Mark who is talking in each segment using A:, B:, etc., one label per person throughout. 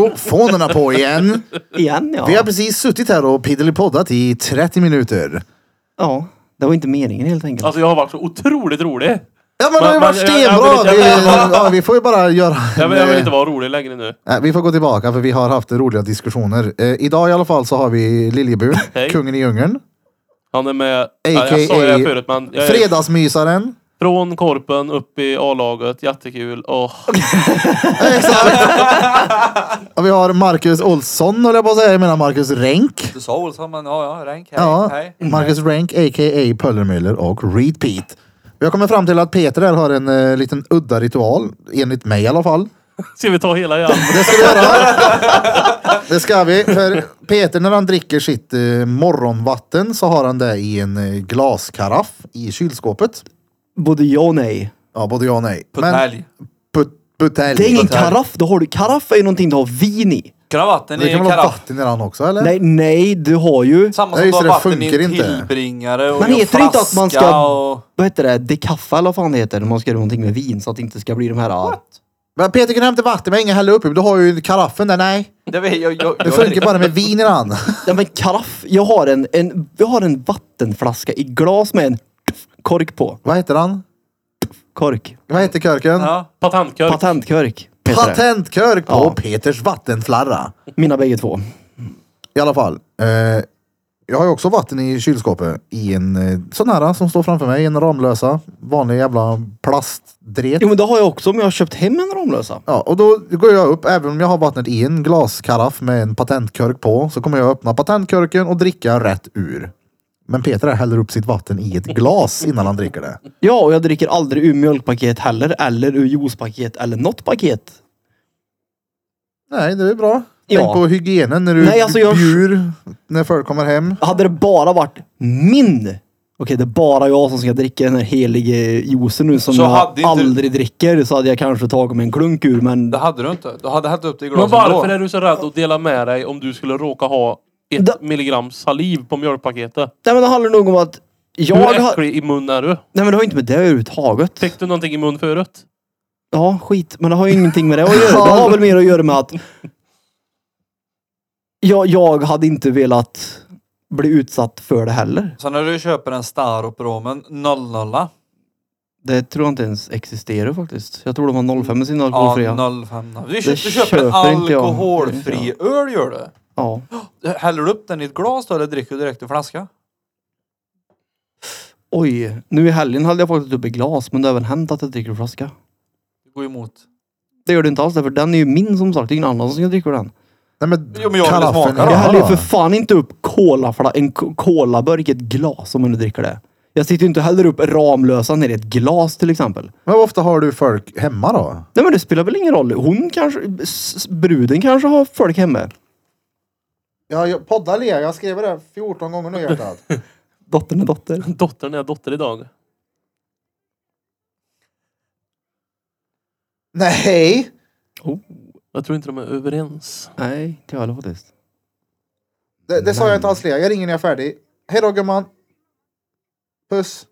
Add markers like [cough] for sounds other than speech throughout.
A: Mikrofonerna på igen.
B: Igen ja.
A: Vi har precis suttit här och piddelipoddat i 30 minuter.
B: Ja, det var inte meningen helt enkelt.
C: Alltså jag har varit så otroligt rolig.
A: Ja men det har ju
C: Men-
A: varit
C: men- jag-
A: stenbra.
C: jag vill
A: Vi,
C: inte-
A: ja, vi får ju bara göra...
C: Jag vill, jag vill
A: en,
C: inte vara rolig längre nu.
A: Nej, vi får gå tillbaka för vi har haft roliga diskussioner. Eh, idag i alla fall så har vi Liljebur,
C: Hej.
A: kungen i djungeln.
C: Han är med... Ja,
A: A.k.a.
C: jag sa ju det här förut men... Jag är
A: Fredagsmysaren.
C: från Korpen upp i A-laget. Jättekul. Åh. [laughs]
A: Ja, vi har Marcus Olsson höll jag på att säga. Jag menar Marcus Renk.
D: Du sa Olsson, men ja, ja, Renk. Hej,
A: Ja,
D: hej.
A: Marcus Renk a.k.a. Pöllermüller och Reed Pete. Vi har kommit fram till att Peter här har en eh, liten udda ritual. Enligt mig i alla fall.
C: Ska vi ta hela igen?
A: Det ska vi
D: [laughs]
A: göra. Det ska vi. För Peter när han dricker sitt eh, morgonvatten så har han det i en eh, glaskaraff i kylskåpet.
B: Både ja och nej.
A: Ja, både ja och nej. Men-
D: Puttälg.
A: Put- Butelj.
B: Det är ingen
A: Butelj.
B: karaff. Då har du, karaff är ju någonting du har vin i.
D: Kravatten
A: Det
D: i
A: kan
D: en
A: väl ha
D: karaff.
A: vatten i den också eller?
B: Nej, nej, du har ju...
D: Samma
A: Ja,
D: som du
A: just
D: har
A: det, det
D: vatten i
A: funkar
D: en
A: inte.
D: tillbringare och
B: Men
D: i en
B: heter det inte att man
D: flaska
B: ska-
D: Och...
B: Vad heter det? Decaffa eller vad fan det heter när man ska göra någonting med vin så att det inte ska bli de här...
A: Men Peter kan hämta vatten men ingen häller upp. i. Du har ju karaffen där. Nej,
D: Det, vet jag, jag,
A: det
D: jag,
A: funkar bara med vin i den.
B: Ja men karaff. Jag har en, en, jag har en vattenflaska i glas med en kork på.
A: Vad heter han?
B: Kork.
A: Vad heter körken?
D: Ja.
C: Patentkörk.
B: Patentkörk. heter det.
A: Patentkörk på
B: Ja.
A: Peters vattenflarra.
B: Mina bägge två.
A: I alla fall. Eh, jag har ju också vatten i kylskåpet i en eh, sån här som står framför mig. En Ramlösa. Vanlig jävla plastdret.
B: Jo men det har jag också om jag har köpt hem en Ramlösa.
A: Ja, och då går jag upp, även om jag har vattnet i en glaskaraff med en patentkörk på, så kommer jag öppna patentkorken och dricka rätt ur. Men Peter här häller upp sitt vatten i ett glas innan han dricker det.
B: Ja och jag dricker aldrig ur mjölkpaket heller eller ur juicepaket eller något paket.
A: Nej, det är bra. Tänk
B: Ja.
A: på hygienen när du
B: Nej, alltså jag-
A: bjur när folk kommer hem.
B: Hade det bara varit min Okej, det är bara jag som ska dricka den här helige juicen nu som
D: Så
B: jag
D: hade inte-
B: aldrig dricker. Så hade jag kanske tagit mig en klunk ur men...
D: Det hade du inte. Du hade hällt upp det i
C: Men
D: glaset
C: varför
D: ändå.
C: är du så rädd att dela med dig om du skulle råka ha ett
B: Da-
C: milligram saliv på mjölkpaketet?
B: Nej men det handlar nog om att jag...
C: Hur
B: har-
C: äcklig i mun är du?
B: Nej men det har inte med det överhuvudtaget.
C: Fick du någonting i mun förut?
B: Ja, skit. Men det har ju ingenting med det att göra. Det har väl mer att göra med att jag, jag hade inte velat bli utsatt för det heller.
D: Så när du köper en Staropromen 00.
B: Det tror jag inte ens existerar faktiskt. Jag tror de har 05 i sin
D: Ja,
B: alkoholfria. Ja,
D: 05. Du köper, du
B: köper
D: köper en
B: inte jag.
D: alkoholfri öl gör du.
B: ja.
D: Häller du upp den i ett glas då eller dricker du direkt ur flaska?
B: Oj, nu i helgen hade jag faktiskt uppe glas men det har även hänt att jag dricker ur flaska.
D: Det går emot.
B: Det gör det inte alls för den är ju min som sagt. Det är ingen annan som ska dricka ur den.
A: Nej, men
D: Jo, men jag vill
A: karaffen
D: smaka
A: är
D: då.
B: Jag
A: bra.
B: häller ju för fan inte upp cola, för en ko- colaburk i ett glas om man nu dricker det. Jag sitter ju inte och häller upp Ramlösa ner i ett glas till exempel.
A: Men hur ofta har du folk hemma då?
B: Nej men det spelar väl ingen roll. Hon kanske, s- s- bruden kanske har folk hemma.
A: Ja, jag poddar Lea. Jag skrev det 14 gånger nu hjärtat. [laughs]
B: Dottern är dotter.
C: Dottern är dotter idag.
A: Nej!
C: Jag tror inte de är överens.
B: Nej, inte jag heller faktiskt.
A: Det, det sa jag inte alls Lea. Jag ringer när jag är färdig. Hej då gumman. Puss.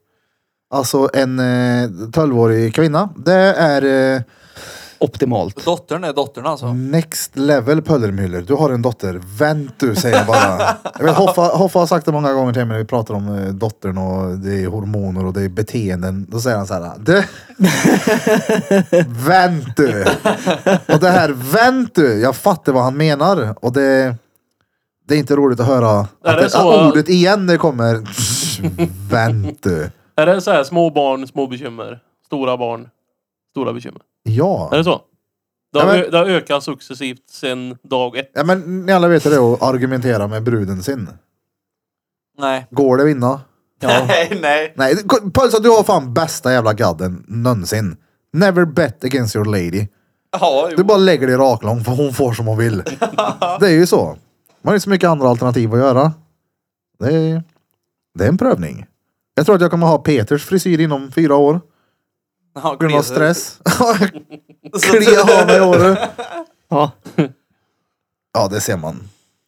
A: Alltså en eh, 12-årig kvinna. Det är eh,
B: Optimalt.
D: Dottern är dottern alltså.
A: Mm. next level Pöllermüller. Du har en dotter. Vänt du säger jag bara. Jag vet, Hoffa, Hoffa har sagt det många gånger till mig när vi pratar om eh, dottern och det är hormoner och det är beteenden. Då säger han så här. Du. [laughs] vänt du. Och det här vänt du. Jag fattar vad han menar. Och det, det är inte roligt att höra att
C: Är det
A: det,
C: så?
A: ordet igen när det kommer. [laughs] vänt du.
C: Är det så här små barn, små bekymmer? Stora barn, stora bekymmer?
A: Ja.
C: Är det så? Det har,
A: Ja, men-
C: ö- det har ökat successivt sedan dag ett.
A: ja men ni alla vet hur det är att argumentera med bruden sin.
D: Nej.
A: Går det att vinna?
D: [laughs] Nej, nej.
A: Nej, ko- Pölsa du har fan bästa jävla gadden någonsin. Never bet against your lady.
D: Ja,
A: Du
D: jo.
A: bara lägger dig raklång för hon får som hon
B: [laughs]
A: vill. Det är ju så. Man har inte så mycket andra alternativ att göra. Det är, det är en prövning. Jag tror att jag kommer ha Peters frisyr inom fyra år.
D: Ja,
A: På grund av
B: [laughs]
D: glesa. [laughs]
A: stress. Klia av mig i håret.
B: Ja.
A: Ja, det ser man.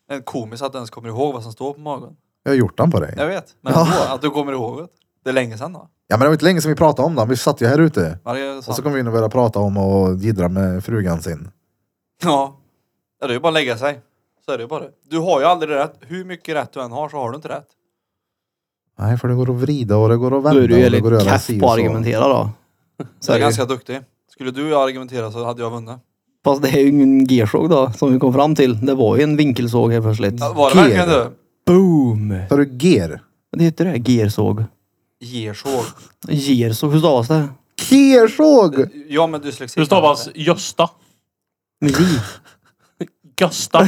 D: Det är komiskt att du ens kommer ihåg vad som står på magen.
A: Jag har gjort den på dig.
D: Jag vet, men ändå, att du kommer ihåg det. Det är länge sedan då.
A: Ja, men det var inte länge sedan vi pratade om den. Vi satt ju här ute.
D: Varje
A: Och så
D: sån.
A: kom vi in och började prata om och jiddra med frugan sin.
D: Ja. Ja, det är ju bara att lägga sig. Så är det ju bara. Du har ju aldrig rätt. Hur mycket rätt du än har så har du inte rätt.
A: Nej, för det går att vrida och det går att
B: Då
A: vända.
B: är du ju
A: och det går att
B: jävligt
A: göra
B: kass
A: si
B: på
A: och
B: att
A: så.
B: argumentera då. Så är
D: Jag
B: det ju.
D: är ganska duktig. Skulle du och jag argumentera så hade jag vunnit.
B: Fast det är ju ingen gearsåg då, som vi kom fram till. Det var ju en vinkelsåg helt plötsligt.
D: Ja, Var det
A: Ger.
D: verkligen du?
B: Boom!
A: Tar du ger?
B: Det heter det, gearsåg.
D: Gersåg.
B: Gearsåg, hur stavas det?
A: Kersåg!
D: Ja men dyslexi.
C: Hur stavas Gösta?
B: Med J.
C: Gösta.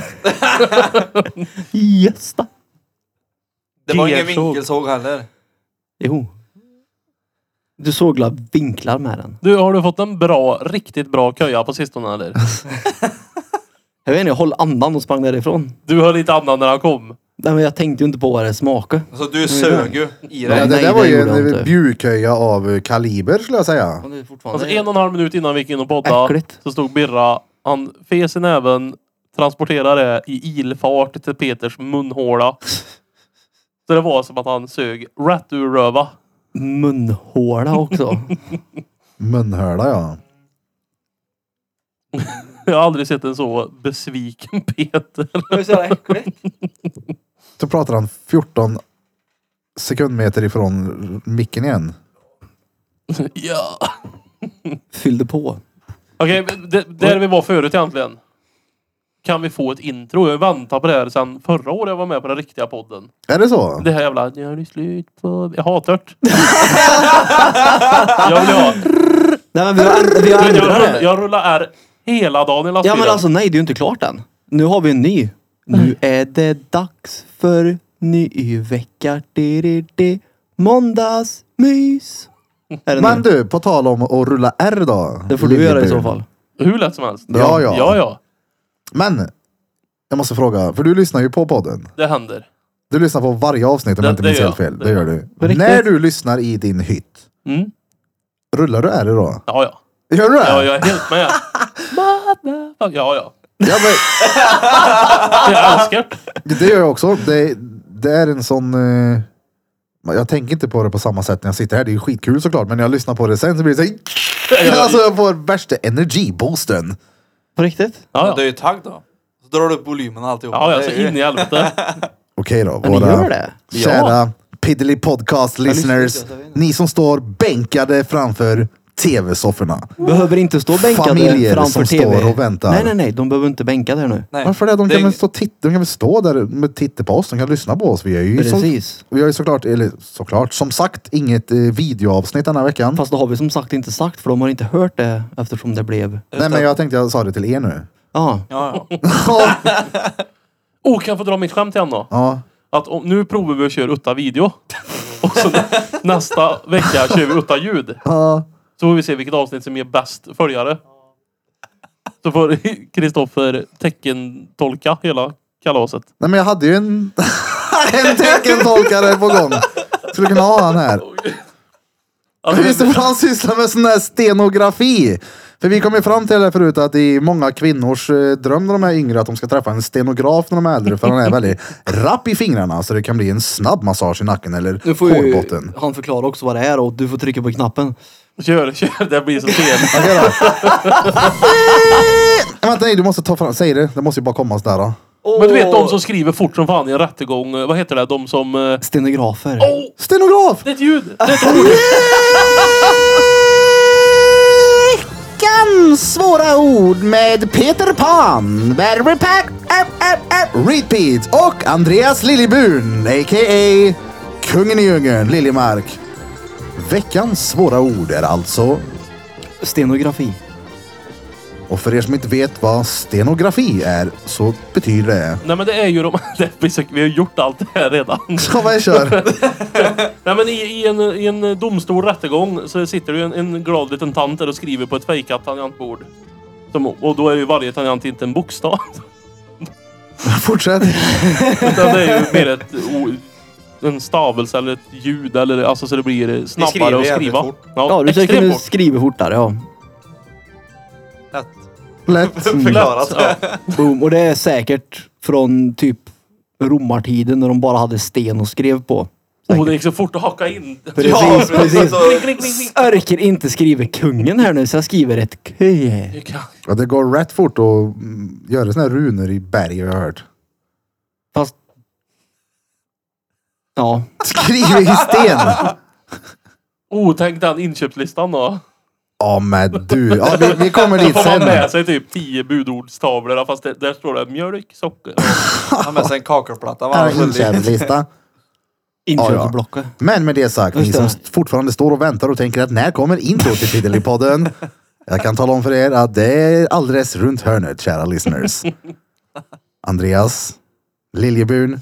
B: Gösta.
D: Det var ingen
C: Gersåg.
D: vinkelsåg heller.
B: Jo. Du såg la vinklar med den.
C: Du, har du fått en bra, riktigt bra köja på sistone eller?
B: Jag vet inte, jag höll andan och sprang därifrån.
C: Du höll inte andan när han kom.
B: Nej, men jag tänkte ju inte på vad det smakade.
D: Alltså du sög ju i
A: Ja,
B: Nej,
D: dig.
A: det där
B: det
A: var ju
B: gjorde jag inte.
A: en bjudköja av eh, kaliber skulle jag säga.
B: Men det är fortfarande...
C: Alltså en och en halv minut innan vi gick in och poddade
B: Äckligt.
C: så stod Birra. Han fes i näven, transporterade det i ilfart till Peters munhåla. Så det var som att han sög rätt ur röva.
B: munhåla också.
A: Munhöla ja.
C: Jag har aldrig sett en så besviken [laughs] Peter.
D: Visst är det äckligt?
A: Så pratar han 14 sekundmeter ifrån micken igen.
C: Ja.
B: Fyllde på.
C: Okej, men det- där vi var förut egentligen. Kan vi få ett intro? Jag väntar på det här sedan förra året jag var med på den riktiga podden.
A: Är det så?
C: Det här jävla... Nu är det slut på... Jag hatar det. jag vill ha...
B: Nej men vi har, vi har
C: Jag,
B: ändrat
C: rullar,
B: det.
C: jag rullar R hela dagen i
B: Ja
C: lastbilen.
B: men alltså nej, det är ju inte klart än. Nu har vi en ny. Nu är det dags för ny vecka. Di, di, di. Måndagsmys. Är det
A: Men
B: nu?
A: du, på tal om att rulla R då.
B: Det får du göra i
A: Lilleby.
B: så fall.
C: Hur lätt som helst.
A: Ja, ja.
C: ja, ja.
A: Men, jag måste fråga, för du lyssnar ju på podden.
C: Det händer.
A: Du lyssnar på varje avsnitt om
C: Det-
A: jag inte
C: det
A: minns
C: gör
A: helt
C: jag.
A: fel.
C: Det
A: Det gör du.
B: På riktigt?
A: När du lyssnar i din hytt,
C: Mm.
A: rullar du R då?
C: Ja, ja.
A: Gör du det?
C: Ja, jag är helt med. Motherfuck- Ja, ja.
A: Ja, men,
C: Jag älskar det.
A: det gör jag också. Det, det är en sån... Eh, jag tänker inte på det på samma sätt när jag sitter här. Det är ju skitkul såklart, men när jag lyssnar på det sen så blir det [laughs] såhär... Alltså jag får värsta energiboosten.
B: På riktigt?
C: Ja,
D: Det är
C: ja.
D: ju tagg då. Så drar du upp volymen och alltihop.
C: Ja, ja,
D: Det
C: så
D: är ju-
C: in i helvete.
A: Okej då,
B: Ja, ni gör det?
A: kära Piddly Podcast listeners.
D: lyssnar inte, jag tar in.
A: Ni som står bänkade framför tv-sofforna.
B: Behöver inte stå bänkade
A: Familjer
B: framför
A: som
B: tv.
A: står och väntar.
B: Nej nej nej, de behöver inte bänka där nu.
D: Nej.
A: Varför det? De
D: Det
A: kan,
D: är
A: väl
D: ing-
A: stå och titta, de kan väl stå där och titta på oss. De kan lyssna på oss. Vi är ju så,
B: Precis.
A: vi har ju såklart, eller såklart, som sagt inget eh, videoavsnitt den här veckan.
B: Fast det har vi som sagt inte sagt för de har inte hört det eftersom det blev...
A: Nej men jag tänkte jag sa det till er nu.
B: Ja.
D: Ja, ja.
C: Oh, kan jag få dra mitt skämt igen då?
A: Ja.
C: Att om, nu provar vi att köra utta video. [laughs] Och så nä- nästa vecka kör vi utta ljud.
A: Ja.
C: Så får vi se vilket avsnitt som ger bäst följare. Så får [laughs] Kristoffer teckentolka hela kalaset.
A: Nej men jag hade ju en, [laughs] en teckentolkare på gång. Skulle kunna ha han här.
C: Alltså,
A: Men Just det, för han sysslar med sån här stenografi. För vi kom ju fram till det här förut att det är många kvinnors eh, dröm när de är yngre att de ska träffa en stenograf när de är äldre. För han är väldigt rapp i fingrarna så det kan bli en snabb massage i nacken eller
B: Nu får ju
A: hårbotten.
B: han förklara också vad det är och du får trycka på knappen.
C: [laughs] kör, kör. Det blir så fel.
A: Okej då.
B: [laughs]
A: Nej, Vänta, nej du måste ta fram, säg det. Det måste ju bara komma sådär. Då.
C: Men du vet de som skriver fort som fan i en rättegång. eh, Vad heter det? De som... eh,
B: Stenografer.
C: Oh!
A: Stenograf!
C: Det är ett ljud! Det är ett
A: Veckans svåra ord med Peter Pan, Barry Pack, ap, ap, ap, Repeat och Andreas Liljeburn, a.k.a. Kungen i djungeln, Liljemark. Veckans svåra ord är alltså,
B: Stenografi.
A: och för er som inte vet vad stenografi är, så betyder det...
C: Nej men det är ju de... [laughs] Det blir så... Vi har gjort allt det här redan.
A: Kom igen, kör!
C: Nej men i, i, en, i en domstol rättegång så sitter det ju en, en glad liten tant där och skriver på ett fejkat tangentbord. Som, och då är ju varje tangent inte en bokstav. [laughs]
A: Fortsätt.
C: Utan det är ju mer ett, o- en stavelse eller ett ljud eller alltså så det blir snabbare
D: skriver
C: att
D: jävligt
C: skriva.
D: fort.
B: Ja, du säger
C: extremt
B: kunna
C: fort.
B: skriva fortare. Ja.
D: Lätt. [laughs]
A: Lätt.
D: Förklarat.
C: Lätt, ja.
B: Boom. Och det är säkert från typ romartiden när de bara hade sten och skrev på.
C: Oh, det gick så fort att hacka in.
B: [laughs] Precis,
D: men
B: precis.
D: alltså-
C: Klick, klick, klick, klick.
B: Örker inte skriver kungen här nu, så jag skriver ett kö.
C: Det kan-
A: Ja, det går rätt fort att mm, göra såna här runor i berg har jag hört.
B: Fast... Ja.
A: Skriv i sten!
C: Oh, tänk den inköpslistan då.
A: Ja men du, ja, vi, vi kommer
C: Då
A: dit
C: får
A: sen.
C: man med sig typ tio budordstavlor. Fast det, där står det mjölk, socker.
D: Han har med sig en kakelplatta. va?
A: Här
D: Han
A: är
D: skyldig.
A: inköpslista.
B: Inköpsblocket.
A: Men med det sagt, ni
B: Just
A: som
B: det.
A: fortfarande står och väntar och tänker att när kommer intro till Fiddlypodden? Jag kan tala om för er att det är alldeles runt hörnet, kära listeners. Andreas Liljebun,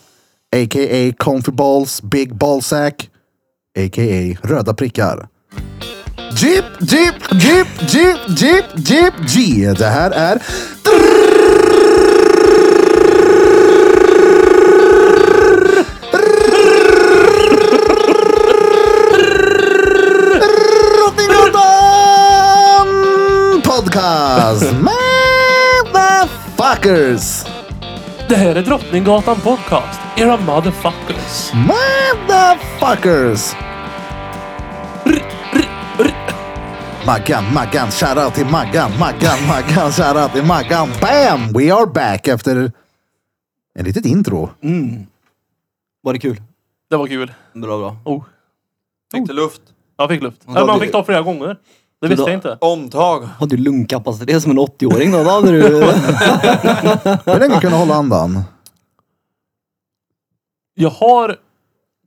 A: a.k.a. Comfy Balls, Big Ballsack, a.k.a. Röda prickar. Jeep, jeep, jeep, jeep, jeep, jeep, G. Det här är Drottninggatan Podcast! Motherfuckers!
C: Det här är Drottninggatan Podcast. Era motherfuckers.
A: Motherfuckers! Maggan, Maggan, shoutout till Maggan, Maggan, Maggan, shoutout till Maggan. Bam! We are back efter en litet intro.
B: Var det kul?
C: Det var kul.
B: Bra, bra.
C: Oh,
D: Fick det luft?
C: jag fick luft. Ja, man fick ta flera gånger. Det visste jag inte.
D: Omtag.
B: Hade du lungkapacitet som en 80-åring då? Då hade du...
A: Hur länge kunde hålla andan?
C: Jag har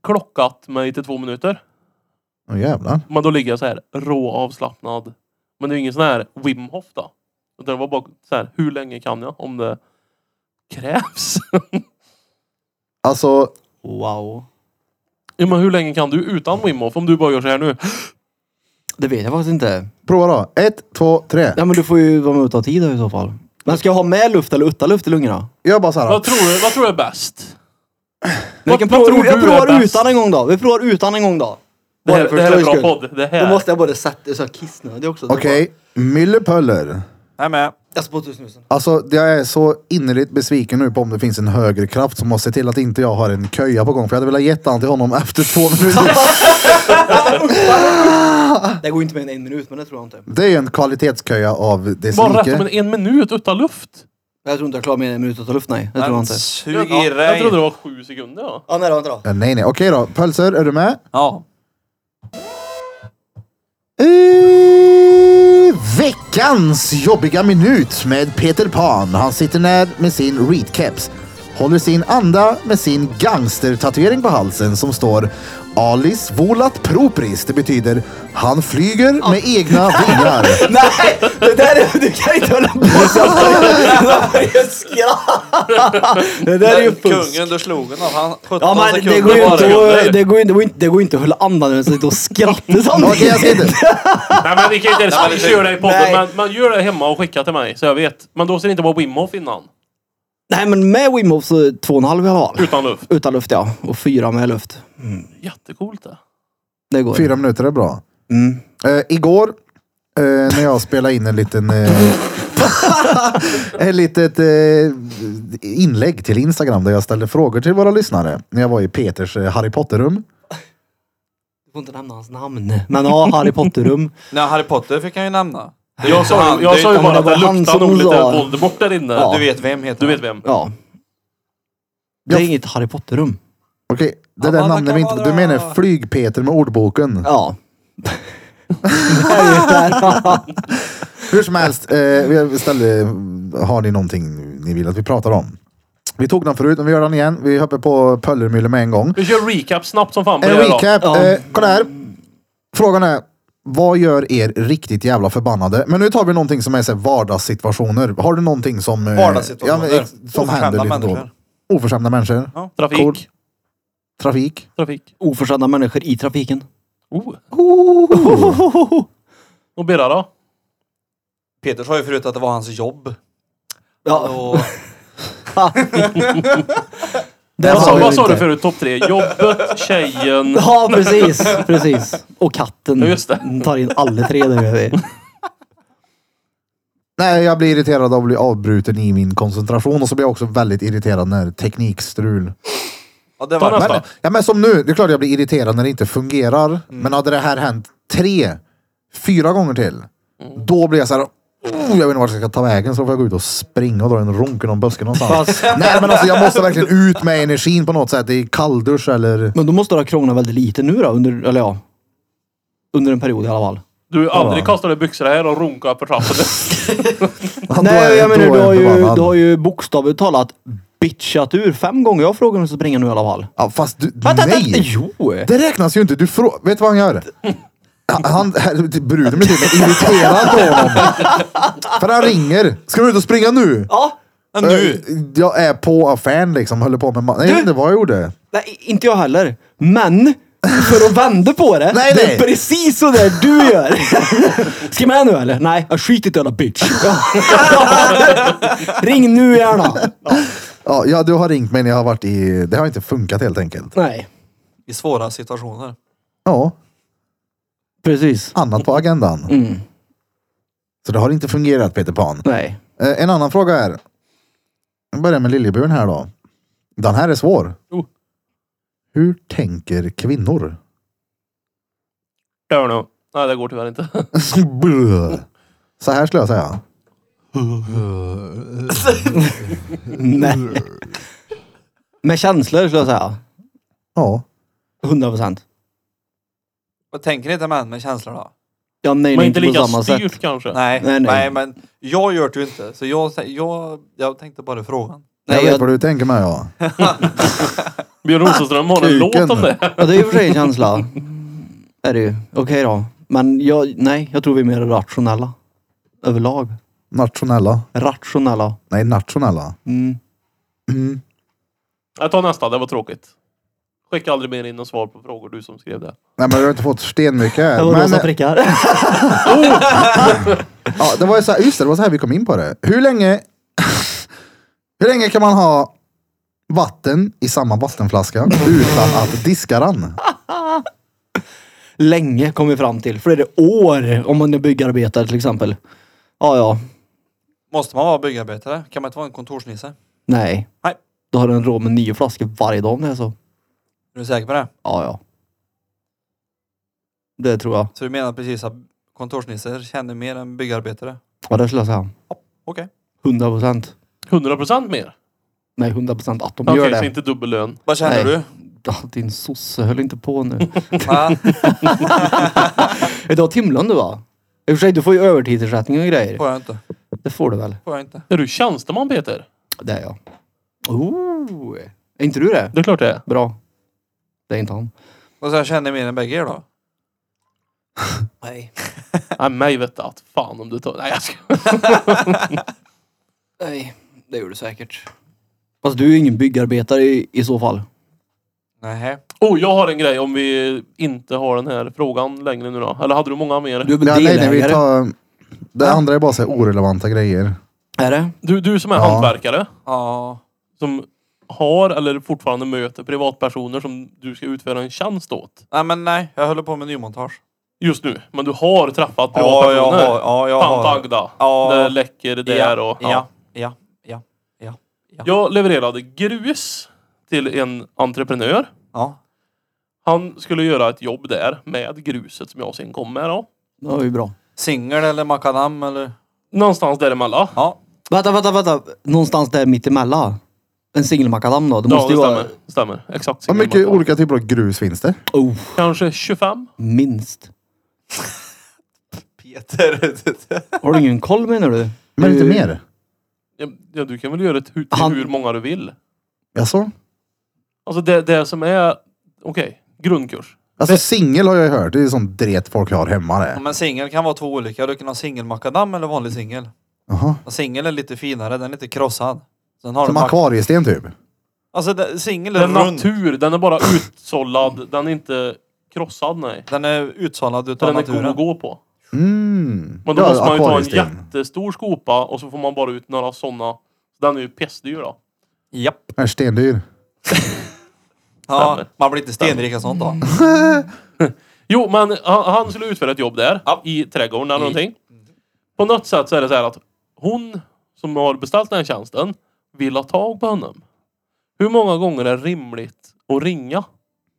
C: klockat mig till två minuter.
A: Åh jävlar.
C: Men då ligger jag så här råavslappnad. Men det är ingen sån här Wim Hof då. Utan det var bara så här, hur länge kan jag om det krävs? [laughs]
A: Alltså,
B: Wow.
C: ja, men hur länge kan du utan Wim Hof om du bara gör så här nu?
B: Det vet jag faktiskt inte.
A: prova då. Ett, två, tre.
B: Ja, men du får ju vara med och ta tid då i så fall. Men ska jag ha med luft eller utan luft i lungorna?
A: Gör bara så här.
C: Vad tror du, vad tror du är bäst?
B: Men
C: Vad-
B: jag kan
C: vad
B: prova,
C: tror
B: jag
C: du är
B: provar
C: bäst?
B: utan en gång då. Vi provar utan en gång då.
C: Det här,
B: Bara för
C: det här är en bra
B: skojs skull.
C: podd. Det
B: Då
C: här.
B: måste jag bara sätta så jag kissnödig också.
A: Okej, myllepöller.
D: Jag är med.
B: Jag spottar ut snusen.
A: Alltså jag är så innerligt besviken nu på om det finns en högre kraft som måste se till att inte jag har en köja på gång. För jag hade velat gett han till honom efter två
C: [laughs]
A: minuter.
B: Det går inte mer än en minut, men det tror jag inte.
A: Det är ju en kvalitetsköja av dess
C: Bara rätt
A: like.
C: om en, en minut utan luft.
B: Jag tror inte jag klarar mer än en minut att ta luft, nej. Det tror jag
D: Men
B: inte.
D: sug
C: Ja,
D: i
C: jag trodde
D: dig.
C: det var sju sekunder ja.
B: Ja, nej då, vänta då.
A: Eh, Nej, nej. Okej då. Pölser, är du med?
D: Ja.
A: I veckans jobbiga minut med Peter Pan. Han sitter ner med sin readcaps. Håller sin anda med sin gangstertatuering på halsen som står Alis volat propris. Det betyder han flyger med egna vingar.
B: Nej! Det där är, du kan inte hålla på sådär! Det där är ju
D: Den
B: fusk.
D: kungen, du slog honom. Han 17
B: Ja men
D: sekunder
B: det går ju
D: var det.
B: inte att, det går, inte- det går inte, det går inte att hålla andan utan att sitta
A: [laughs]
B: och skratta
A: Okej, jag ska
B: samtidigt.
A: inte.
C: Nej men vi kan inte ens köra det i podden.
B: Nej.
C: Men man gör det hemma och skickar till mig så jag vet. Men då ser det inte vara Wim Hof innan.
B: Nej men med Wim Hof så är det två och en halv i alla fall.
C: Utan luft.
B: Utan luft ja. Och fyra med luft.
C: Jättecoolt det.
B: Det går.
A: Fyra minuter är bra.
B: Mm.
A: Eh, igår eh, när jag spelade in en liten... Eh, [laughs] ett litet eh, inlägg till Instagram där jag ställde frågor till våra lyssnare. När jag var i Peters eh, Harry Potter-rum.
B: Du får inte nämna hans namn. Men ja, Harry Potter-rum.
D: Nej, Harry Potter fick han ju nämna. Det är ju
C: Jag
D: inte
C: sa
D: han,
C: ju,
D: det är
C: jag
D: ju
C: sa ju
D: inte-
B: men
C: bara
B: det
C: att
B: var
C: det
B: han
C: luktar
B: som
C: nog lite
B: sa-
C: Voldemort där inne.
B: Ja.
D: Du vet vem heter
C: Du
D: han.
C: vet vem?
B: Ja. Det är inget Harry Potter-rum.
A: Okej, det
D: Ja,
A: där
D: man
A: namnet
D: kan
A: vi inte...
D: vara-
A: Du menar Flyg-Peter med ordboken.
B: Ja. [laughs] Det är ju där. [laughs]
A: Hur som helst, eh, vi ställde... Har ni någonting ni vill att vi pratar om? Vi tog den förut, men vi gör den igen. Vi hoppar på Pöllermylle med en gång.
C: Vi kör recap snabbt som fan på
A: En
C: det här då.
A: recap.
B: Ja.
A: Eh, kolla här. Frågan är, vad gör er riktigt jävla förbannade? Men nu tar vi någonting som är så här vardagssituationer. Har du någonting som... eh,
D: Vardagssituationer.
A: Ja, men, ex- som
D: Oförskämda
A: händer lite då.
D: människor.
A: Oförskämda människor.
D: Ja.
C: Trafik.
A: Cool. Trafik.
C: Trafik.
B: Oförskämda människor i trafiken.
C: Oh.
B: [laughs] Hohoho.
C: Och Birra då?
D: Peter sa ju förut att det var hans jobb.
B: Ja. [laughs]
D: Och
B: det
A: Vad
B: har
C: Vad sa,
B: vi
C: vad sa
B: inte.
C: du förut? Topp tre? Jobbet, tjejen.
B: [laughs] Ja, precis. Precis. Och katten.
C: Ja, just det.
B: Den tar in alla tre där. gör vi.
A: Nej, jag blir irriterad av att bli avbruten i min koncentration och så blir jag också väldigt irriterad när teknikstrul.
D: Ja, det
C: Ta
D: var
C: nästa.
A: Men, ja, men som nu, det är klart jag blir irriterad när det inte fungerar.
B: Mm.
A: Men hade det här hänt tre, fyra gånger till.
B: Mm.
A: Då blir jag så här. Oh, jag vet inte vart jag ska ta vägen så då får jag gå ut och springa och dra en ronk i någon buske någonstans. Nej men alltså jag måste verkligen ut med energin på något sätt. Det är kalldusch eller...
B: Men då måste du ha krånglat väldigt lite nu då, under, eller ja. Under en period i alla fall.
C: Du aldrig kastade byxor här och runkade
B: [laughs]
C: för trappen.
A: Ja, då är-
B: Nej, jag menar
A: då
B: du
A: är
B: har, ju,
A: förbannad.
B: du har ju bokstavligt talat bitchat ur fem gånger jag frågar om du ska springa nu i alla fall.
A: Ja, fast du,
B: Vänta, vänta,
A: nej!
B: Jo!
A: Det räknas ju inte. Du frå... Vet du vad han gör? Han, bruden blir till och med irriterad på honom. För han ringer. Ska du ut och springa nu?
B: Ja,
D: Men nu!
A: Eh, Jag är på affären liksom, håller på med ma- Nej, jag vet inte vad jag gjorde.
B: nej, inte jag heller. Men för att vända på det.
A: [laughs] Nej,
B: det
A: nej.
B: är precis så där
A: [laughs]
B: du gör. [laughs] Ska jag med nu eller? Nej, jag skiter i det, jävla bitch.
A: [laughs]
B: Ja. Ring nu gärna.
A: Ja, ja, du har ringt mig när jag har varit i... Det har inte funkat helt enkelt.
B: Nej,
D: I svåra situationer.
A: Ja,
B: precis.
A: annat på agendan.
B: Mm.
A: Så det har inte fungerat Peter Pan.
B: Nej.
A: Eh, en annan fråga är. Vi börjar med liljeburen här då. Den här är svår.
C: Oh.
A: Hur tänker kvinnor? [laughs]
C: Dör nu. Nej, det går tyvärr inte.
A: Brr. Så här skulle jag säga.
B: Nej. Med känslor skulle jag säga.
A: Ja.
B: 100 procent.
D: Men tänker inte män med känslor då?
B: Jag nej,
C: Men
B: inte
C: inte
B: på
C: lika
B: samma sätt.
C: styrt kanske.
D: Nej,
B: Nej,
D: nej,
B: nej.
D: men jag gör det ju inte. Så jag, tän- jag, jag tänkte bara frågan.
A: Jag
B: Nej,
A: vet
B: jag-
A: vad du tänker med ja.
C: Björn Rosenström har en
A: Kuken.
C: låt
B: [laughs]
C: om det.
B: Ja, det är i och för
A: [laughs]
B: sig en känsla. Är det ju. Okej då. Men jag, nej, jag tror vi är mer rationella. Överlag.
A: Nationella.
B: Rationella.
A: Nej, nationella.
B: Mm.
A: Mm.
C: Jag tar nästa, det var tråkigt. Skicka aldrig mer in något svar på frågor, du som skrev det.
A: Nej, men du har inte fått stenmycket.
B: [laughs] Det var
A: Men,
B: rosa prickar.
A: Ja, det var ju så här, just det, det var så här vi kom in på det. Hur länge, [laughs] hur länge kan man ha vatten i samma vattenflaska utan att diska den?
B: Länge kom vi fram till. För är det år om man är byggarbetare till exempel. Ja, ja.
D: Måste man vara byggarbetare? Kan man inte vara en kontorsnisse?
B: Nej.
D: Nej.
B: Då har du en råd med nio flaskor varje dag om det är så.
D: Är du säker på det?
B: Ja, ja. Det tror jag.
D: Så du menar precis att kontorsnissar känner mer än byggarbetare?
B: Ja, det skulle jag säga.
D: Okej.
B: 100 procent.
C: 100% mer.
B: Nej, 100 procent att de
C: Okej,
B: gör
C: så
B: det.
C: inte dubbellön.
D: Vad
B: Nej.
D: känner du?
B: Ja, din sosse höll inte på nu. [laughs]
D: Ja.
B: Är du har timlön du va? I och för sig, du får ju övertidsersättning och grejer.
D: får jag inte.
B: Det får du väl?
D: Får jag inte.
C: Är du tjänsteman Peter?
B: Det är jag. Oh, är inte du det?
C: Det är klart det är.
B: Bra. Det är inte han.
D: Och så jag känner mer än bägge er då?
B: Nej.
C: Nej, mig vet att fan om du tar... Nej, jag ska...
B: Nej, det gör du säkert. Fast du är ju ingen byggarbetare i, i så fall.
D: Nej.
C: Oh, jag har en grej om vi inte har den här frågan längre nu då. Eller hade du många mer?
B: Du är
C: Du,
B: väl
A: Ja, nej, nej,
B: delägare?
A: vi tar, det andra är bara så här orelevanta grejer.
B: Är det?
C: du, som är
A: Ja.
C: hantverkare,
D: Ja.
C: som har eller fortfarande möter privatpersoner som du ska utföra en tjänst åt.
D: Nej men nej, jag håller på med nymontage.
C: Just nu. Men du har träffat
D: Ja,
C: privatpersoner.
D: jag har. Ja, jag
C: Tant
D: har.
C: Agda.
D: Ja.
C: Det läcker där och...
D: Ja. Ja. Ja. Ja.
C: Jag levererade grus till en entreprenör.
D: Ja.
C: Han skulle göra ett jobb där med gruset som jag sen kom med då.
B: Det var ju bra.
D: Singel eller makadam eller?
C: Någonstans däremellan.
D: Ja.
B: Vänta, vänta, vänta. Någonstans där mittemellan. En singelmakadam då? Det
C: Ja,
B: måste
C: det
B: ju vara...
C: stämmer. stämmer. Exakt.
A: Hur mycket olika typer av grus finns det?
B: Oh,
C: Kanske 25?
B: minst.
D: Peter.
B: Har du ingen koll menar du?
A: Men inte
B: Du-
A: mer?
C: Ja, Ja, du kan väl göra det hur, till
B: Han-
C: hur många du vill.
A: Jaså?
C: Alltså det, det som är... Okej, grundkurs.
A: Alltså singel har jag ju hört. Det är sån dret folk har hemma
D: Ja,
A: det.
D: men singel kan vara två olika. Du kan ha singelmakadam eller vanlig singel.
A: Jaha.
D: Och Singel är lite finare, den är lite krossad. Sen har
A: Som
D: du mak-
A: akvariesten typ.
D: Alltså det- singel är
C: Den är
D: rund.
C: natur, den är bara utsållad. Den är inte krossad, nej.
D: Den är utsållad utav
C: Den är god att
D: naturen.
C: gå på.
A: Mm.
C: Men då
A: Ja,
C: måste man ju ta en
A: akvariesten.
C: jättestor skopa och så får man bara ut några sådana. Den är ju pestdyr då.
D: Japp.
A: Är stendyr.
D: Ja,
C: Stämmer.
D: man blir inte stenrik av sånt då.
C: Mm. Jo, men han, han skulle utföra ett jobb där i trädgården eller någonting. På något sätt så är det så här att hon som har beställt den här tjänsten vill ha tag på honom. Hur många gånger är det rimligt och ringa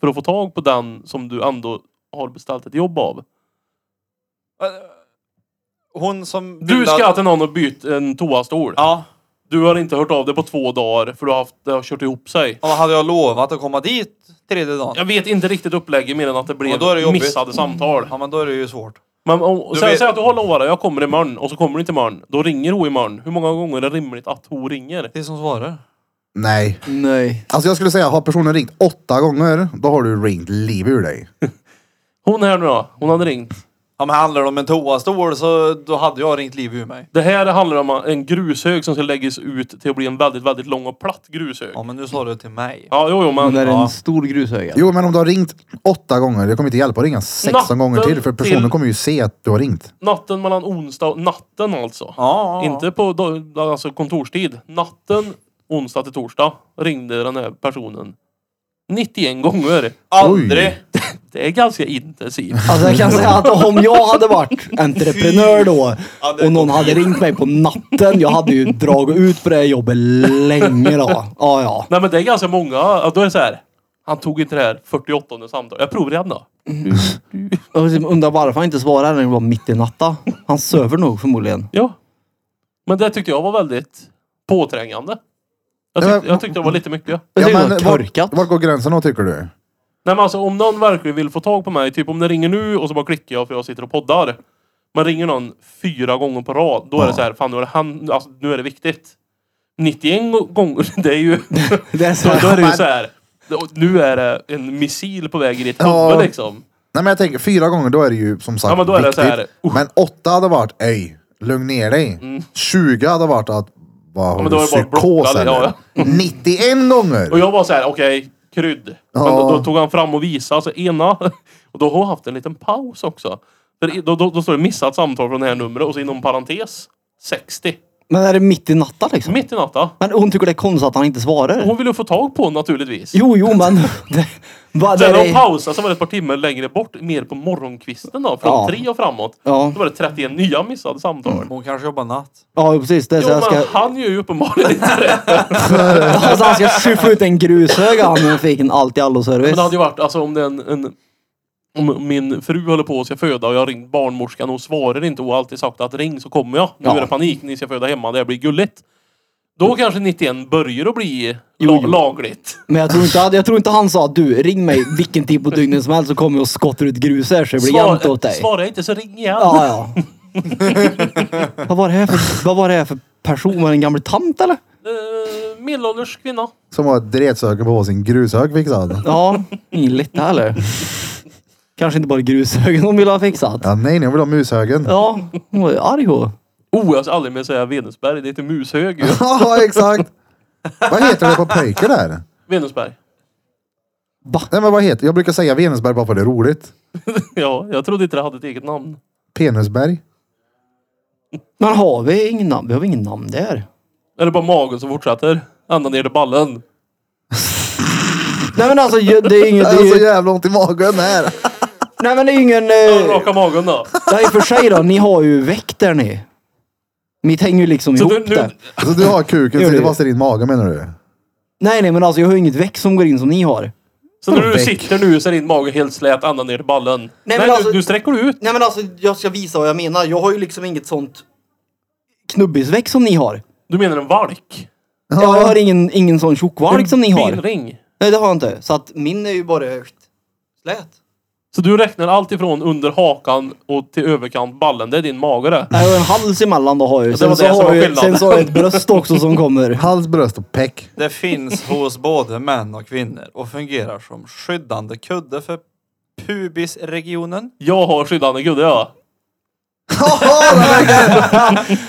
C: för att få tag på den som du ändå har beställt ett jobb av.
D: Hon som...
C: Du
D: bildade-
C: ska till någon och byta en toastol.
D: Ja.
C: Du har inte hört av dig på två dagar för du har, haft, det har kört ihop sig.
D: ja, men Hade jag lovat att komma dit tredje dagen?
C: Jag vet inte riktigt upplägget mer än att det blev
D: Ja, då är det jobbigt. Mm.
C: missade samtal.
D: Ja, men då är det ju svårt.
C: Men om,
D: Du
C: säg,
D: vet-
C: säg att du har lovat jag kommer imorgon och så kommer du inte imorgon. Då ringer hon imorgon. Hur många gånger är det rimligt att hon ringer?
D: Det är som svarar.
E: Nej.
B: Nej.
E: Alltså jag skulle säga, har personen ringt åtta gånger, då har du ringt liv ur dig.
C: Hon här nu då. Hon hade ringt.
D: Ja, men handlar det om en toastol så då hade jag ringt liv ur mig.
C: Det här handlar om en grushög som ska läggas ut till att bli en väldigt, väldigt lång och platt grushög.
D: Ja, men nu sa du till mig.
C: Ja, jo, jo, men...
B: Men det är
C: ja.
B: en stor grushög.
E: Jo, men om du har ringt åtta gånger, det kommer inte hjälpa att ringa 16 gånger till. För personen
C: till-
E: kommer ju se att du har ringt.
C: Natten mellan onsdag och... Natten alltså.
D: Ja, ja.
C: Inte på dag- alltså kontorstid. Natten onsdag till torsdag ringde den här personen 91 gånger.
D: Aldrig!
E: Oj.
C: Det är ganska intensivt.
B: Alltså jag kan säga att om jag
A: [laughs]
B: hade varit entreprenör då
D: Ja, det
B: och någon hade ringt mig på natten, jag hade ju dragit ut på det här jobbet länge då. Ja, ja.
C: Nej men det är ganska många. Ja, Då är det så här. Han tog inte det här 48 samtalet. Jag provar igen då.
B: Jag liksom undrar varför han inte svarar när det var mitt i natta. Han söver nog förmodligen.
C: Ja. Men det tyckte jag var väldigt påträngande. Jag
E: Ja,
C: tyckte,
E: men-
C: jag tyckte det var lite mycket.
B: Jag tycker det
E: men
B: var
E: var,
B: korkat.
E: var går gränsen då tycker du?
C: Nej men alltså om någon verkligen vill få tag på mig. Typ om det ringer nu och så bara klickar jag för jag sitter och poddar. Men ringer någon fyra gånger på rad. Då är det så här. Fan nu är det, han, alltså, nu är det viktigt. 91 gånger. [laughs] Det är ju...
B: Det är så
C: Så då är
B: här,
C: det ju så här. då- Nu är det en missil på väg i ditt
E: Ja.
C: huvud liksom.
E: Nej men jag tänker, fyra gånger då är det ju som sagt
C: Ja, men då är det
E: viktigt.
C: så här, uh. usch.
E: Men åtta hade varit, ej, lugn ner dig. 20 hade varit att, vad har
C: Mm. men
E: du,
C: då är det bara
E: psykos
C: blockad,
E: eller?
C: ja, Mm.
E: 91 gånger!
C: Och jag var så här, okej, krydd. Men då,
E: Ja.
C: då tog han fram och visade, alltså ena. [laughs] Och då har jag haft en liten paus också. För i- då, då, då står det missat samtal från det här numret och så inom parentes 60.
B: men är det mitt i natta liksom?
C: Mitt i natten.
B: Men hon tycker det är konstigt att han inte svarar.
C: Hon ville ju få tag på honom naturligtvis.
B: Jo, jo,
C: [laughs]
B: men... Det, vad
C: Sen
B: är
C: när hon
B: det?
C: pausade så var det ett par timmar längre bort, mer på morgonkvisten då, från
B: Ja.
C: tre och framåt.
B: Ja.
C: Då var det 31 nya missade samtal.
D: Hon kanske jobbar natt.
B: Ja, precis. Det är
C: Jo,
B: så jag ska,
C: men han gör ju uppenbarligen inte det.
B: [laughs] alltså, han ska skyffla ut en grushög han men fick en allt i allo-service.
C: Men det hade ju varit, alltså om det är en, en om min fru håller på att ska föda och jag har ringt barnmorskan och hon svarar inte och har alltid sagt att ring så kommer jag. Nu
B: Ja.
C: är det panik, ni ska föda hemma, det här blir gulligt. Då kanske 91 börjar att bli
B: Jo,
C: la-
B: jo.
C: lagligt.
B: Men jag tror, inte, jag tror inte han sa att du, ring mig vilken tid på dygnet som helst så kommer jag och skottar ut grus här så det blir jämnt åt dig.
C: svarar jag inte så ring igen.
B: Ja, ja. [laughs] vad, var det här för, vad var det här för person? Var det en gammal tant eller?
C: Eh, medelålders kvinna.
E: Som har ett dretsöke på sin grushög fixad.
B: Ja, [laughs] ingen lite eller? Kanske inte bara grushögen hon ville ha fixat.
E: Ja, nej, nej, jag vill ha mushögen.
B: Ja, hon var ju arg hon.
C: Oh, jag ska aldrig mer säga Venusberg, det heter
B: [laughs]
C: Mushög ju.
E: [laughs] Ja, exakt! Vad heter det på pöjker där?
C: Venusberg.
E: Nej men vad heter Jag brukar säga Venusberg bara för det är roligt.
C: Ja, jag trodde inte det hade ett eget namn.
E: Penisberg.
B: Men har vi ingen namn? Vi har ingen namn där.
C: Är det bara magen som fortsätter? Ända ner till ballen.
B: Nej men alltså ju- det är ingen...
E: Det
B: Det
E: är så
B: är, ju-
E: jävla ont i magen här.
B: nej men det är ingen...
C: Ja,
B: Eh,
C: Raka magen då.
B: ja, i och för sig då, ni har ju väckt där ni. Mitt hänger ju liksom
C: Så
B: ihop
C: du, nu,
B: där.
A: Alltså,
E: Så du har kuken
B: Gör
E: sitter
B: det.
E: fast i din mage menar du?
B: Nej nej men alltså jag har ju inget väck som går in som ni har.
C: Så när du
E: Väck.
C: sitter nu så är din mage helt slät ända ner till ballen. Nej,
B: men
C: nu,
B: alltså-
C: nu sträcker du ut.
B: Nej men alltså jag ska visa vad jag menar. Jag har ju liksom inget sånt knubbisväck som ni har.
C: Du menar en valk?
B: Ja. Jag har ingen, ingen sån tjockvalk som liksom ni
C: En
B: har.
C: Benring.
B: Nej det har jag inte. Så att min är ju bara slät.
C: Så du räknar allt ifrån under hakan och till överkant ballen. Det är din mage det.
B: Jag har en hals emellan då har jag ju.
C: det
B: Sen,
C: var
B: så
C: det som var
B: har jag, ju-
C: skillnaden.
B: sen så har jag ett bröst också som kommer.
E: Hals, bröst och peck.
C: [laughs]
D: Det finns hos både män och kvinnor och fungerar som skyddande kudde för pubisregionen.
C: Jag har skyddande gudde ja.
A: [laughs]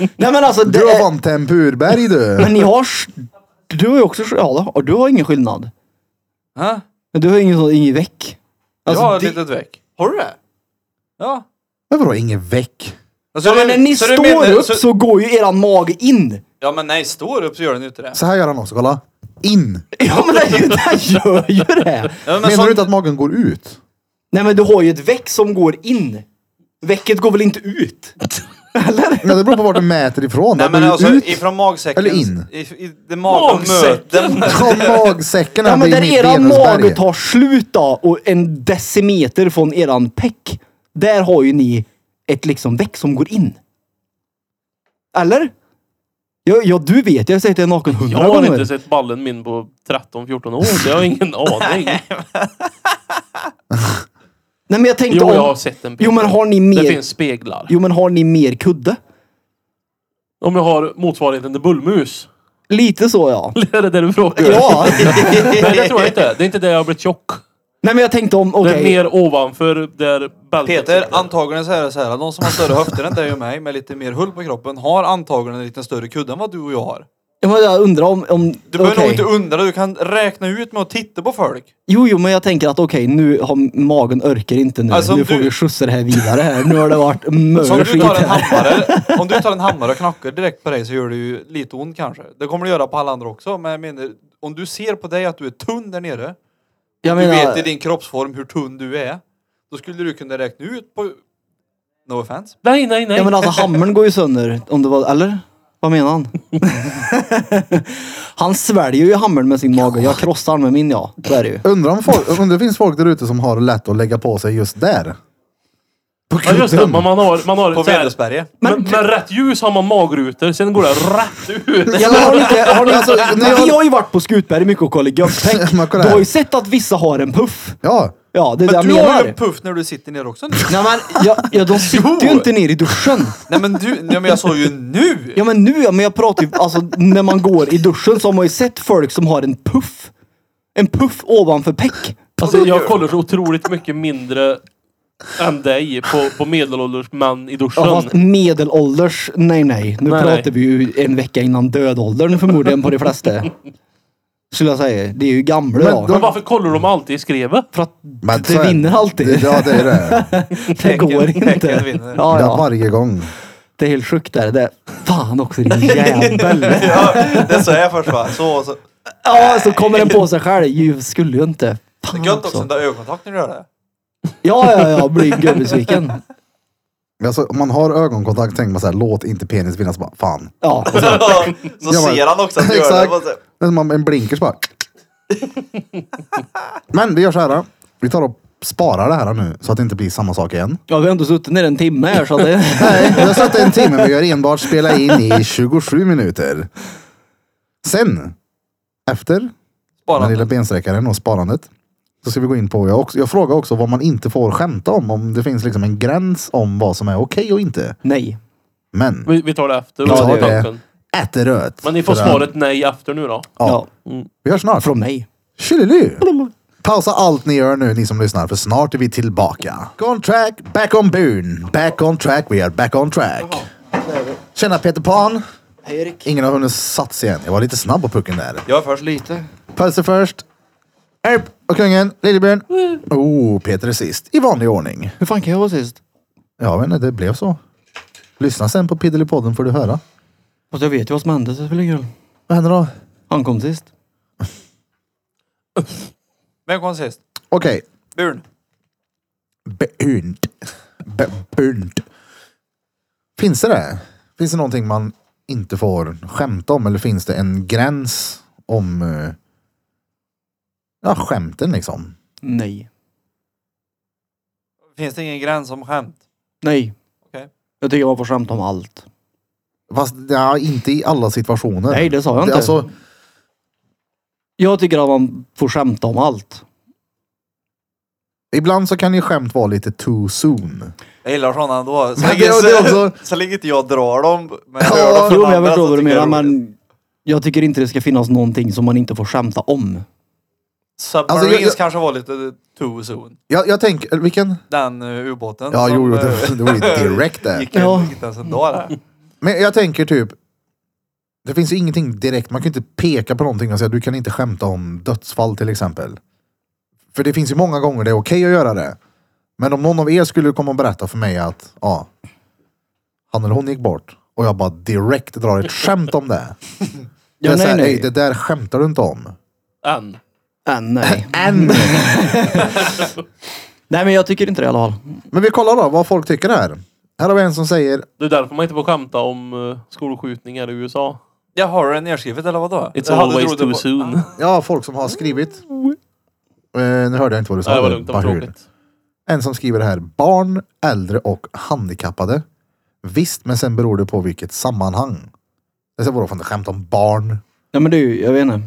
B: Nej men alltså det
E: Du har
B: är,
E: fan tempurberg du.
B: Men ni har... s- Du har ju också... Ja det har- du har ingen skillnad.
D: Hä?
B: Men du har ingen, sån- ingen väck. Alltså,
D: jag har ett
B: det-
D: litet väck.
B: Har du det?
D: Ja.
E: Men vadå ingen väck?
D: Alltså,
B: Ja, men när ni
D: så
B: står
D: menar-
B: upp
D: så-
B: så... går ju eran mage in.
D: Ja men nej, står upp så gör den ju inte det.
E: Så här gör han också, kolla. In.
B: Ja men det, det gör ju det.
D: Ja, men
E: Menar
D: sån-
E: du inte att magen går ut?
B: Nej men du har ju ett väck som går in. Väcket går väl inte ut? Eller?
A: Nej, det beror på vart du mäter ifrån.
D: Nej men
A: Går du
D: alltså
A: ut?
D: ifrån magsäcken.
A: Eller in?
D: I, i, det magen
C: Magsäcken!
D: möter-
A: Från magsäcken
B: Ja, men
A: vid
B: där
A: mitt
B: eran
A: Venusberg.
B: mage tar slut då och en decimeter från eran peck. Där har ju ni ett liksom däck som går in. Eller? Ja, ja du vet. Jag har sett det naken
C: Jag
B: hundra
C: har
B: gånger.
C: inte sett ballen min på 13-14 år, så jag
B: [laughs]
C: har ingen aning.
B: Nej, men jag tänkte
C: Jo,
B: om...
C: jag har sett en bild.
B: Jo, men har ni mer-
C: Det finns speglar.
B: Jo, men har ni mer kudde?
C: Om jag har motsvarigheten till bullmus. [laughs]
B: Lite så ja.
C: Är det det du frågar?
B: Ja.
C: [laughs] Nej, [laughs] det tror jag inte. Det är inte där jag har blivit tjock.
B: Nej, men jag tänkte om... Okej.
C: Det är mer ovanför där bältet
D: Peter,
C: sitter.
D: antagligen så är det så här. De som har större höfter än dig och mig med lite mer hull på kroppen har antagligen en lite större kudde än vad du och jag har.
B: Ja, men Jag undrar om... om
D: Du behöver
B: okej.
D: nog inte undra, du kan räkna ut med att titta på folk.
B: Jo, jo, men jag tänker att okej, nu har magen orkar inte nu.
D: Alltså, om
B: nu får
D: du-
B: vi skjutsa det här vidare här. Nu har det varit
D: Så om du
B: mörskit
D: tar en
B: här.
D: hammare, om du tar en hammare och knackar direkt på dig så gör det ju lite ont kanske. Det kommer det göra på alla andra också, men jag menar, om du ser på dig att du är tunn där nere,
B: Jag
D: du vet
B: menar,
D: i din kroppsform hur tunn du är, då skulle du kunna räkna ut på... No offense.
C: Nej, nej, nej.
B: ja, men alltså hammaren går ju sönder. Om det var, eller? Vad menar
D: [laughs]
B: han? han sväljer ju hammaren med sin mage. Jag krossar han med min ja. Så är det ju.
A: Undrar om, folk, undrar om det finns folk där ute som har lätt att lägga på sig just där. På
C: Ja, just det.
A: kudden.
C: Men man har... Man har
D: På
C: så här-
D: Venusberget.
C: Men, men rätt ljus har man magrutor, sen går det rätt
B: [laughs]
C: ut.
B: Ja, men har ni inte, har ni,
A: Alltså, när jag-
B: Vi har ju varit på Skutberg mycket och kollat
D: [laughs]
B: göpptänk.
A: Men kolla
B: Du
A: här.
B: har ju sett att vissa har en puff.
A: Ja.
B: Ja, det är det jag
D: Men du har
B: menar.
D: ju en puff när du sitter ner också nu.
B: Nej men, ja, ja, de sitter ju inte ner i duschen.
D: Nej men du, nej, men jag sa ju nu!
B: Ja men nu ja, men jag pratar ju, alltså när man går i duschen så har man ju sett folk som har en puff. En puff ovanför peck.
C: Alltså, jag kollar så otroligt mycket mindre än dig på, på medelålders män i duschen.
B: Ja, fast medelålders, nej nej. Nu
C: Nej,
B: pratar
C: nej.
B: vi ju en vecka innan dödåldern förmodligen på de flesta. Skulle jag säga. Det är ju gamla
A: Men
B: ja.
A: då-
C: Men varför kollar de alltid i skrevet?
B: För att
A: Men
B: det
A: så är-
B: vinner alltid.
A: Det, ja, det är det.
B: det går
D: Pecken-
B: inte.
D: pecken vinner.
B: Ja,
A: Det är
B: ja.
A: varje gång.
B: Det är helt sjukt där. Det är, fan också din jävel.
D: Ja, det sa jag först va? Så, så.
B: Ja, så kommer den på sig själv. Ju, skulle ju inte.
D: Det
B: Fan
D: är gött också att
B: också.
D: du har ögonkontakt när du gör det.
B: Ja, ja, ja. Blir gubbesviken.
A: Alltså, om man har ögonkontakt tänker man så här, låt inte penis vinna. Så bara, fan.
B: Ja.
D: Så
A: Ja, men-
D: ser han också att du gör det.
A: Exakt.
D: Bara så-
A: Det är som om en blinker så bara. Men vi gör så här. Vi tar och sparar det här nu så att det inte blir samma sak igen.
B: Ja, vi har ändå suttit ner en timme här så att det...
A: Nej, vi har satt en timme men vi har enbart spelat in i 27 minuter. Sen, efter den lilla
D: Bara.
A: bensträckaren och sparandet. Så ska vi gå in på, jag, också, jag frågar också vad man inte får skämta om. Om det finns liksom en gräns om vad som är okej och inte.
B: Nej.
A: Men,
C: Vi, vi tar det efter.
A: Ja,
B: det
A: är- ät det röt.
C: Men ni får
A: För att-
C: svaret nej efter nu då.
B: Ja.
A: Vi hörs snart.
B: Från mig.
A: Tjolilu! Pausa allt ni gör nu, ni som lyssnar, för snart är vi tillbaka. Back on track, back on boon. Back on track, we are back on track. Tjena Peter Pan!
B: Hej Erik.
A: Ingen har hunnit satsa igen. Jag var lite snabb på pucken där.
D: Jag är först lite.
A: Pölse först. Erp och kungen, Liljebjörn. Oh, Peter är sist. I vanlig ordning.
B: Hur fan kan jag vara sist?
A: Ja, men det blev så. Lyssna sen på Piddelipodden får du höra.
B: Fast jag vet ju vad som hände så det spelar ingen roll.
A: Vad händer då?
B: Han kom sist.
D: Vem kom sist?
A: Okej.
D: Burn.
A: Beund. Beund. Finns det det? Finns det någonting man inte får skämta om eller finns det en gräns om eh, ja, skämten liksom?
B: Nej.
D: Finns det ingen gräns om skämt?
B: Nej.
D: Okej.
B: Jag tycker man får skämta om allt.
A: Fast ja, inte i alla situationer.
B: Nej, det sa jag inte.
A: Alltså,
B: Jag tycker att man får skämta om allt.
A: ibland så kan ju skämt vara lite too soon.
D: Jag gillar sådana
A: [laughs]
D: ändå. Så
A: Men
D: länge,
A: det- det
D: så,
A: också-
D: [laughs] så länge inte jag drar dem. Men
A: Ja,
D: jag hör dem från
B: Jo, men jag
D: andra
B: förstår
D: så
B: vad du
D: tycker
B: menar
D: jag det är roligt.
B: men jag tycker inte det ska finnas någonting som man inte får skämta om.
D: Submarines
A: Alltså, jag- jag-
D: kanske var lite too soon.
A: Jag, jag tänker, eller vilken?
D: Den eh, ubåten.
A: Ja,
D: som,
A: jo, jo,
D: eh,
A: det, det var ju direkt där.
D: Gick en-
B: Ja.
D: gick inte ens en dag där.
A: Men jag tänker typ, det finns ju ingenting direkt, man kan ju inte peka på någonting och säga du kan inte skämta om dödsfall till exempel. För det finns ju många gånger det är okej att göra det. Men om någon av er skulle komma och berätta för mig att ja, han eller hon gick bort och jag bara direkt drar ett skämt om det.
B: Ja,
A: det, är
B: nej,
A: så här,
B: nej.
A: "Ey, det där skämtar du inte om.
C: Än.
B: Äh,
D: [laughs]
B: nej.
A: Än.
B: nej men jag tycker inte det i alla fall.
A: Men vi kollar då vad folk tycker här. Här har vi en som säger
C: Det är därför man inte får skämta om eh, skolskjutningar i USA.
D: Jag har den nedskrivet eller vadå?
C: It's
D: Jag hade
C: always
D: trodde
C: too
D: på-
C: soon.
A: Ja, folk som har skrivit.
B: Mm.
A: Eh, nu hörde jag inte vad du sa.
C: Nej, det var lugnt. Det var
A: Bara hur.
C: tråkigt.
A: En som skriver här. Barn, äldre och handikappade. Visst, men sen beror det på vilket sammanhang. Det är vadå, fan, det skämt om barn.
B: Ja men det är ju, jag vet inte.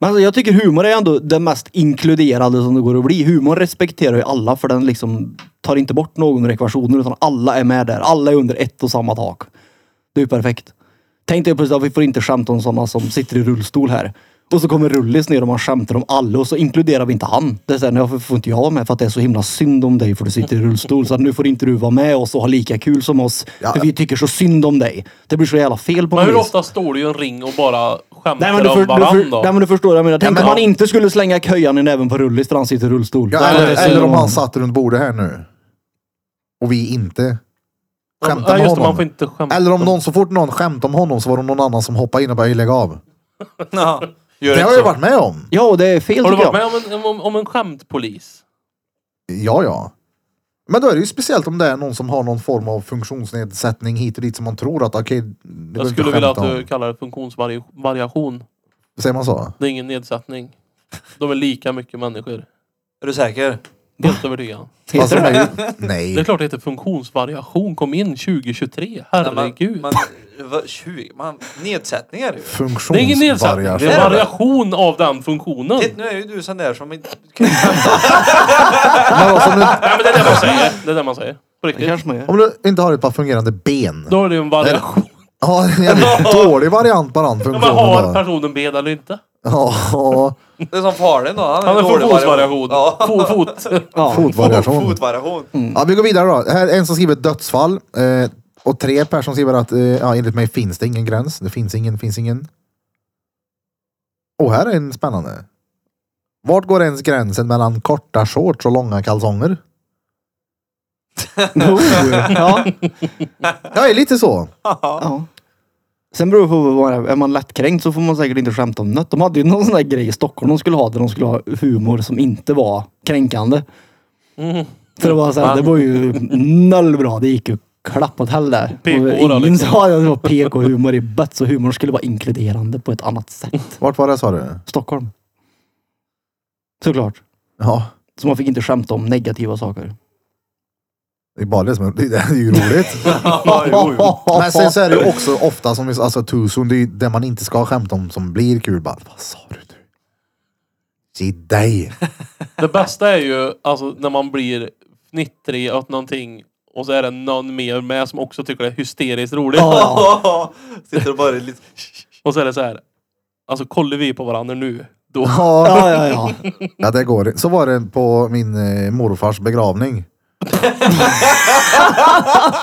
B: Men alltså, jag tycker humor är ändå det mest inkluderande som det går att bli. Humor respekterar ju alla för den liksom tar inte bort någon ur ekvationen utan alla är med där. Alla är under ett och samma tak. Det är ju perfekt. Tänk dig plötsligt att vi får inte skämta om sådana som sitter i rullstol här. Och så kommer Rullis ner och man skämtar om alla och så inkluderar vi inte han. Det är såhär, varför får inte jag vara med? För att det är så himla synd om dig för du sitter i rullstol. Så att nu får inte du vara med oss och ha lika kul som oss.
A: Ja.
B: För vi tycker så synd om dig. Det blir så jävla fel på
C: Men
B: något
C: hur
B: vis.
C: ofta står du i en ring och bara skämtar
B: Nej men du, för,
C: om
B: du,
C: varandra
B: för,
C: då?
B: nej, men du förstår vad jag menar. Tänk
A: men-
B: om man inte skulle slänga köjan i näven på Rullis för han sitter i rullstol.
A: Ja,
C: Nej,
A: eller,
C: det är så-
A: eller om han satt runt bordet här nu. Och vi inte skämtar
C: Ja,
A: med
C: just det, man
A: honom.
C: får inte skämta.
A: Eller om någon, så fort någon skämtade om honom så var det någon annan som hoppade in och började lägga av.
D: [laughs] Ja, gör
A: Det har
D: inte
A: jag
D: så.
A: varit med om.
B: Ja, och det är fel
C: Har du
B: tycker
C: varit
B: jag.
C: med om en, om, om en skämtpolis?
A: Ja, ja. Men då är det ju speciellt om det är någon som har någon form av funktionsnedsättning hit och dit som man tror att okej, det behöver
C: Jag
A: inte
C: skulle vilja att
A: skämta
C: du kallar det funktionsvariation.
A: om. Säger man så?
C: Det är ingen nedsättning. De är lika mycket människor.
D: Är du säker?
C: Helt övertygad.
A: Alltså,
B: Heter
A: de
B: det?
A: är ju...
C: Det är
A: Nej.
C: klart det heter funktionsvariation. Kom in 2023. Herregud.
D: Man, man, vad- tjugo- man, nedsättning är det ju.
C: det är ingen nedsättning. Det är en
A: Funktionsvariation.
C: variation av den funktionen.
D: Titt,
C: Nej,
D: nu är ju du sån där som inte kan
A: Men alltså, om du-
C: men det är det man säger. Det är det man säger. På
B: Det
C: riktigt.
B: kanske man gör.
A: Om du inte har ett par fungerande ben.
C: Då är det ju en variation.
A: Ja, det är en jävligt dålig variant på den
C: Men
A: funktionen.
C: man har
A: då.
C: personen ben eller inte.
A: Ja,
D: Det är som faren då. Han,
C: Han har
D: en dålig
C: funktionsvariation.
D: Ja. [laughs]
C: Fo- Fot.
B: [laughs] Ja.
A: fotvariation.
D: Fotvariation.
A: Ja, vi går vidare då. Här är en som skriver dödsfall. Eh, och tre personer som skriver att eh, ja, enligt mig finns det ingen gräns. Det finns ingen, finns ingen. Och här är en spännande. Vart går ens gränsen mellan korta shorts och långa kalsonger?
B: Jo, ja.
A: Jag är lite så.
B: ja. Sen beror det på vad man är. Är man lättkränkt så får man säkert inte skämta om något. De hade ju någon sån där grej i Stockholm de skulle ha där de skulle ha humor som inte var kränkande.
C: Mm.
B: Så det var så här, det var ju noll bra. Det gick ju klapp åt helvete. där.
C: PK då,
B: Och Ingen
C: liksom.
B: sa att det var PK-humor i bött. Så humor skulle vara inkluderande på ett annat sätt.
A: Vart var det sa du?
B: Stockholm. Såklart.
A: Ja,
B: Så man fick inte skämta om negativa saker.
A: det är bara det som är, det är ju roligt.
D: Ja, jo, jo.
B: [laughs]
A: Men sen så är det ju också ofta som vi alltså too soon, det är ju det man inte ska skämta om som blir kul. Bara, vad sa du nu? Ge dig.
C: Det bästa är ju alltså, när man blir fnittrig åt någonting och så är det någon mer med som också tycker det är hysteriskt roligt.
D: Ja. Sitter och bara lite...
C: Och så är det så här. Alltså kollar vi på varandra nu. Då.
A: Ja.
B: Ja, ja, ja.
A: [laughs] Ja, det går. Så var det på min eh, morfars begravning.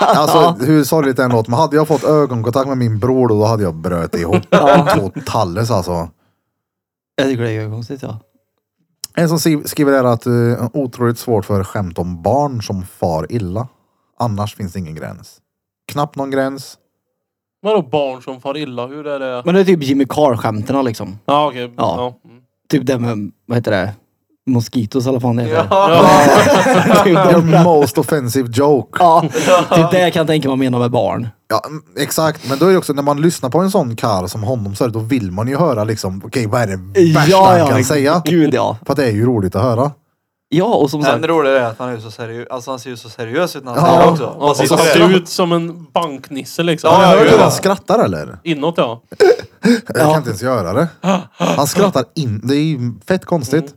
A: alltså hur sorgligt det än låter, men hade jag fått ögonkontakt med min bror då, då hade jag bröt ihop. Två talles alltså.
B: Jag tycker det är konstigt ja.
A: En som skri- skriver här att eh, otroligt svårt för skämt om barn som far illa. Annars finns det ingen gräns. Knappt någon gräns.
C: Vadå barn som far illa? Hur är det?
B: Men det är typ Jimmy Carr-skämterna liksom.
C: Ja okej.
B: Ja.
C: Ja.
B: Typ det med, vad heter det? Moskitos eller vad fan det heter.
C: Ja.
B: [laughs]
A: [laughs]
B: typ,
A: Your
B: de,
A: most offensive joke.
B: ja, typ det jag kan tänka man menar med barn.
A: Ja, mm, exakt. Men då är det också när man lyssnar på en sån karl som honom så är det, då vill man ju höra liksom, okej vad är det värsta han kan säga?
B: Gud ja.
A: För att det är ju roligt att höra.
B: Ja, och som sagt.
D: Än roligare är att han är så seriös. Alltså han ser ju så seriös ut när han
A: Ja.
D: säger det också.
C: Och så
D: sitter
C: ser
D: där.
C: du ut som en banknisse liksom.
D: Ja,
A: Hör du hur
D: ja.
A: han skrattar eller?
C: Inåt ja.
A: Jag kan inte ens göra det. Han skrattar in. Det är ju fett konstigt.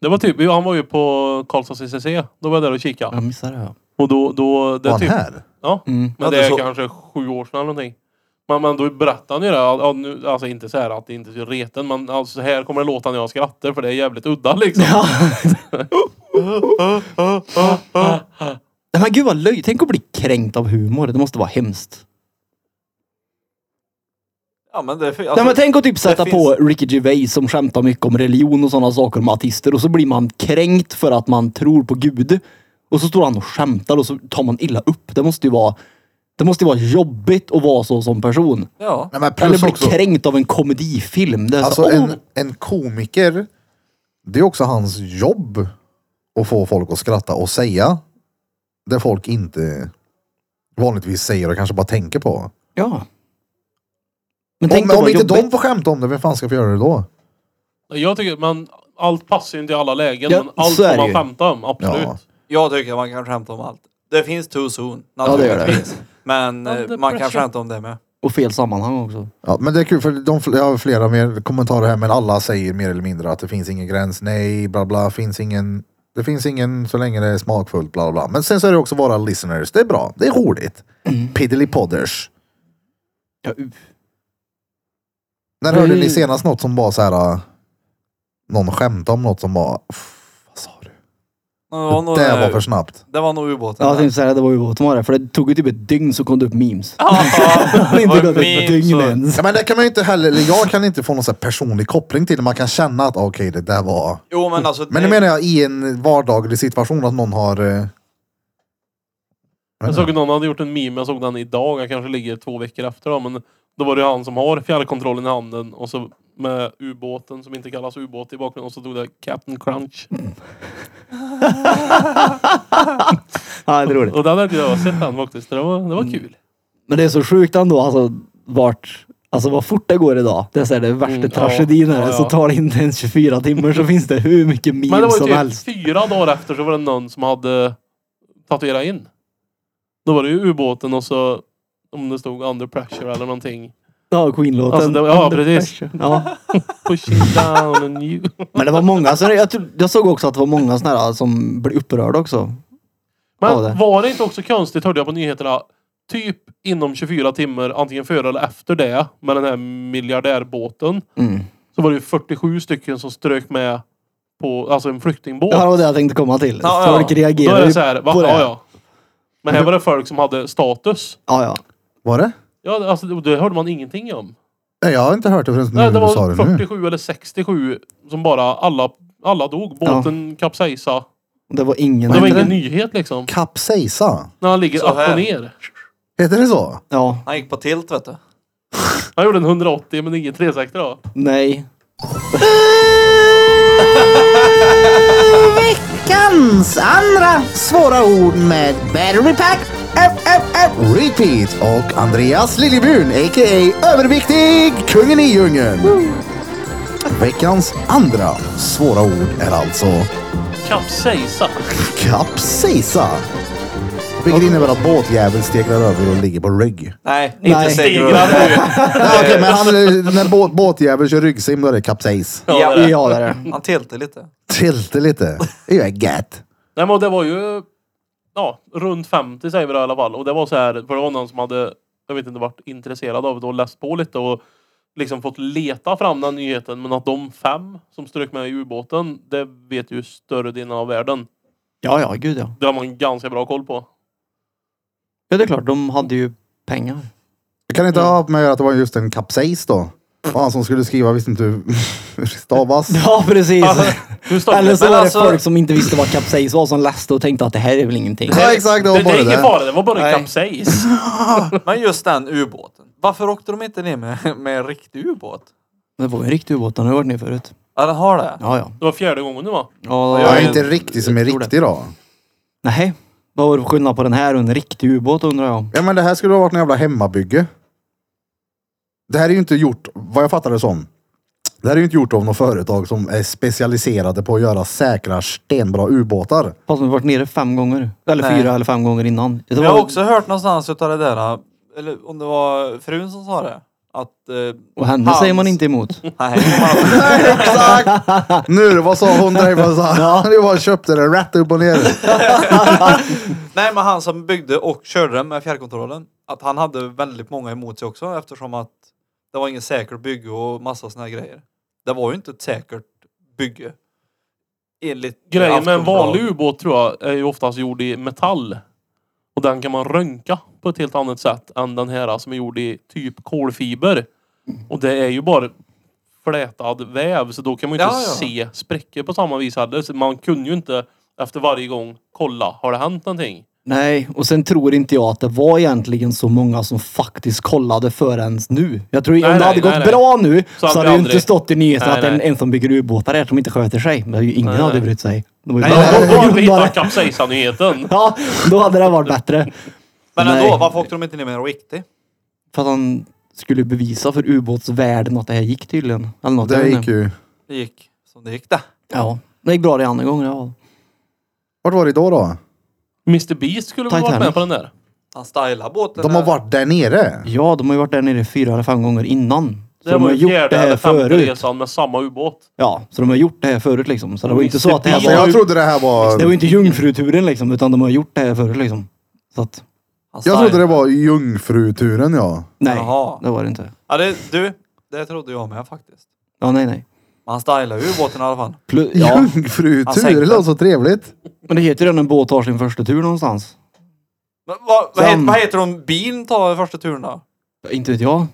C: Det var typ, han var ju på Karlstads ICC. Då var jag där och kikade.
B: Jag missade det. ja. [laughs]
C: Och då, då,
A: Var
C: det är
A: han
C: typ,
A: här?
C: Ja,
B: Mm.
D: Ja,
C: men det
D: det
C: är
D: så-
C: kanske sju år sedan eller någonting. Men, men då berättade han ju det. att- att nu- Alltså inte så här att det inte är reten, men alltså så här kommer det låta när jag skrattar för det är jävligt udda liksom.
B: Ja. Nej, Men gud vad löjligt. Tänk att bli kränkt av humor. Det måste vara hemskt.
D: Ja men det är för,
B: Nej,
D: alltså,
B: men tänk att typ sätta
D: det
B: på Ricky Gervais som skämtar mycket om religion och sådana saker med artister och så blir man kränkt för att man tror på Gud. Och så står han och skämtar och så tar man illa upp. Det måste ju vara, det måste ju vara jobbigt att vara så som person.
D: Ja.
A: Nej, men
B: Eller
A: plus
B: bli
A: också,
B: kränkt av en komedifilm. Det är så,
A: alltså
B: åh,
A: en, en komiker, det är också hans jobb att få folk att skratta och säga det folk inte vanligtvis säger och kanske bara tänker på.
B: Ja. Men
A: Om,
B: dig
A: om
B: vad
A: inte
B: jobbigt.
A: de får skämta om det, vem fan ska få göra det då?
C: Jag tycker man, allt passar ju inte i alla lägen,
B: Ja,
C: men allt
B: så är
C: får
B: det
C: man
B: ju.
C: skämta om. Absolut.
A: Ja.
D: Jag tycker man kan skämta om allt. Det finns too soon,
B: Ja, det gör det.
D: naturligtvis. Men eh,
C: Under
D: man kan
C: pressure.
D: skämta om det med.
B: Och fel sammanhang också.
A: Ja, men det är kul för de, fl- jag har flera mer kommentarer här men alla säger mer eller mindre att det finns ingen gräns, nej, bla bla, finns ingen, det finns ingen så länge det är smakfullt, bla bla. Men sen så är det också våra listeners, det är bra, det är roligt. Piddly podders.
B: Ja, u-
A: När hörde
B: Mm.
A: ni senast något som var så här, äh, någon skämtade om något som var, "Uff, vad sa du?
D: Det var nog,
A: Det var för snabbt.
D: det var nog ubåten.
B: Ja, jag
D: där.
B: tänkte säga det var ju vad som var det. För det tog ju typ ett dygn så kom det upp memes. Det
D: [laughs] Ja,
B: hade [laughs] inte
D: och
B: gått ett
D: memes
B: dygn
D: och-
B: ens.
A: Ja, men det kan man ju inte heller, eller jag kan inte få någon så här personlig koppling till det. Man kan känna att okej, det där var...
D: Jo men alltså.
A: Men
D: det-
A: nu menar jag i en vardaglig situation att någon har... eh,
C: Jag såg att någon hade gjort en meme, jag såg den idag, han kanske ligger två veckor efter då, men då var det ju han som har fjärrkontrollen i handen och så med ubåten som inte kallas ubåt i bakgrunden och så stod det Captain Crunch.
B: Ja, det är roligt. Mm.
C: Och den hade jag sett den faktiskt, det var, det var kul.
B: Men det är så sjukt ändå alltså vart, alltså vad fort det går idag. Det är så här, det värsta
C: Mm, ja,
B: tragedin här.
C: ja, ja.
B: Så tar det inte ens 24 timmar så finns det hur mycket
C: Men det
B: memes som
C: var ju typ
B: helst.
C: fyra dagar efter så var det någon som hade tatuerat in. Då var det ju ubåten och så om det stod under pressure eller någonting.
B: Ja, Queen-låten.
C: Alltså, det var- ja, precis.
B: Ja.
C: Pushing down and you.
B: [laughs] Men det var många, så jag, tror- jag såg också att det var många sådana här som blev upprörda också.
C: Men
B: Ja, det.
C: var det inte också konstigt, hörde jag på nyheterna, typ inom 24 timmar, antingen före eller efter det, med den här miljardärbåten,
B: Mm.
C: så var det ju 47 stycken som strök med på alltså en flyktingbåt.
B: Det här var det jag tänkte komma till.
D: Ja, ja.
B: Folk
C: Då är
B: reagerar
C: det
B: ju
C: så här, va?
B: på det.
C: Ja, ja. Men här var det folk som hade status.
B: Ja, ja.
A: Var det?
C: Ja, alltså, det- det hörde man ingenting om.
A: Nej, jag har inte hört det förrän
C: Nej,
A: nu
C: det
A: du Mm, sa
C: var
A: det nu.
C: 47 eller 67 som bara alla, alla dog. Båten kapsejsade.
B: Det var ingen...
C: Det var ingen nyhet liksom.
A: Kapsejsa.
C: När han ligger
D: Så
C: upp
D: här.
C: och ner.
A: Heter det så?
B: Ja,
D: Han gick på tilt vet du.
C: Han gjorde en 180 men ingen 360 då.
B: nej.
E: [laughs] Veckans andra svåra ord med Battery Pack, FFF Repeat och Andreas Liljebrun, a.k.a. Överviktig, kungen i djungeln. Veckans andra svåra ord är alltså
C: Kapsejsa.
A: Kapsejsa. Vilket innebär att båtjäveln stegrar över och ligger på rygg. Eh,
D: Nej,
B: Nej.
D: inte segrar nu.
A: Nej, okej, men han, [laughs] när båt, båtjäveln kör ryggsim då är det kapsejs.
C: Ja,
D: Ja.
C: det är det.
B: Ja, det är det.
D: Han tiltade lite.
A: Tilte lite. Det är ju gött.
C: Nej men det var ju... Ja, runt 50 säger vi det i alla fall. Och det var så här, för det var någon som hade, jag vet inte, varit intresserad av det och läst på lite och liksom fått leta fram den nyheten. Men att de fem som strök med i ubåten, det vet ju större delen av världen.
B: Ja, ja, gud ja.
C: Det har man ganska bra koll på.
B: Ja, det är klart. De hade ju pengar.
A: Jag kan inte ha med att det var just en kapsejs då. Och Han som skulle skriva visste inte hur [laughs] hur det stavas.
B: Ja, precis.
C: Hur starkt-
B: Eller så
D: Men
B: var det
D: alltså-
B: folk som inte visste vad kapsejs var som läste och tänkte att det här är väl ingenting.
A: Ja exakt, det
C: det,
A: var
C: det
A: bara
C: är ingen
A: det.
C: fara, det var bara
D: Nej.
C: en kapsejs.
D: Men just den ubåten. Varför åkte de inte ner med, med en riktig ubåt?
B: Det var ju en riktig ubåt. Den har jag varit ner förut.
D: Ja den har det.
B: Ja, ja.
C: Det var fjärde gången nu va?
B: ja
A: Jag är
B: ja.
A: inte riktig som är
B: tror det.
A: riktig då.
B: Nej. Vad var det för skillnad på den här och en riktig ubåt undrar jag?
A: Ja men det här skulle ha varit en jävla hemmabygge. Det här är ju inte gjort, vad jag fattar det som. Det här är ju inte gjort av något företag som är specialiserade på att göra säkra stenbra ubåtar.
B: Fast vi har varit nere fem gånger. Eller
D: Nej.
B: fyra eller fem gånger innan. Det
D: Men jag har
B: var-
D: också hört någonstans utav det där, eller om det var frun som sa det, att... Eh,
B: Och henne
D: Hans.
B: säger man inte
C: [laughs]
B: emot.
D: nej, man,
A: Exakt! Nu, vad sa hon där? Vad sa
B: Ja.
A: [laughs] Du bara köpte det rätt upp och ner.
D: [laughs] nej men han som byggde och körde den med fjärrkontrollen, att han hade väldigt många emot sig också eftersom att det var inget säkert bygge och massa såna här grejer. Det var ju inte ett säkert bygge. Enligt
C: Grejen med en
D: Aftonbladet.
C: vanlig ubåt tror jag är ju oftast gjord i metall. Och den kan man röntga på ett helt annat sätt än den här som är gjord i typ kolfiber. Och det är ju bara flätad väv så då kan man ju inte
D: Ja, ja.
C: se sprickor på samma vis heller. Så man kunde ju inte efter varje gång kolla, har det hänt någonting?
B: Nej, och sen tror inte jag att det var egentligen så många som faktiskt kollade förrän nu. Jag tror om
C: Nej,
B: det hade
C: nej,
B: gått
C: nej,
B: bra nu så,
C: Så hade
B: hade
C: vi
B: det ju
C: aldrig-
B: inte stått i nyheterna
C: Nej,
B: att en,
C: nej.
B: en som bygger ubåtar är som inte sköter sig. Men ingen
C: Nej,
B: hade
C: nej.
B: brytt sig. Det var ju [laughs]
C: Nej,
B: bara-
C: då har vi
B: bara- [laughs]
C: hittat kapsejsarnyheten.
B: Ja, då hade det varit bättre.
D: Men
B: Nej.
D: ändå, varför åkte de inte ner med en Riktig?
B: För att han skulle bevisa för ubåtsvärlden att det här gick tydligen. Eller något, jag
A: Det
B: vet
A: gick
B: inte.
A: ju.
D: Det gick som det gick det.
B: Ja. Det gick bra det andra gången. Ja.
A: Vart var det då då?
C: Mr Beast skulle väl varit med
B: Titanic.
C: på den där?
D: Han stylade båten.
A: De har varit där nere.
B: ja, de har ju varit där nere fyra eller fem gånger innan. Så
C: Det
B: de
C: var
B: har
C: ju
B: gjort det
C: fjärde
B: här
C: eller femte
B: förut.
C: resan med samma ubåt.
B: Ja, så de har gjort det här förut liksom. Så det var ju inte så att det
A: Alltså,
B: här var...
A: jag trodde det här var...
B: Det var ju inte jungfruturen liksom, utan de har gjort det här förut liksom. Så att,
D: Han
A: Jag
D: stylade.
A: trodde det var jungfruturen ja.
B: nej.
D: Jaha.
B: Det var det inte.
D: Ja, det, du, det trodde jag med faktiskt.
B: Ja, nej, nej.
D: Men han stylade ju båten i alla fall.
B: Plu- ja,
D: Han
A: Jungfrutur,
D: sänkte.
A: det låter så trevligt.
B: men det heter ju det när en båt tar sin första tur någonstans.
D: Men, vad, vad,
B: Sam.
D: heter, vad heter de bilen tar första turen då?
B: Inte vet jag.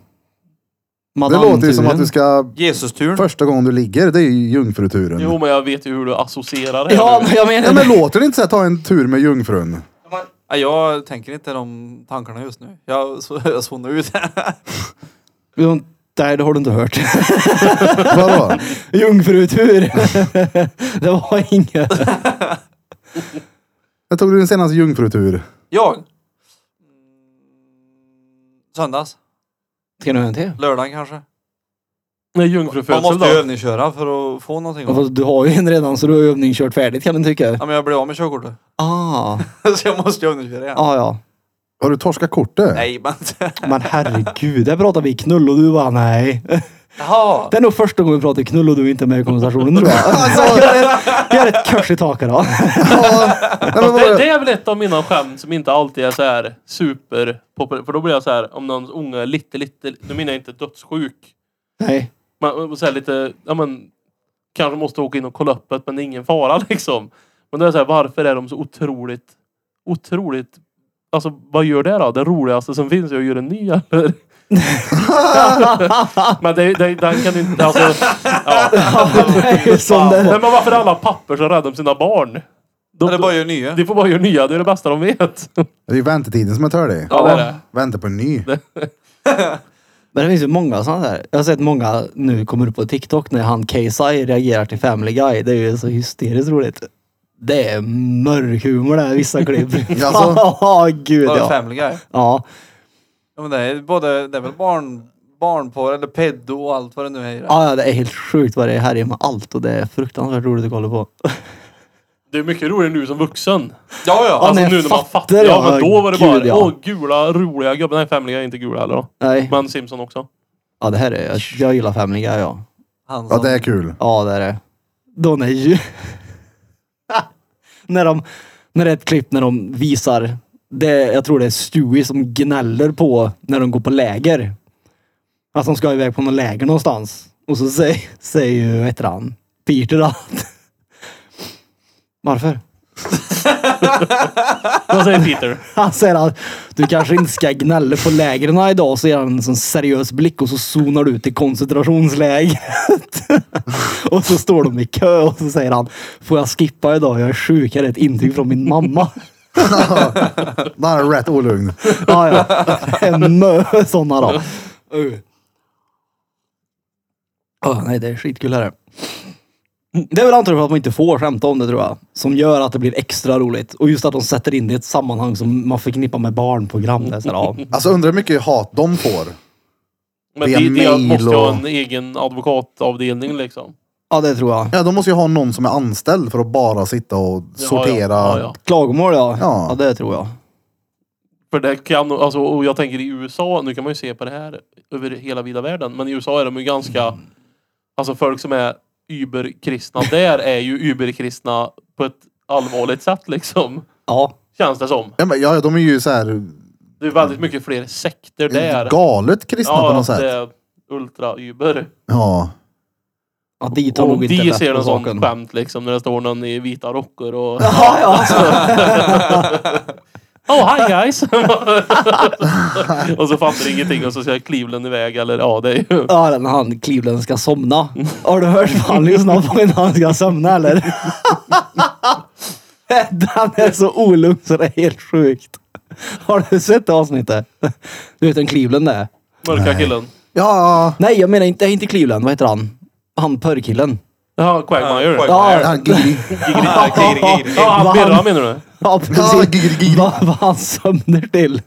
A: Det låter ju som att du ska...
D: Jesus-turen?
A: Första gången du ligger, det är ju jungfruturen.
C: Jo, men jag vet ju hur du associerar det här
B: Ja,
C: nu.
B: men jag menar
A: Ja, men låter det inte så här, ta en tur med jungfrun?
D: Nej, jag tänker inte de tankarna just nu. Jag, så, [laughs] jag zonar ut.
B: Jo, Nej, det har du inte hört. [laughs]
A: Vadå?
B: Jungfrutur. [laughs] det var inget.
A: När tog du din senaste jungfrutur?
D: jag? Mm, Söndags?
B: Ska ni ha en till?
D: Lördagen kanske?
C: Nej,
D: Man
C: jungfrufödsel
D: måste ju
C: då.
D: övningsköra för att få någonting.
B: Ja, fast Du har ju en redan så du har övning kört färdigt kan den tycka.
D: Ja, men jag blev av med körkortet. [laughs]
B: Ah,
D: Så jag måste ju övningsköra igen.
B: ah ja.
A: Har du torskat kortet?
D: Nej, men...
B: [laughs] Men herregud, där pratar vi knull och du bara nej.
D: Jaha!
B: Det är nog första gången vi pratar knull och du är inte med i konversationen tror [laughs] jag. Alltså, jag är ett- jag är ett kors i taket då.
A: Ja, nej, men
C: Det,
A: vadå?
C: det är väl ett av mina skämt som inte alltid är så här superpopulärt. För då blir jag så här, om någon unge är lite, lite, nu menar jag inte dödssjuk.
B: [laughs] Nej.
C: Men så här lite, ja men, kanske måste åka in och kolla upp det, men det är ingen fara [laughs] liksom. Men det är så här, varför är de så otroligt, otroligt, alltså vad gör det då? Det roligaste som finns är att göra en ny eller? men det, det, den kan inte, alltså, ja.
B: Det är ju som det
C: Nej, men varför är alla pappor så rädda om sina barn?
D: Men det bara gör nya.
C: De får bara göra nya, det är det bästa de vet.
A: Det är ju väntetiden som är tördig.
C: Ja, det är det.
A: Vänta på en ny.
B: Men det finns ju många sådana där. Jag har sett många nu kommer upp på TikTok när han KSI reagerar till Family Guy. Det är ju så hysteriskt roligt. Det är mörk humor det här, vissa klipp.
A: Jaså?
B: [laughs] Ja, gud
D: Bara
B: ja.
D: Family Guy.
B: Ja,
D: Ja, men det är, både, det är väl barn, barnporr eller peddo och allt vad det nu är. i det.
B: ja ja, det är helt sjukt vad det är här i med allt och det är fruktansvärt roligt att kolla på.
C: Det är mycket roligare nu som vuxen.
D: Ja, ja.
C: Alltså
B: nej,
C: nu när man
B: fattar
C: fattar. Ja,
B: jag.
C: men då var det
B: Gud,
C: bara
B: ja.
C: åh, gula, roliga gubbar. Nej, Family Guy är inte gula heller då.
B: Nej.
C: Men Simpson också.
B: Ja, det här är... Jag, jag gillar Family Guy ja.
D: Han
A: Ja,
D: som,
A: det är kul.
B: Ja, det är det. De är ju... [laughs] när de... När det är ett klipp när de visar... Det, jag tror det är Stewie som gnäller på när de går på läger. Att de ska iväg på något läger någonstans. Och så säger, säger ju, vad heter han? Peter att... [laughs] Varför?
C: Vad säger Peter?
B: Han säger att du kanske inte ska gnälla på lägren idag. Och så ger han en sån seriös blick och så zonar du ut till koncentrationslägret. och så står de i kö och så säger han, får jag skippa idag? Jag är sjuk, jag har ett intyg från min mamma.
A: Då är han rätt olugn.
B: ja, ja. Det är mö sådana då. Uh. Ah, nej, det är skitkul här. Det är väl antagligen för att man inte får skämta om det tror jag. Som gör att det blir extra roligt. Och just att de sätter in det i ett sammanhang som man förknippar med barnprogram. Det är så här, ja.
A: Alltså undrar hur mycket hat de får.
C: Men
A: Via
C: det, det
A: mail
C: måste ju ha
A: och-
C: en egen advokatavdelning liksom.
B: Ja, det tror jag.
A: Ja, de måste ju ha någon som är anställd för att bara sitta och sortera.
C: Ja, ja.
B: Klagomål ja.
A: Ja.
B: ja. det tror jag.
C: För det kan, alltså, och jag tänker i USA, nu kan man ju se på det här över hela vida världen, men i USA är de ju
B: Mm.
C: ganska, alltså folk som är überkristna där är ju überkristna på ett allvarligt sätt liksom.
B: Ja.
C: Känns det som.
A: Ja, men, ja, de är ju så här
C: Det är väldigt mycket fler sekter där.
A: galet kristna på något
C: det
A: sätt.
C: är ultra-über.
A: Ja.
B: ja dit har
C: Och
B: nog
C: Om
B: inte
C: de
B: lätt
C: ser
B: på
C: någon
B: saken.
C: sån skämt liksom när det står någon i vita
B: [laughs]
C: rockor och...
B: Ja, alltså, ja.
C: Oh hi guys! [laughs] och så fattar ingenting och så ska Cleveland iväg eller ja det är ju...
B: Ja, den han Cleveland ska somna.
C: Mm.
B: Har du hört vad han lyssnar på innan han ska somna eller?
C: [laughs]
B: Den är så olugn så det är helt sjukt. Har du sett det avsnittet? Du vet en Cleveland det är?
C: Mörka killen.
A: Ja,
B: Nej, jag menar inte, inte Cleveland. Vad heter han? Han pörrkillen.
C: Ja, Quagmire.
D: Ja,
B: Ja,
C: Ja,
A: Ja, gigri-
C: han
B: Vad
C: Birra
B: han-
C: menar du?
B: ja
A: Ja,
B: precis.
A: gigri- gigri.
B: Vad vad han sömnar till.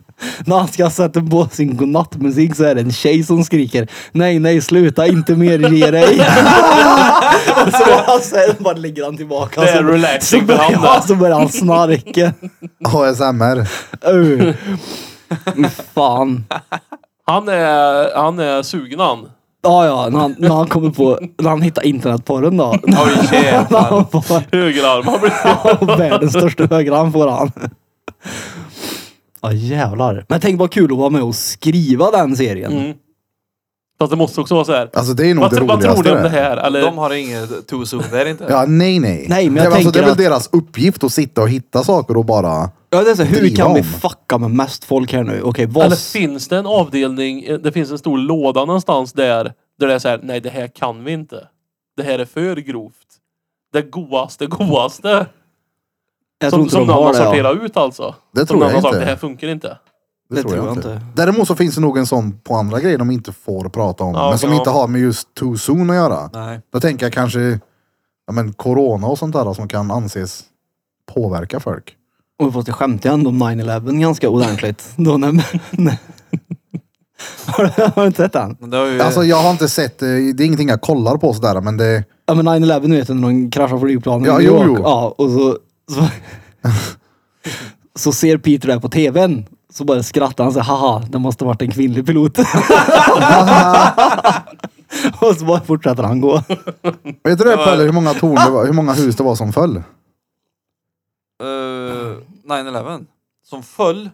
B: När han ska sätta på sin godnattmusik så är det en tjej som skriker Nej, nej, sluta inte mer ge
C: [laughs]
B: dig. och så bara, sen bara ligger han tillbaka.
C: Det är
B: så-
C: relaxing
B: så,
C: för
B: börjar,
C: han
B: ja,
C: där.
B: så börjar han snarka.
A: ASMR.
B: Uh. Fan.
C: Han är, han är sugen han.
B: Ja, ja, när han, när han kommer på, när han hittar internetporren då. [laughs]
D: Oj
B: När
D: jävlar.
B: han får,
C: Högerarm. Han
B: [laughs]
C: blir...
B: världens största högerarm får han. Ja jävlar. Men tänk vad kul att vara med och skriva den serien.
C: Mm. Fast det måste också vara så här.
A: Alltså det är nog
C: Vad,
A: det
C: vad tror
A: roligaste.
C: ni om det
A: det.
C: här? Eller,
D: De har inget too soon, det är det inte.
A: Ja, nej, nej.
B: Nej, men
A: det,
B: jag
A: är alltså,
B: tänker
A: det är väl
B: att-
A: deras uppgift att sitta och hitta saker och bara...
B: Ja, det är så, här, hur
A: Driva
B: kan vi
A: om.
B: fucka med mest folk här nu? Okej, vad...
C: eller finns det en avdelning, eh, det finns en stor låda någonstans där, där det är så här, nej det här kan vi inte. Det här är för grovt. Det godaste, godaste.
B: jag tror
C: Som,
B: inte de
C: som
B: har
C: någon har
B: det. ja.
C: sorterat ut alltså.
A: Det
C: som
A: tror
C: någon
A: jag
C: har sagt,
A: inte.
C: det här funkar inte.
A: Det, tror jag, inte. Däremot så finns det nog en sån på andra grejer de inte får prata om.
C: Ja,
A: men som
C: ja.
A: inte har med just too soon att göra.
D: Nej.
A: Då tänker jag kanske ja, men corona och sånt där som kan anses påverka folk.
B: Och fast jag skämtade ändå om 9-11 ganska ordentligt. [laughs] Då när... när- [laughs] har, du, har du inte sett den?
D: Men det har ju...
A: Alltså jag har inte sett, eh, det är ingenting jag kollar på sådär men det...
B: Ja men 9-11 nu vet du när de kraschar flygplanen
A: Ja,
B: i New
A: jo,
B: York.
A: jo.
B: Ja, och så, så,
A: [laughs]
B: så ser Peter det här på tvn. Så bara skrattar han så här, haha, det måste ha varit en
A: [laughs]
B: kvinnlig pilot. [laughs] och så bara fortsätter han gå.
A: Vet du det
D: var-
A: Pelle, hur många torn det var, hur många hus det var som föll?
D: eh, 9-11. Som föll.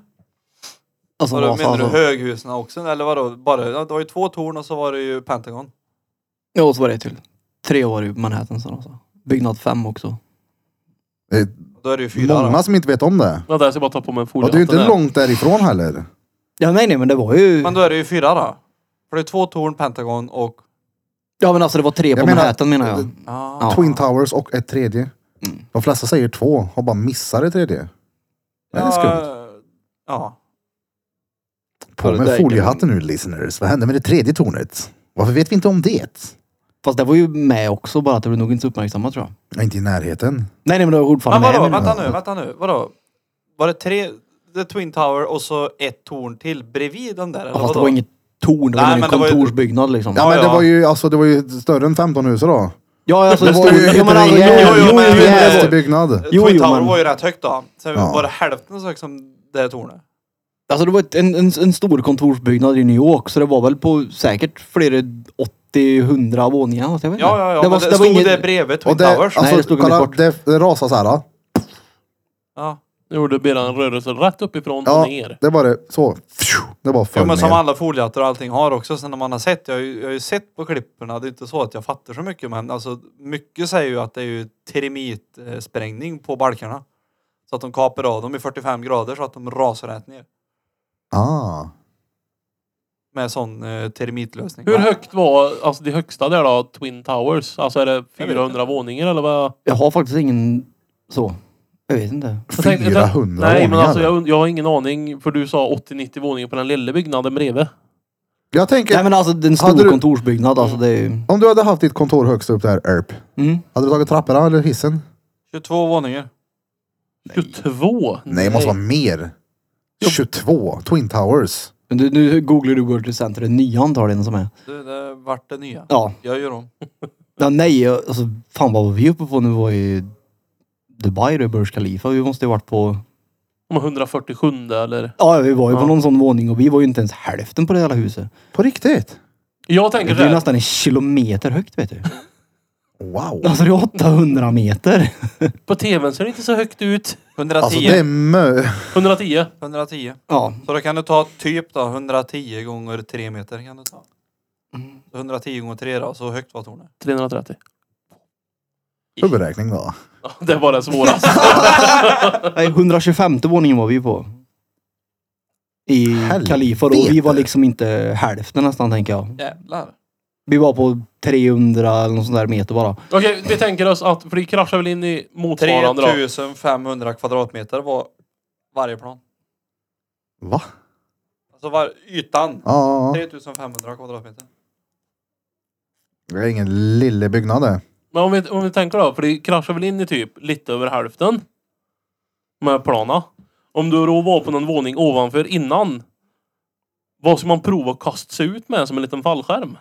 B: Alltså,
D: Vadå,
B: alltså,
D: menar du
B: alltså.
D: höghusen också? Eller vadå? Bara, ja, det var ju två torn och så var det ju Pentagon.
B: Ja, och så var det till. Tre år i Manhattan sen alltså. Byggnad fem också.
A: Det är
D: Då är det ju fyra
A: många
D: då.
A: som inte vet om det.
C: Vänta, jag ska bara ta på mig en
A: Och
C: foliehatt.
A: det är ju inte
C: Den här.
A: långt därifrån heller.
B: Ja nej nej men det var ju...
D: Men då är det ju fyra då. För det är två torn, Pentagon och...
B: Ja men alltså det var tre på
A: Jag menar-
B: Manhattan menar jag.
D: Ah.
B: Ja. Mm.
A: Twin Towers och ett tredje. De flesta säger två och bara missar det tredje. Det är skumt.
D: Ja.
A: På
B: det
A: med
B: där-
A: foliehatten nu listeners. Vad hände med det tredje tornet? Varför vet vi inte om det?
B: Fast det var ju med också bara att det blev nog inte så uppmärksammat tror jag.
A: Inte i närheten.
B: Nej nej men det var
D: Men
B: fortfarande med.
D: vadå,
B: menar jag.
D: vänta nu, vänta nu. Vadå? Var det tre... The Twin Tower och så ett torn till bredvid den där? Eller
B: Ja, fast det
D: vadå?
B: var inget torn, det var
D: Nej,
B: en
D: men det var ju-
B: kontorsbyggnad liksom.
A: Ja,
D: Ja,
A: men det
D: ja.
A: var ju, alltså, det var ju större än 15 hus då.
B: Ja, alltså,
A: Det var ju
B: ja,
A: en
B: men alltså, jo, jo, jo, men-
D: men-
A: rejäl byggnad.
D: Twin
B: Jo, jo,
D: Tower
B: men-
D: var ju rätt högt då. Sen
A: Ja.
D: var det hälften så högt som det här tornet.
B: Alltså det var ett, en, en, en stor kontorsbyggnad i New York, så det var väl på säkert flera 80-100 våningar. alltså, Jag vet inte.
D: Ja, ja, ja.
B: Det
D: Det,
B: var,
D: men
B: det
D: det,
B: var
D: stod
B: inget...
D: det bredvid Twin
A: Och det,
D: Towers.
A: alltså,
B: Nej, det stod
A: kolla,
B: väldigt kort.
A: det, det rasade så här. då.
D: Ja.
C: Nu gjorde Birra en rörelse rätt uppifrån och
A: Ja,
C: ner.
A: det var det. Så. Fju, Det bara
D: Jo,
A: föll
D: men som
A: ner.
D: alla foliehattar och allting har också. Sen när man har sett, jag har ju, jag har ju sett på klipporna, det är inte så att jag fattar så mycket men alltså mycket säger ju att det är ju termitsprängning på balkarna. Så att de kapar av dem i 45 grader så att de rasar rätt ner.
A: Ah.
D: Med sån eh, termitlösning.
C: Hur högt var alltså det högsta där då? Twin Towers? Alltså är det 400 våningar eller vad?
B: Jag har faktiskt ingen så. Jag vet inte.
C: Jag tänkte- jag tänkte-
A: 400
C: Nej men
A: våningar.
C: alltså jag, und- jag har ingen aning. För du sa 80-90 våningar på den lilla byggnaden bredvid.
A: Jag tänker,
B: Nej men alltså det är en stor
A: Hade du-
B: kontorsbyggnad alltså det är ju...
A: om du hade haft ditt kontor högst upp där, Erp.
B: Mm.
A: Hade du tagit trapporna eller hissen?
D: 22 våningar.
C: 22?
A: Nej, det måste vara mer. 22. Twin Towers.
B: Men du, nu googlar du World Trade Center, det nya antagligen som är.
D: Det, det vart det nya.
B: Ja.
D: Jag gör om.
B: ja nej, jag- alltså fan vad var vi uppe på nu? Vi var ju Dubai då, Burj Khalifa. Vi måste ju varit på
C: De har 147 eller?
B: Ja, vi var ju på
C: Ja.
B: någon sån våning och vi var ju inte ens hälften på det hela huset.
A: På riktigt?
C: Jag
B: Det
C: tänker
B: är ju
C: det.
B: nästan en kilometer högt vet du.
A: Wow.
B: Alltså det är 800 meter.
C: På tvn ser det inte så högt ut.
D: 110.
A: Alltså det är mö...
C: 110.
D: 110.
B: Ja,
D: Så då kan du ta typ då 110 gånger 3 meter kan du ta. 110 gånger 3 då, så högt var tornet.
C: 330.
A: Huvudräkning då.
C: Ja, [laughs] Det var
A: [laughs]
C: det svåraste.
B: nej, 125 våningen var vi på. I
A: Helvete.
B: Kalifa och vi var liksom inte hälften nästan tänker jag.
D: Jävlar.
B: Vi var på 300 eller någon sån där meter bara.
C: Okej, vi tänker oss att, för det kraschar väl in i motsvarande då.
D: 3500 kvadratmeter var varje plan.
A: Va?
D: Alltså var ytan.
A: Ja.
D: 3500 kvadratmeter.
A: Det är ingen lille byggnad det.
C: Men om vi, om vi tänker då, för det kraschar väl in i typ lite över hälften. Med plana. Om du då var på någon våning ovanför innan. Vad ska man prova att kasta sig ut med som en liten fallskärm?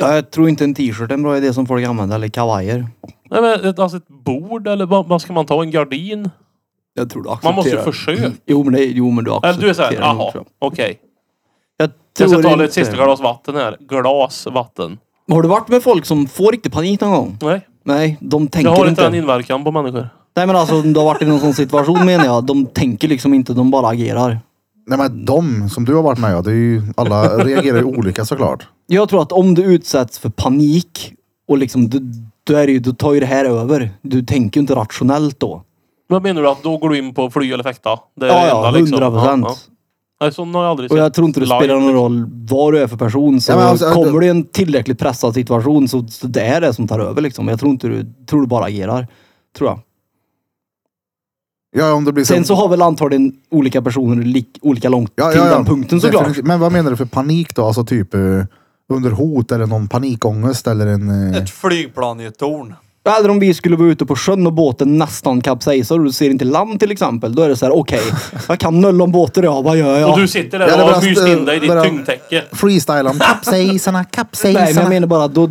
B: Ja, jag tror inte en t-shirt är en bra idé som folk använder, eller kavajer.
C: Nej men ett, alltså ett bord eller vad, vad ska man ta? En gardin?
B: Jag tror du accepterar.
C: Man måste ju försöka.
B: Jo men, det, jo, men du accepterar.
C: Eller du är såhär,
B: det,
C: jaha,
B: tror
C: okej.
B: jag. Jag
C: Jag ska
B: tror
C: ta ett
B: inte-
C: sista glas vatten här. Glas vatten.
B: Har du varit med folk som får riktig panik någon gång?
C: Nej.
B: Nej, de tänker
C: Jag har inte
B: inte.
C: den inverkan på människor.
B: Nej men alltså om du har varit i någon sån situation menar jag. De tänker liksom inte, de bara agerar.
A: Nej men de som du har varit med ja, det är ju, alla reagerar ju olika såklart.
B: Jag tror att om du utsätts för panik och liksom du, du, är ju, du tar ju det här över. Du tänker ju inte rationellt då.
C: Vad menar du? Att då går du in på fly eller fäkta? Det är
B: Ja,
C: det
B: ja,
C: enda, liksom.
B: hundra procent.
C: Ja, ja. Nej, sån har jag aldrig sett.
B: Och jag tror inte det
C: live,
B: spelar någon
C: liksom.
B: roll vad du är för person. Så
A: Ja, men alltså,
B: kommer
A: det-
B: du i en tillräckligt pressad situation så så det är det som tar över liksom. Jag tror inte du, tror du bara agerar. Tror jag.
A: Ja, om det blir
B: Sen så har väl antagligen olika personer lik, olika långt till den punkten såklart.
A: Definitivt. Men vad menar du för panik då? Alltså typ eh, under hot eller någon panikångest eller en... eh,
D: Ett flygplan i ett torn.
B: Eller om vi skulle vara ute på sjön och båten nästan kapsejsar och du ser inte land till exempel. Då är det så här,
A: [laughs]
B: okej, jag kan noll om båtar ja, vad gör jag? eh,
C: Och du sitter där
A: Ja, det
C: och har
A: bara-
C: myst in dig i ditt
A: bara-
C: tyngdtäcke.
A: Freestyle om kapsejsarna,
B: Nej, men jag
A: kapsejsarna.
B: menar bara då,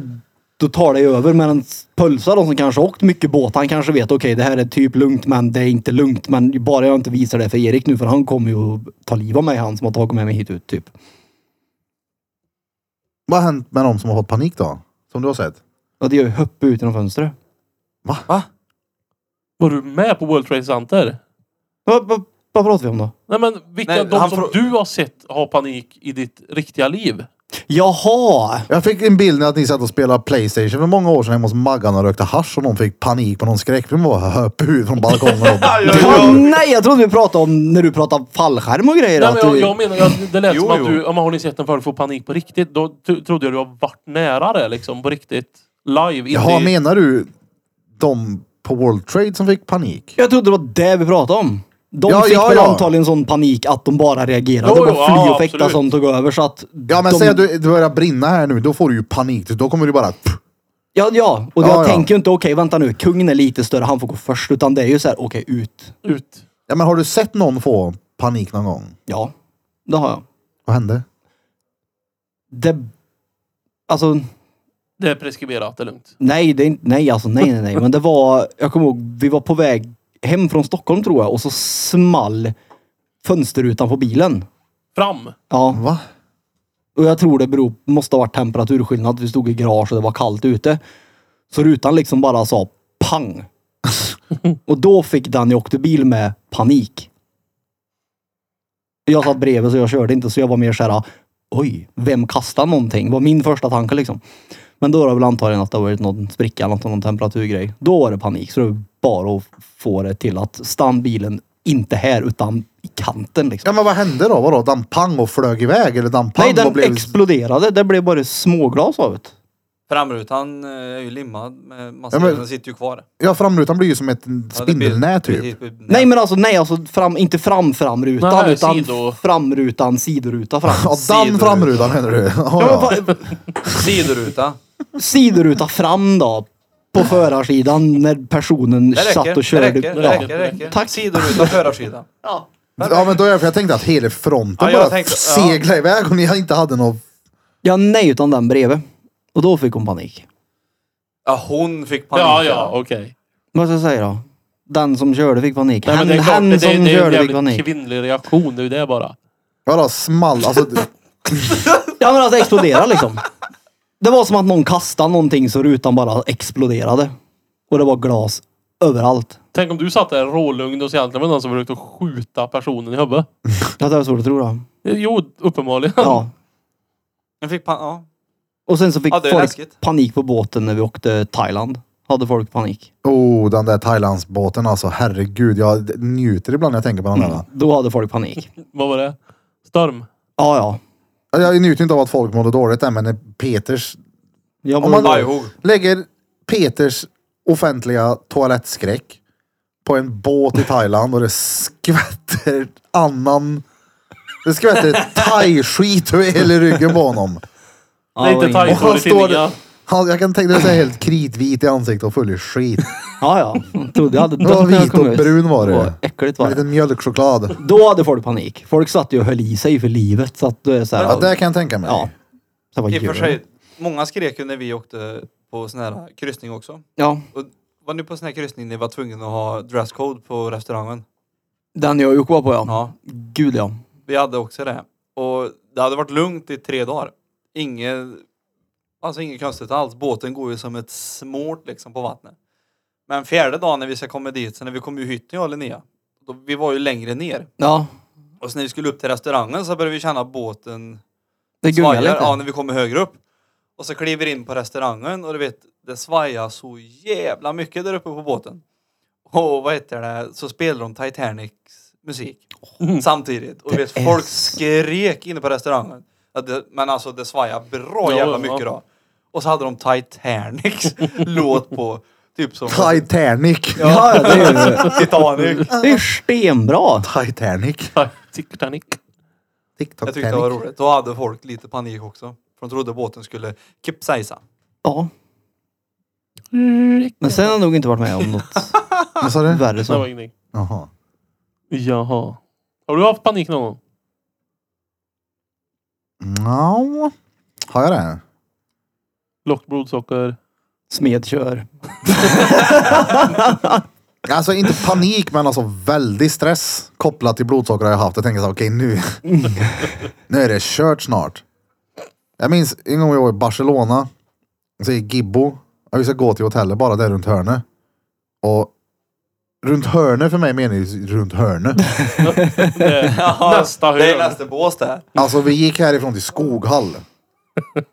B: då tar det ju över. Medan Pölsa då som kanske har åkt mycket båt, han kanske vet okej det här är typ lugnt men det är inte lugnt. Men bara jag inte visar det för Erik nu för han kommer ju att ta liv av mig han som har tagit med mig hit ut typ.
A: Vad har hänt med de som har fått panik då? Som du har sett?
B: Ja, det gör ju höpp ut genom fönstret.
C: Var du med på World Trade Center?
B: Vad, vad, vad pratar vi om då?
C: Nej men vilka
D: Nej,
C: de
D: han
C: som
D: frå-
C: du har sett ha panik i ditt riktiga liv?
B: Jaha!
A: Jag fick en bild när att ni satt och spelade Playstation för många år sedan hemma hos Maggan och rökte hasch och någon fick panik på någon skräckfilm och [laughs] höp ut från balkongen. Och bara,
B: [laughs] Ja, nej, jag trodde vi pratade om när du pratade fallskärm och grejer.
C: Nej,
B: att
C: men jag,
B: du-
C: jag menar, jag, det lät
D: Jo,
C: som att
D: jo.
C: du, ja, men har ni sett en förut få panik på riktigt? Då t- trodde jag du har varit nära det liksom på riktigt. Live.
A: Jaha,
C: i-
A: menar du de på World Trade som fick panik?
B: Jag trodde det var det vi pratade om. De
A: Ja,
B: fick
A: ja,
B: väl
A: ja.
B: antagligen sån panik att de bara reagerade.
C: Jo,
B: det var
C: jo,
B: fly
C: ja,
B: och fäkta
C: absolut.
B: som tog över så att...
A: Ja men
B: de...
A: säg att du, du börjar brinna här nu, då får du ju panik. Då kommer du bara...
B: Ja, ja. Och
A: Ja,
B: jag
A: ja.
B: tänker ju inte, okej vänta nu, kungen är lite större, han får gå först. Utan det är ju så här, okej ut.
C: Ut.
A: Ja men har du sett någon få panik någon gång?
B: Ja, det har jag.
A: Vad hände?
B: Det... Alltså,
C: Det är preskriberat, det är lugnt.
B: nej, det är inte, nej, alltså nej, nej, nej. Men det var, jag kommer ihåg, vi var på väg hem från Stockholm tror jag och så small fönsterrutan på bilen.
C: Fram.
B: Ja.
A: Va?
B: Och jag tror det beror, måste ha varit temperaturskillnad. Vi stod i garage och det var kallt ute. Så rutan liksom bara sa pang. och då fick den jag åkte bil med panik. Jag satt bredvid så jag körde inte så jag var mer såhär, oj, vem kastar någonting? var min första tanke liksom. Men då var det väl antagligen att det har varit någon spricka eller något, någon temperaturgrej. Då var det panik. Så det var bara att få det till att stann bilen inte här utan i kanten liksom.
A: Ja men vad hände då? Vadå? Den pang och flög iväg? Eller den pang
B: Nej, den
A: och blev...
B: exploderade. Det blev bara småglas av det.
D: Framrutan eh, är ju limmad med massa
A: Ja, men-
D: grejer, den sitter ju kvar.
A: Ja framrutan blir ju som ett spindelnät typ.
B: Nej men alltså nej, alltså fram, inte fram framrutan
C: Nej,
B: utan
C: sido.
B: framrutan, sidoruta fram.
A: Ja, den
D: Sidorutan.
A: framrutan menar du? Ja, ja.
D: Sidoruta.
B: sidoruta fram då. På förarsidan när personen
D: Det räcker.
B: satt och
D: Det
B: körde.
D: räcker. Det
B: Ja.
D: räcker. Det räcker.
B: Tack.
D: Sidoruta, förarsida.
A: ja men då är jag, för jag tänkte att hela fronten
D: Ja, jag
A: bara
D: tänkte- ja.
A: seglade iväg och ni inte hade någon...
B: ja, nej utan den bredvid. Och då fick hon panik.
D: Ja, hon fick panik.
C: Ja, ja, okej.
B: Vad ska jag säga då? Den som körde fick panik.
C: Nej, men
B: han
C: det är klart,
B: han
C: det,
B: som
C: det, det är en
B: körde fick
C: jävligt
B: panik.
C: kvinnlig reaktion. Det är ju det bara.
A: Vadå small? Alltså,
B: Ja men alltså explodera liksom. Det var som att någon kastade någonting så rutan bara exploderade. Och det var glas överallt.
C: Tänk om du satt där rålugn och så egentligen var det någon som försökte skjuta personen i huvudet.
B: Ja, Det är svårt att tro då.
C: Jo, uppenbarligen.
B: Ja.
D: Hon fick pan- ja.
B: Och sen så fick
D: Ja, det är
B: folk
D: läskigt.
B: panik på båten när vi åkte Thailand. Hade folk panik.
A: oh, den där Thailandsbåten alltså. Herregud, jag njuter ibland när jag tänker på den
D: Mm.
A: där.
B: Då hade folk panik.
C: Vad var det? Storm?
B: Ja, ja.
A: Jag njuter inte av att folk mådde dåligt där, men när Peters...
B: Jag
A: Om
B: mår
A: man
B: bra.
D: Bajhog.
A: lägger Peters offentliga toalettskräck på en båt i Thailand och det skvätter annan... Det skvätter thai-skit över hela ryggen på honom.
B: Ja,
C: det är
B: det var
C: inte
B: ingen-
A: Och han
C: thai i
A: står,
C: tidningar.
A: Han, jag kan tänka dig att säga helt kritvit i ansiktet och full i skit.
B: Ja, ja. Jag trodde jag [laughs] hade
A: var
B: dött när jag
A: vit
B: kom
A: och
B: ut.
A: brun var det.
B: äckligt
A: Med
B: var
A: lite
B: det.
A: mjölkchoklad.
B: Då hade folk panik. Folk satt ju och höll i sig för livet. Så att då är det så här,
A: Ja, det kan jag tänka mig.
B: Ja. Så vad
D: I och
B: gör
D: för
B: du?
D: sig, många skrek ju när vi åkte på sån här kryssning också.
B: Ja,
D: Och var ni på sån här kryssning ni var tvungna att ha dresscode på restaurangen?
B: den jag och Jocke var på ja.
D: Ja.
B: Gud ja.
D: Vi hade också det. Och det hade varit lugnt i tre dagar. Inget, alltså inget konstigt alls. Båten går ju som ett smort liksom på vattnet. Men fjärde dagen när vi ska komma dit, så när vi kom ur hytten jag och Linnea, då, vi var ju längre ner.
B: Ja,
D: Och så när vi skulle upp till restaurangen så började vi känna att båten
B: det gungar
D: svajar.
B: lite.
D: Ja, när vi kommer högre upp. Och så kliver in på restaurangen och du vet, det svajar så jävla mycket där uppe på båten. Och vad heter det, så spelar de Titanics musik samtidigt. Och du vet,
B: Det är
D: folk
B: så-
D: skrek inne på restaurangen. Ja, det, men alltså det svajar bra
C: Ja,
D: jävla
C: ja.
D: mycket då. Och så hade de Titanics låt på, typ som
A: Titanic.
B: Ja, ja,
D: [laughs]
B: det är ju-
D: Titanic.
B: det är ju stenbra.
A: Titanic.
C: Titanic.
A: TikTok
D: Jag tyckte det var
A: Titanic.
D: roligt. Då hade folk lite panik också. För de trodde båten skulle kipsajsa.
B: Ja. Men sen har jag nog inte varit med om
C: [laughs]
B: något
A: Vad sa du?
B: värre.
C: Mm, Det var
B: Så.
C: ingenting.
A: Jaha.
C: Jaha. Har du haft panik någon gång?
A: No. Har jag det?
C: Lågt blodsocker?
B: [laughs] Smed kör.
A: Alltså inte panik men alltså väldig stress kopplat till blodsocker har jag haft. Jag tänker så här, okej
D: [laughs]
A: nu, nu är det kört snart. Jag minns en gång jag var i Barcelona. Så gick Gibbo. Ja, Vi ska gå till hotellet bara där runt hörnet. Och runt hörnet för mig menar ju runt hörnet.
C: Det är nästa
D: Det är
C: hörn.
D: nästa bås där.
A: Alltså vi gick härifrån till Skoghall.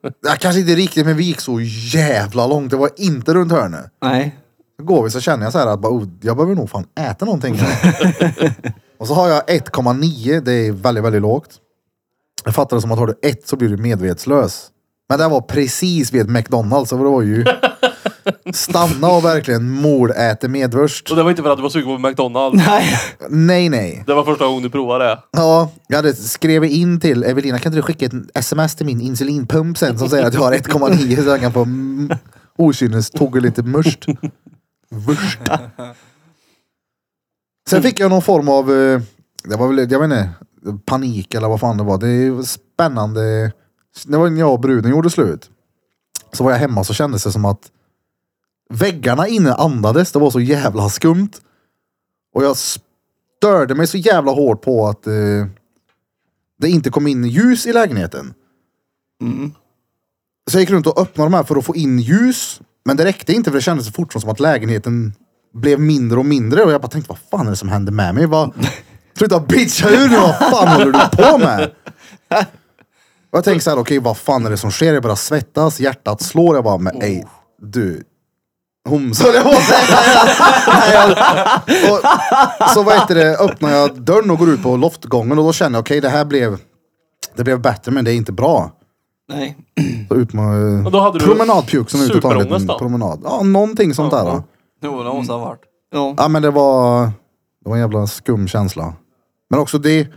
A: Ja, kanske inte riktigt men vi gick så jävla långt. Det var inte runt hörnet.
B: Nej.
A: Så går vi så känner jag så här att bara, oh, jag behöver nog fan äta någonting. och så har jag 1,9. Det är väldigt, väldigt lågt. Jag fattar det som att har du ett så blir du medvetslös. Men det här var precis vid ett McDonalds. Så det var ju stanna och verkligen moläta medvurst.
C: Och det var inte för att du var sugen på McDonalds.
B: Nej.
A: Nej, nej.
C: Det var första gången du provade det.
A: Ja, jag hade skrev in till Evelina, kan inte du skicka ett sms till min insulinpump sen som säger att jag har 1,9 så jag kan få mm, okynnes tog lite mörst. Vurst. Sen fick jag någon form av, eh, det var väl, jag vet inte, panik eller vad fan det var. Det var spännande. Det var när jag och bruden gjorde slut. Så var jag hemma så kändes det som att väggarna inne andades. Det var så jävla skumt. Och jag störde mig så jävla hårt på att eh, det inte kom in ljus i lägenheten. Så jag gick runt och öppnade de här för att få in ljus. Men det räckte inte för det kändes så fort som att lägenheten blev mindre och mindre. Och jag bara tänkte, vad fan är det som händer med mig? Vad, sluta bitcha ur nu, vad fan håller du på med? Och jag tänkte så här, okej vad fan är det som sker? Jag börjar svettas, hjärtat slår. Jag bara, men ej, du. Homsa, höll jag på att säga. Nej, jag- och- så vad heter det, öppnar jag dörren och går ut på loftgången och då känner jag okej det här blev, det blev bättre men det är inte bra.
B: Nej.
A: Så ut med
C: Och då hade du
A: promenadpjuxen ut och tar en
C: superångest
A: liten
C: då?
A: promenad. Ja, någonting sånt där. Då.
D: Jo, det måste ha varit.
B: Ja.
A: Ja men det var, det var en jävla skum känsla. Men också det,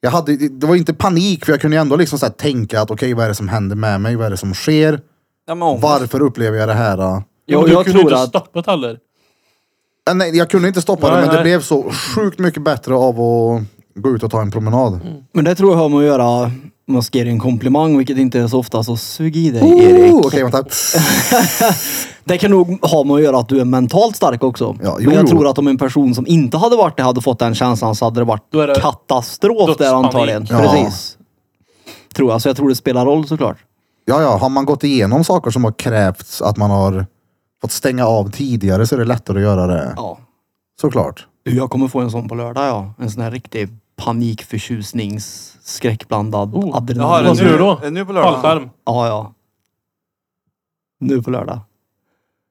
A: jag hade, det var inte panik för jag kunde ju ändå liksom så här tänka att okej vad är det som händer med mig, vad är det som sker,
D: Ja, men ångest.
A: varför upplever jag det här? då?
C: Ja,
B: Jag,
C: men du
B: jag
C: kunde ju
B: tror
C: inte
B: att...
C: stoppat heller.
A: Ja, Nej, jag kunde inte stoppa det
C: Nej,
A: men det
C: nej.
A: blev så sjukt mycket bättre av att gå ut och ta en promenad.
B: Men det tror jag har med att göra med att ge dig en komplimang, vilket inte är så ofta. Så sug i dig Erik.
A: Oh, Okej, vänta.
B: Det kan nog ha med att göra att du är mentalt stark också.
A: Ja, jo,
B: Men jag
A: jo.
B: tror att om en person som inte hade varit det hade fått den känslan så hade det varit
C: Då är det
B: katastrof där
C: dödspanik.
B: antagligen.
A: Ja.
B: Precis. Tror jag. Så jag tror det spelar roll såklart.
A: Ja, ja, har man gått igenom saker som har krävts att man har fått stänga av tidigare så är det lättare att göra det.
B: Ja.
A: Såklart.
B: Du, jag kommer få en sån på lördag ja. En sån här riktig panikförtjusnings skräckblandad
C: Oh,
D: Jaha, är det
B: adrenalin.
C: Vad ska
D: nu,
C: du då?
D: är det nu på lördag?
C: Fallskärm.
B: Ja, ja. Nu på lördag.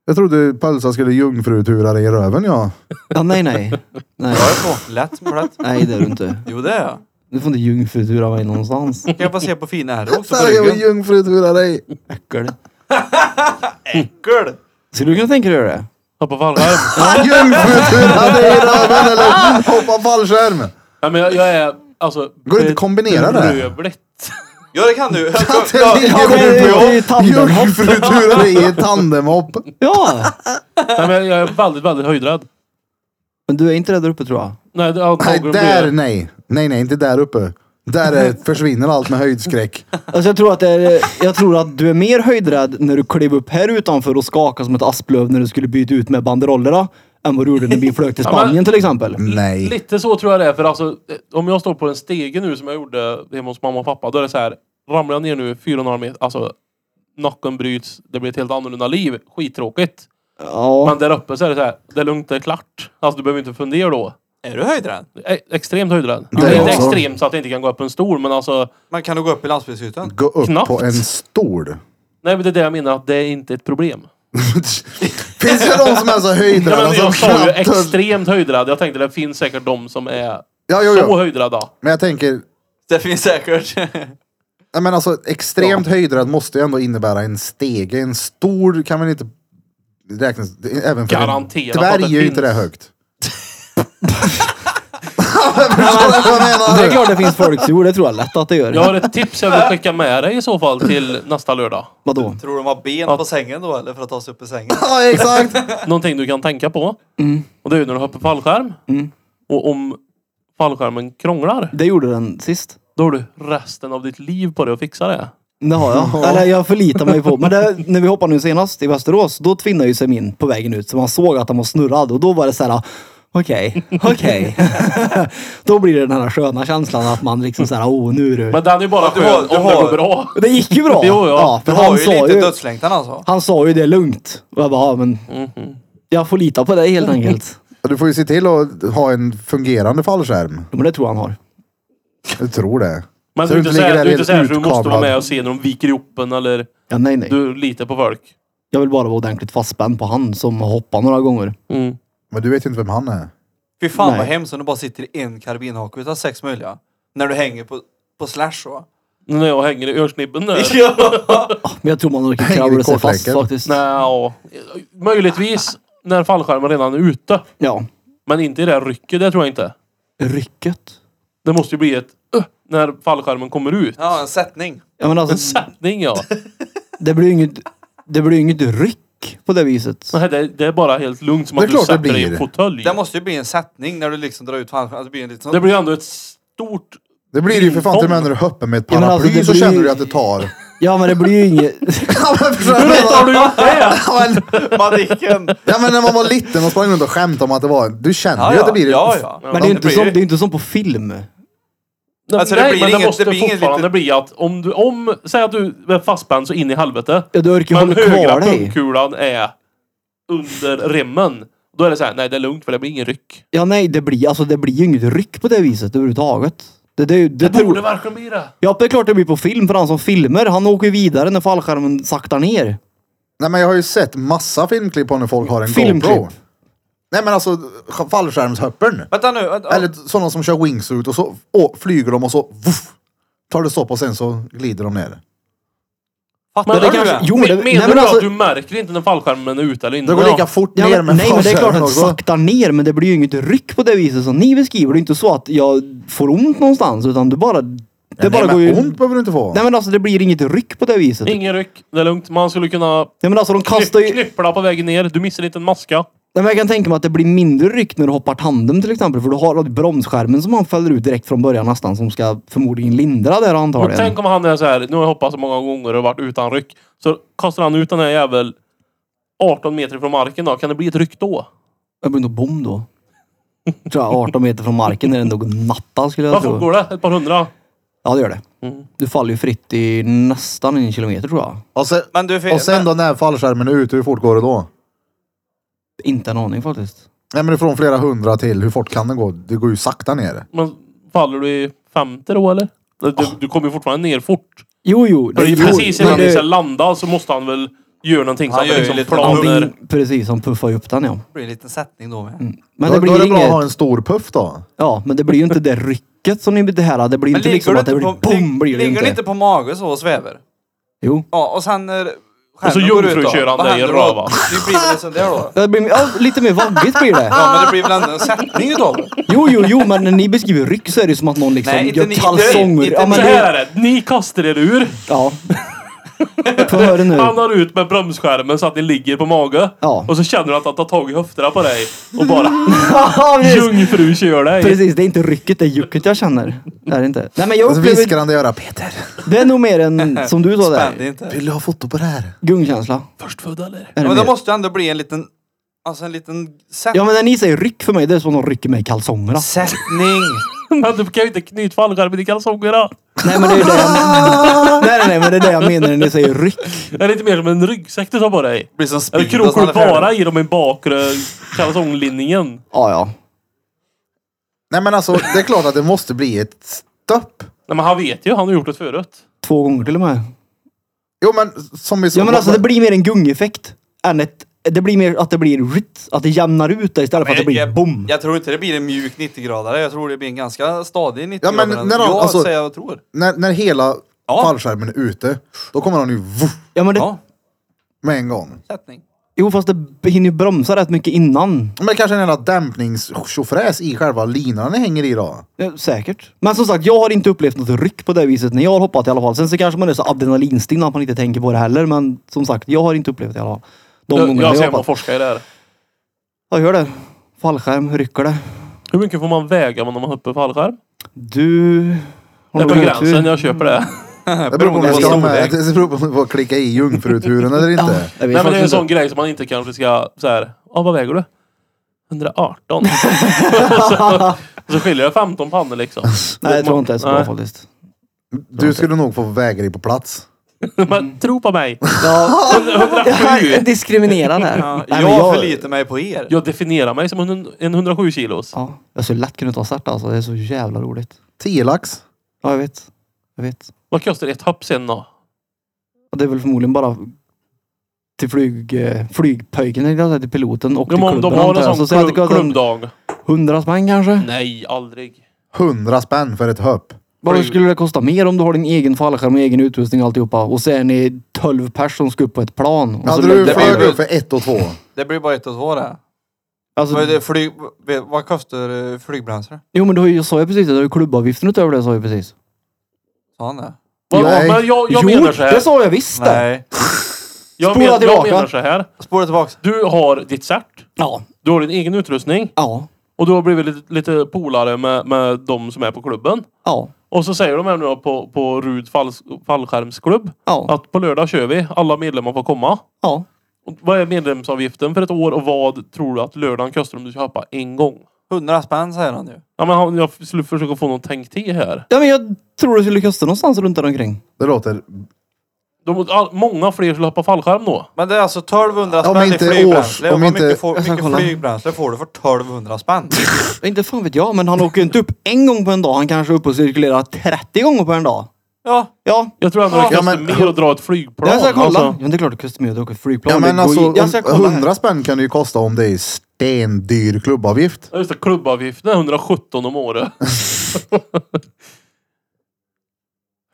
A: Jag trodde Pölsa skulle jungfrutura dig i röven, ja.
B: Ja, nej, nej. Nej,
D: Jag är på. Lätt som plätt.
B: nej det är du inte.
D: Jo det är jag.
B: Du får inte jungfrutura mig någonstans.
D: Kan jag bara se på fina herrar också på
A: Där jag vill
D: ryggen?
A: jungfrutura dig.
B: Äckel.
D: Gud!
B: Skulle du kunna tänka dig att göra det? [laughs]
C: Hoppa fallskärm.
A: Jungfrutura dig i röven eller hoppa fallskärm.
C: Nej men jag, jag är alltså...
A: Går det inte att kombinera det?
C: bedrövligt
D: Ja det
A: [laughs]
D: kan du!
A: Att det
D: Ja,
A: ligger
B: ja, men
A: nu på
B: det är tandemhopp.
A: Jungfruturen i ett tandemhopp.
B: Ja!
C: Nej, men jag är väldigt, väldigt höjdrädd.
B: Men du är inte där uppe tror jag.
C: Nej, det- ja,
A: Nej,
C: Tagrum
A: där
C: blir-
A: nej. Nej, nej, inte där uppe. Där är, försvinner allt med höjdskräck.
B: Alltså jag tror att, det är, jag tror att du är mer höjdrädd när du klev upp här utanför och skakade som ett asplöv när du skulle byta ut med banderollerna än vad du gjorde när vi flög till
C: Ja, men-
B: Spanien till exempel.
A: Nej.
C: Lite så tror jag det är. För alltså, eh, om jag står på en stege nu som jag gjorde hemma hos mamma och pappa. Då är det så här. Ramlar jag ner nu 4,5 meter. Alltså, nacken bryts. Det blir ett helt annorlunda liv. Skittråkigt.
B: Ja.
C: Men där uppe så är det så här. Det är lugnt, det är klart. Alltså du behöver inte fundera då.
D: Är du höjdrädd?
C: E- extremt höjdrädd.
A: Det
C: Det är
A: är
C: inte
A: jag också.
C: extremt så att jag inte kan gå upp en stol. Men alltså.
D: Men kan du gå upp i landsbygdsytan?
A: Gå upp
C: Knappt.
A: på en stol.
C: Nej men det är det jag menar. Att det är inte ett problem.
A: Finns det de som är så
C: Nej,
A: höjdrädda
C: men
A: som
C: jag sa ju
A: knappt höll...
C: extremt höjdrädd. Jag tänkte det finns säkert de som är
A: Ja, jo,
C: så
A: jo.
C: höjdrädda.
A: Men jag tänker,
D: Det finns säkert. [laughs]
A: nej, men alltså extremt höjdrädd måste ju ändå innebära en stege. En stol kan väl inte räknas, det- även för en
C: Garanterat att det
A: dvärg är ju inte det
C: finns.
A: högt. Förstår du vad jag menar?
B: Det är klart det finns folk som gjorde det tror jag lätt att det gör.
C: Jag har ett tips jag vill skicka med dig i så fall till nästa lördag.
B: Vadå?
D: Tror de har ben på sängen då eller för att ta sig upp
A: [laughs]
D: i sängen?
A: Ja, exakt.
C: Någonting du kan tänka på.
A: Mm.
C: Och det är ju när du hoppar fallskärm. Och om fallskärmen krånglar,
B: Det gjorde den sist.
C: då har du resten av ditt liv på dig att fixa det.
B: Det har jag. Eller jag förlitar mig på. Men det, när vi hoppade nu senast i Västerås, då tvinnade ju sig min på vägen ut. Så man såg att han var snurrad och då var det så här. Okej, okej. [laughs] då blir det den här sköna känslan att man liksom så här, oh nu är du.
C: Men den är ju bara
D: du
C: skön
D: har- du
C: om det
D: har-
C: går bra.
B: Det gick ju bra.
C: [laughs] Jo, ja.
B: för
D: Du
B: han
D: har ju
B: sa
D: lite dödslängtan alltså.
B: Han sa ju det lugnt. Och jag bara, ja, men
C: Mhm.
B: jag får lita på dig helt
C: [laughs]
B: enkelt.
A: Du får ju se till att ha en fungerande fallskärm.
B: Ja, men det tror jag han har.
A: Jag tror det.
C: Men
A: Så
C: du är
A: du
C: inte
A: inte
C: så
A: ligger
C: här-
A: där
C: du är inte
A: helt
C: så här så du måste vara
A: utkablad.
C: med och se när de viker ihop en eller
B: Ja, nej, nej.
C: du litar på folk.
B: Jag vill bara vara ordentligt fastspänd på han som har hoppat några gånger.
C: Mm.
A: Men du vet ju inte vem han är.
D: Fy fan
B: Nej.
D: vad hemskt om du bara sitter i en karbinhake utan sex möjliga. När du hänger på, på
A: [laughs]
D: slash så.
C: När jag hänger i örsnibben där.
B: Men jag tror man orkar
A: Hänger i
B: kravla sig fast
A: kortleken.
B: faktiskt.
C: Nej, ja. Möjligtvis när fallskärmen redan är ute.
B: Ja.
C: Men inte i det här rycket, det tror jag inte.
B: Rycket.
C: Det måste ju bli ett "Ö" när fallskärmen kommer ut.
D: Ja, en sättning.
B: Ja, men
C: En
B: alltså,
C: sättning ja.
B: det blir ju inget, det blir ju inget ryck på det viset.
C: Nej, det, det är bara helt lugnt som
A: Det är
C: att du
A: klart det
C: sätter dig i en
A: blir.
C: fåtölj.
D: Det måste ju bli en sättning när du liksom drar ut fallskärmen. Alltså, det blir en liten
C: Det
D: sån...
C: blir ju ändå ett stort...
A: Det blir det ju för fan till och med när du hoppar med ett
B: Ja, men
A: paraply
B: alltså, det
A: så
B: blir-
A: känner du att det tar.
B: Ja, men det blir ju inget.
A: Ja, men förstår du
C: Hur
A: vad jag
C: rätt har
A: menar?
C: du gjort det?
A: Ja, men-
D: [laughs] Madicken!
A: Ja men när man var liten och sprang runt och skämtade om att det var... Du känner
D: Ja,
A: ju att det
D: ja.
A: blir...
D: ja, ja.
B: Men det är ju inte,
D: blir
B: som,
D: ju-
B: det är inte som på film.
D: Alltså, det
C: Nej,
D: blir
C: men
D: inget-
C: det måste
D: det blir inget
C: fortfarande
D: litet-
C: bli att om du... Om, säg att du är fastbänd så in i helvete.
B: Ja, du orkar ju
C: Men
B: hålla kvar
C: högra
B: dig.
C: pungkulan är under remmen. Då är det så här, nej det är lugnt för det blir ingen ryck.
B: Ja, nej, det blir, alltså, det blir ju inget ryck på det viset överhuvudtaget. Det, det, är ju- det,
C: Det
B: tror-
C: borde verkligen bli det.
B: Ja, det är klart det blir på film för han som filmer. Han åker ju vidare när fallskärmen saktar ner.
A: Nej men jag har ju sett massa filmklipp på när folk har en
B: Filmklipp.
A: GoPro. Nej men alltså fallskärmshoppern.
D: Vänta nu. Vänta.
A: Eller sådana som kör wingsuit och så och flyger de och så vuff, tar det stopp och sen så glider de ner.
D: Fattar
C: Men
D: du
C: det
B: kanske-
D: det?
B: Jo, men
C: men,
B: det-
C: menar
B: nej, men
C: du
B: alltså-
C: att du märker inte när fallskärmen är ute eller inne?
A: Det går lika fort
B: Ja,
A: ner
B: men,
A: med
B: nej, men det är klart
A: fallskärmen
B: att det
A: också.
B: saktar ner, men det blir ju inget ryck på det viset som ni beskriver. Det är inte så att jag får ont någonstans, utan du bara... Det bara
A: nej,
B: går
A: men
B: ju...
A: ont behöver du inte få.
B: Nej, men alltså det blir inget ryck på det viset. Nej,
C: Ingen ryck, det är lugnt. Man skulle kunna
B: men alltså de kastar ju...
C: kny-
B: Nej,
C: knyppla på vägen ner. Du missar inte en maska.
B: men jag kan tänka mig att det blir mindre ryck när du hoppar tandem till exempel, för du har bromsskärmen som han fäller ut direkt från början nästan, som ska förmodligen lindra det här
C: Och
B: antagligen.
C: tänk om han är så här, nu har jag hoppat så många gånger och varit utan ryck. Så kastar han ut den här jävel 18 meter från marken då. Kan det bli ett ryck då?
B: Det blir nog bom då. Tror jag 18 meter från marken är det nog natta skulle jag
C: Vad
B: tro.
C: fort går det? Ett par hundra?
B: Ja, det gör det. Du faller ju fritt i nästan en kilometer tror jag.
A: Och sen,
D: Men du,
A: och sen då när fallskärmen är ute, hur fort går det då?
B: Inte en aning faktiskt.
A: Nej men från flera hundra till, hur fort kan den gå? Det går ju sakta ner.
C: Men faller du i 50 då eller? Du,
B: Ah.
C: du kommer ju fortfarande ner fort.
B: Jo, jo.
C: För det är
B: jo,
C: precis
B: men
C: innan
B: det-
C: du ska landa så måste han väl göra någonting så
D: Han
C: att det
D: gör ju
C: liksom
D: lite
C: planer.
B: Någonting precis som puffar ju upp den ja.
D: det blir en liten sättning då med.
B: Men
A: då,
B: det
A: då är
B: blir
A: det bra
B: inget.
A: att ha en stor puff då.
B: Ja, men det blir ju inte det rycket som ni det här. Det blir ju
D: Men
B: inte
D: ligger
B: liksom
D: du
B: att det
D: inte
B: blir
D: på,
B: bom blir det
D: ligger
B: inte.
D: du inte på mage så och sväver?
B: Jo.
D: Ja, och sen eh,
C: Och så
D: skärmen går ut då.
C: jungfrukör han
D: Vad
C: dig i
D: händer då?
C: röva.
D: Det blir väl en sån där då?
B: Det blir, ja, lite mer vaggigt blir det.
D: Ja men det blir väl ändå en sättning utav det?
B: Jo, jo, jo, men när ni beskriver ryck så är det som att någon liksom
D: Nej, inte
B: gör
D: ni- inte-
B: kalsonger.
D: inte
B: Ja, men
C: Så
B: det,
C: här är det. Ni kastar er ur.
B: ja. Få höra nu.
C: Han har ut med bromsskärmen så att ni ligger på mage.
B: Ja.
C: Och så känner du att han tar tag i höfterna på dig. Och bara
B: Ja, [laughs] precis.
C: jungfrukör dig.
B: precis, det är inte rycket, det är jucket jag känner. Det är det inte. Nej, men jag
A: Så
B: upplever,
A: viskar han i örat. Peter,
B: det är nog mer en, som du sa
D: Spänn dig
B: där,
D: inte.
A: vill du ha foto på det här?
B: gungkänsla.
C: Förstfödda eller?
B: Är det
D: Men det
B: mer.
D: måste ju ändå bli en liten... Alltså en liten sätt,
B: Ja, men när ni säger ryck för mig, det är som att någon rycker mig i kalsongerna.
D: sättning.
C: [laughs] Men du Alltså, kan ju inte knyta fallskärmen i kalsongerna.
B: Nej, men det är det jag menar. Nej, nej, nej, men det är det jag menar när ni säger ryck.
C: Det är lite mer som en ryggsäck du tar på dig.
D: Blir som
C: Eller
D: Speedos
C: krokar
D: när
C: du
D: han är färdig.
C: bara i dem i bakre kalsonglinningen?
B: Ja, ja.
A: Nej men alltså, det är klart att det måste bli ett stopp.
C: Nej men han vet ju, han har gjort det förut.
B: Två gånger till och med.
A: Jo men som vi sa.
B: Ja men alltså det blir mer en gungeffekt än ett... Det blir mer att det blir rytt, att det jämnar ut det istället för att det blir
D: jag,
B: bom.
D: Jag tror inte det blir en mjuk 90-gradare. Jag tror det blir en ganska stadig 90-gradare.
A: men när de-
D: jag
A: alltså-
D: säger vad jag tror.
A: när, när hela
D: Ja.
A: fallskärmen är ute, då kommer han ju vuff,
B: Ja men det,
D: Ja,
A: med en gång.
D: sättning.
B: jo fast det hinner ju bromsa rätt mycket innan.
A: Men det kanske är en jävla dämpningstjofräs i själva linan ni hänger i då.
B: Ja, säkert. Men som sagt, jag har inte upplevt något ryck på det viset när jag har hoppat i alla fall. Sen så kanske man är så adrenalinstinn att man inte tänker på det heller. Men som sagt, jag har inte upplevt det i alla fall. De
C: Jag,
B: gångerna jag har
C: jag ser man
B: hoppat.
C: forskar i det här.
B: Ja, gör det. Fallskärm, rycker det.
C: Hur mycket får man väga när man hoppar fallskärm?
B: Du... Mm. har
C: Det är
B: nog
C: på
B: otur.
C: gränsen, jag köper det.
A: Det beror på om
D: [laughs] Beroende
A: det
D: på
A: ska vara med.
D: storlek.
A: [laughs] Det beror på om det får klicka i jungfruturen eller
B: Ja,
A: inte.
B: jag vet
C: Nej men det är en
B: faktiskt
C: sån
B: inte.
C: grej som man inte kanske ska såhär, ja vad väger du?
B: [laughs]
C: 118. så, så skiljer det 15 pannor liksom.
B: Nej, jag tror inte det är så bra
C: Nej.
B: faktiskt.
A: Du skulle nog få väga dig på plats.
C: Men tro på mig. [laughs]
B: Ja,
C: 107.
B: diskriminerande.
D: Ja,
B: Nej, men
D: jag förlitar mig på er.
C: Jag definierar mig som en, en 107 kilos.
B: Ja, jag skulle lätt kunna ta Zärt alltså. Det är så jävla roligt.
A: 10 lax.
B: Ja, jag vet. Jag vet.
C: Vad kostar ett hopp sen då?
B: Och det är väl förmodligen bara till flyg, eh, flygpöjken, eller jag säga, till piloten och
C: Ja,
B: till
C: men om de
B: klubben.
C: har
B: antar jag.
C: en
B: Så säg att
C: sån
B: det
C: klubb,
B: kostar en
C: klubbdag.
B: Hundra spänn kanske?
C: Nej, aldrig.
A: 100 spänn för ett höpp.
B: Vad
C: Flyg.
B: skulle det kosta mer om du har din egen fallskärm och egen utrustning och alltihopa? Och så är ni 12 personer som ska upp på ett plan. Och så
A: Hade du
B: lägger-
D: det
A: för
D: blir
A: dig
D: väl-
A: för 1 och 2?
D: Det blir bara ett och två det.
B: alltså,
D: Vad är det flyg, vet- vad kostar eh, flygbränsle?
B: Jo men du har ju, jag sa ju precis, det, du har ju klubbavgiften utöver det sa jag ju precis.
D: Sa han det?
C: Ja,
A: Nej.
C: men jag, jag menar så här.
B: det sa jag visst det.
D: Nej.
C: Jag,
B: Spola
C: men, jag
B: tillbaka.
C: menar så här.
D: Spola tillbaks.
C: Du har ditt cert.
B: Ja.
C: Du har din egen utrustning.
B: Ja.
C: Och du har blivit lite, lite polare med, med de som är på klubben.
B: Ja.
C: Och så säger de här nu då på, på Rud falls, fallskärmsklubb.
B: Ja.
C: Att på lördag kör vi. Alla medlemmar får komma.
B: Ja.
C: Och vad är medlemsavgiften för ett år och vad tror du att lördagen kostar om du ska hoppa en gång?
D: 100 spänn säger han ju.
C: Ja, men han- jag skulle försöka få någon tänk till här.
B: Ja men jag tror det skulle kosta någonstans runt där omkring.
A: Det låter...
C: De, all, många fler skulle hoppa fallskärm då.
D: Men det är alltså 1200
A: Om
D: spänn i
A: inte
D: flygbränsle.
A: års- om
D: Hur
A: inte-
D: mycket, får,
B: Jag ska
D: mycket
B: kolla.
D: flygbränsle får du för 1200
B: [laughs]
D: spänn?
B: Inte fan vet jag, men han åker ju inte upp en gång på en dag. Han kanske är uppe och cirkulerar 30 gånger på en dag.
D: Ja,
B: Ja,
C: Jag tror ändå det
D: Ja,
C: kostar
A: men-
C: mer att dra ett flygplan.
B: jag ska kolla.
C: alltså.
B: Ja, men det är klart det kostar mer att åka flygplan.
A: Ja
B: Det
A: men
B: går
A: alltså,
B: ju- jag ska kolla. här.
A: 100 spänn kan det ju kosta om det är stendyr klubbavgift.
C: Ja, Just det, klubbavgiften är 117
B: [laughs]
C: om året.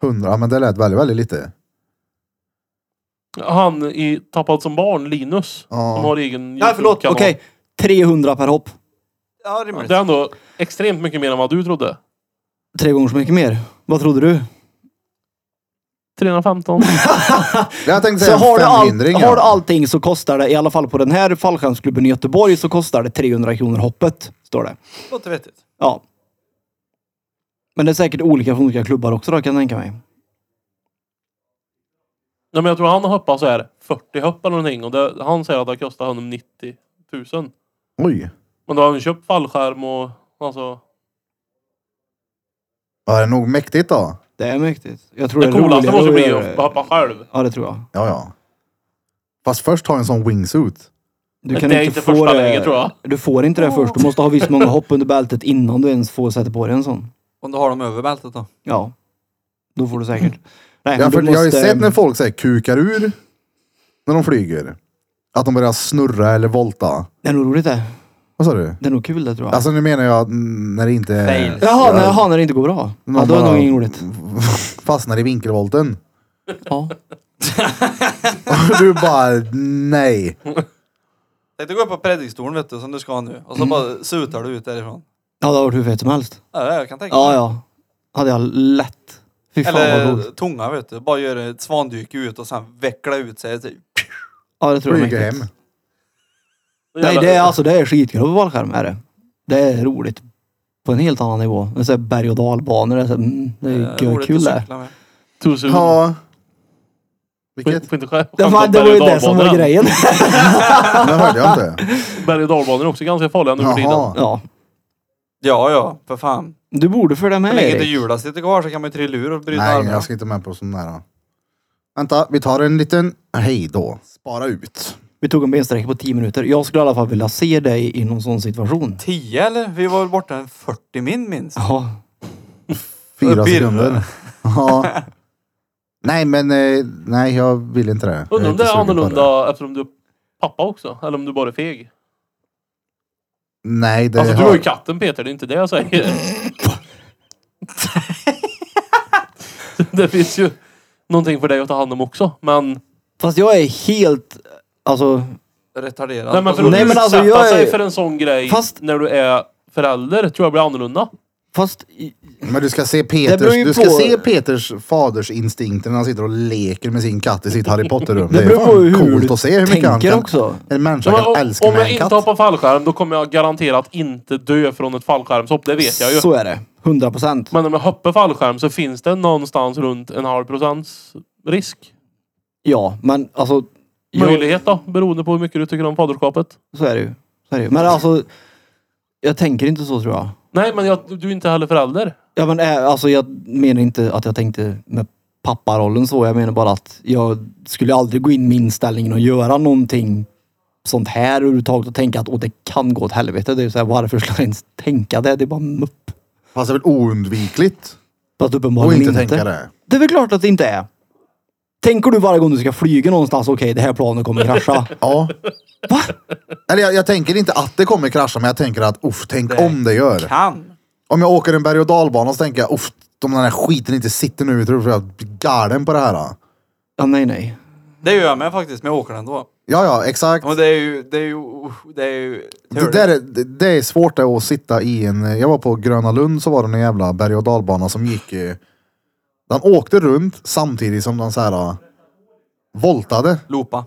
A: 100, men det lät väldigt, väldigt lite.
C: Han i Tappad som barn, Linus.
A: Ja.
C: Som har egen
B: Nej, förlåt.
C: YouTube-kanal.
B: Okej. 300 per hopp.
D: ja rimligt.
C: Det är ändå extremt mycket mer än vad du trodde.
B: Tre gånger så mycket mer. Vad trodde du? [laughs]
C: 315.
A: Jag tänkte
B: Så
A: säga
B: har du,
A: femhundring.
B: all, har du allting så kostar det, i alla fall på den här fallskärmsklubben i Göteborg, så kostar det 300 kronor hoppet. Står det.
D: Låter vettigt.
B: Ja. Men det är säkert olika för olika klubbar också då, kan jag tänka mig.
C: Nej, men jag tror han har hoppat så här 40 hopp eller någonting. Och det, han säger att det kostar honom 90 000.
A: Oj.
C: Men då har han köpt fallskärm och alltså.
A: Ja, det är nog mäktigt då.
B: Det är mäktigt. Jag tror det,
C: Det
B: är roligare
C: coolaste måste
B: att
C: bli
B: göra
C: att
B: det.
C: hoppa själv.
B: Ja, det tror jag.
A: Ja, ja. Fast först ha en sån wingsuit.
B: Du kan
C: det är
B: inte, få
C: inte första
B: det,
C: läget tror jag.
B: Du får inte det först. Du måste ha visst många hopp under bältet innan du ens får sätta på dig en sån.
D: Om du har dem över bältet då.
B: Ja. Då får du säkert. Nej,
A: Ja,
B: men du
A: för jag har ju
B: måste-
A: sett när folk så här, kukar ur när de flyger. Att de börjar snurra eller volta.
B: Det är nog roligt det.
A: Vad sa du?
B: Det är nog kul det tror jag.
A: Alltså nu menar jag mm, när det inte är-
D: Fail.
B: Jaha, när, jaha, när det inte går bra. Ja,
A: Någon
B: då är det
A: bara-
B: nog inget roligt.
A: fastnar i vinkelvolten. [laughs]
B: Ja.
A: Och du bara nej.
D: Tänkte gå upp på predikstolen vet du, som du ska ha nu. Och
B: Mm.
D: så bara sutar du ut
B: Ja,
D: därifrån.
B: det hade varit hur fett som helst.
D: Ja, det jag kan tänka
B: Ja,
D: mig.
B: ja. Hade jag lätt. Fy fan vad
D: Eller
B: roligt.
D: tunga vet du. Bara göra ett svandyke ut och sen veckla ut sig. Typ.
B: Ja, det tror jag.
A: Flyga
B: mäktigt.
A: hem.
B: Nej, det är alltså det är skitgrov fallskärm är det. Det är roligt. På en helt annan nivå. En sån här berg och dalbanor. Det är, så, här, mm, det är
D: Eh,
B: ju
D: roligt
B: kul
D: att
B: det.
D: cykla med.
C: Too soon.
A: Ja.
C: Får
A: Vilket?
C: inte- får inte själv-
B: Det var,
C: skämta
B: det
C: om
B: var ju
C: berg- och
B: det som var
C: dalbanan.
D: [laughs]
B: grejen.
A: Det hörde jag
C: [laughs]
A: inte.
C: Berg och dalbanor är också ganska farliga nu för tiden.
A: Jaha.
B: Ja.
D: Ja, ja, för fan.
B: Du borde följa
D: Så
B: med
D: länge inte
B: Erik.
D: hjulen sitter kvar så kan man ju trilla ur och bryta
A: Nej,
D: armarna.
A: jag ska inte med på sån där. Vänta, vi tar en liten hej då. Spara ut.
B: Vi tog en bensträcka på 10 minuter. Jag skulle i alla fall vilja se dig i någon sån situation.
D: 10 eller? Vi var väl borta en 40 min minst.
B: Ja.
A: Fyra
D: Upp i
A: sekunder.
C: [laughs]
D: det.
A: Ja. Nej, men eh, nej, jag vill inte det. Jag
C: Undrar om
A: inte
C: det är
A: sugen på
C: annorlunda eftersom du är pappa också. Eller om du bara är feg.
A: Nej, det
C: Alltså du
A: har-
C: har ju katten Peter, det är inte det jag säger. [laughs] det finns ju någonting för dig att ta hand om också. Men,
B: Fast jag är helt... Alltså...
D: Retarderad.
C: nej, men för att
B: Nej, men alltså,
C: utsätta
B: jag är-
C: sig för en sån grej
B: Fast-
C: när du är förälder tror jag blir annorlunda.
B: Fast... i-
A: Men du ska se
B: beror ju
A: Peters, du ska
B: på-
A: se Peters fadersinstinkt när han sitter och leker med sin katt i sitt Harry
C: [laughs]
A: Potter-rum.
B: Det beror på hur
A: coolt
B: du
A: att se hur mycket han
B: tänker
A: kan,
B: också.
A: En människa
C: Men,
A: kan
C: om,
A: älska
C: om
A: med
C: jag
A: en
C: inte
A: katt.
C: hoppar fallskärm då kommer jag garanterat inte dö från ett fallskärmshopp. Det vet jag ju.
B: Så är det. 100 procent.
C: Men om jag hoppar fallskärm så finns det någonstans runt en halv procents risk.
B: Ja, men alltså... Jag,
C: Möjlighet då, beroende på hur mycket du tycker om faderskapet.
B: så är det ju. Så är det ju. Men alltså... Jag tänker inte så tror jag.
C: Nej, men jag, du är inte heller förälder.
B: Ja men eh, alltså jag menar inte att jag tänkte med papparollen så. Jag menar bara att jag skulle aldrig gå in med inställningen och göra någonting sånt här överhuvudtaget och tänka att åh, det kan gå åt helvete. Det är ju så här, varför skulle jag ens tänka det? Det är bara mupp.
A: Fast det är väl oundvikligt
B: Fast
A: att
B: uppenbarligen
A: inte
B: inte.
A: tänka det.
B: Det är väl klart att det inte är. Tänker du varje gång du ska flyga någonstans, okej det här
A: [laughs]
B: planet kommer krascha.
A: Ja. Eller jag, jag tänker inte att det kommer krascha, men jag tänker att uff, tänk om det gör.
D: Kan.
A: Om jag åker en berg och dalbana så tänker jag uff, om den här skiten inte sitter nu, tror jag, för jag blir galen på det här. då."
B: ja, nej nej.
D: Det gör jag med faktiskt, men jag åker ändå.
A: Ja, ja, exakt.
D: Men det är ju, det är ju, det är ju
A: Det, där, är- det, det är svårt det att sitta i en... Jag var på Gröna Lund så var det en jävla berg och dalbana som gick... eh, Den åkte runt samtidigt som den så här eh, voltade.
D: Lopa.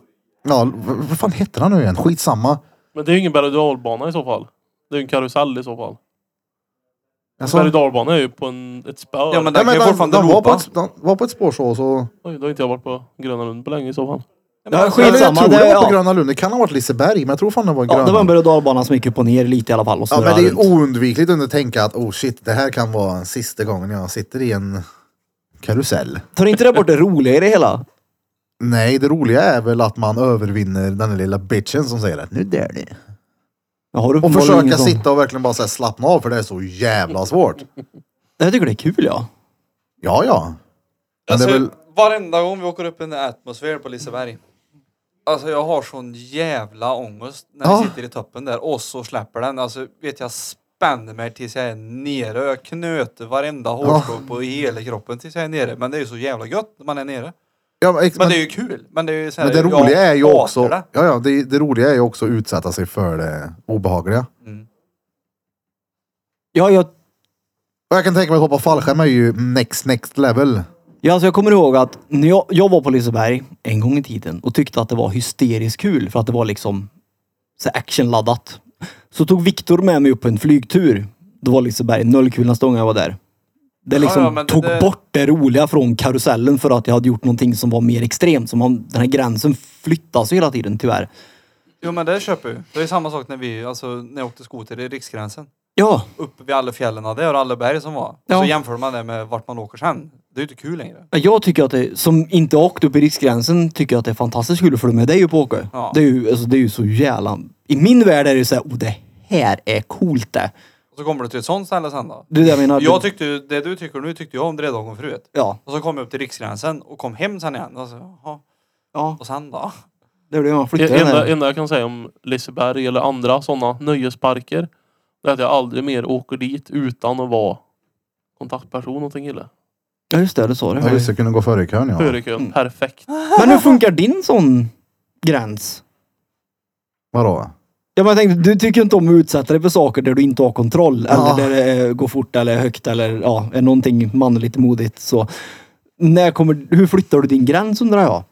A: Ja, v- vad fan heter han nu igen? Skitsamma.
C: Men det är ju ingen berg och dalbana i så fall. Det är ju en karusell i så fall.
A: Alltså,
C: Berg och dalbana är ju på en, ett spö.
D: Ja, men
A: ja,
D: den kan
A: men
D: ju
A: den,
D: fortfarande
A: den, var på
D: lopa.
A: ett, den var på ett spår så. så
C: Oj, då har inte jag varit på Gröna Lund på länge i så fall.
B: Ja,
A: eller jag
B: skitsamma.
A: tror det,
B: Det,
A: var på
B: ja.
A: Gröna Lund. Det kan ha varit Liseberg, men jag tror fan det var Gröna
B: Ja, det var en
A: Lund.
B: berg och dalbana som gick upp och ner lite i alla fall och
A: Ja,
B: snurrade
A: men det
B: runt.
A: är oundvikligt att tänka att oh shit, det här kan vara sista gången jag sitter i en karusell.
B: Tar inte det bort det roliga i det hela?
A: Nej, det roliga är väl att man övervinner den där lilla bitchen som säger att nu dör ni.
B: Jag har
A: Och
B: uppenbarligen
A: försöka
B: ingen sån-
A: sitta och verkligen bara så här slappna av för det är så jävla svårt.
B: Jag tycker det är kul ja.
A: Ja, ja. Men det
D: Alltså,
A: är väl...
D: Varenda gång vi åker upp i en atmosfär på Liseberg. Alltså jag har sån jävla ångest när
A: Ja.
D: vi sitter i toppen där och så släpper den. Alltså vet jag spänner mig tills jag är nere och jag knöter varenda hårstrå på hela kroppen tills jag är nere. Men det är ju så jävla gött när man är nere.
A: Ja, men, ex-
D: Men
A: men,
D: det är ju kul. Men det är ju så här,
A: men det
D: jag
A: roliga är ju
D: hatar
A: också...
D: det.
A: Ja, ja, det, det roliga är ju också att utsätta sig för det obehagliga.
B: Ja, jag,
A: Och jag kan tänka mig att hoppa fallskärm är ju next, next level.
B: ja alltså jag kommer ihåg att när jag, jag var på Liseberg en gång i tiden och tyckte att det var hysteriskt kul för att det var liksom så här actionladdat. Så tog Viktor med mig upp på en flygtur. Då var Liseberg nollkulan stång när jag var där. Det liksom
D: ja, men det-
B: tog
D: det-
B: bort det roliga från karusellen för att jag hade gjort någonting som var mer extremt. Som om den här gränsen flyttas ju hela tiden tyvärr.
D: Jo men det köper jag ju. Det är ju samma sak när vi, alltså när jag åkte skoter i Riksgränsen.
B: Ja,
D: Uppe vid alla fjällen där och alla berg som var.
B: Ja.
D: Så jämför man det med vart man åker sen. Det är ju inte kul längre.
B: Jag tycker att det, som inte har åkt upp i riksgränsen, tycker jag att det är fantastiskt kul att följa med dig upp och åka.
D: Ja.
B: Det, är ju, alltså, det är ju så jävla... I min värld är det ju såhär, oh det här är coolt det.
D: Och så kommer du till ett sånt ställe sen då.
B: Det är det jag menar.
D: Jag tyckte ju- det du tycker nu tyckte jag om Drevdagen förut.
B: ja.
D: Och så kom jag upp till Riksgränsen och kom hem sen igen. Och, så, jaha.
B: ja,
D: och sen då?
B: det blir man flyttar
C: Det
B: den
C: enda,
B: där.
C: enda jag kan säga om Liseberg eller andra sådana nöjesparker. Det är att jag aldrig mer åker dit utan att vara kontaktperson åt en kille.
B: Ja just det, det sa
A: Ja,
B: du.
A: just det, kunde gå före i kön ja. Mm.
C: Före kön. Perfekt.
B: Men hur funkar din sån gräns?
A: Vadå?
B: Ja, men jag tänkte, du tycker inte om att utsätta dig för saker där du inte har kontroll.
A: Ja.
B: Eller där det eh, går fort eller högt eller ja, är någonting manligt modigt. Så, när kommer, hur flyttar du din gräns undrar jag?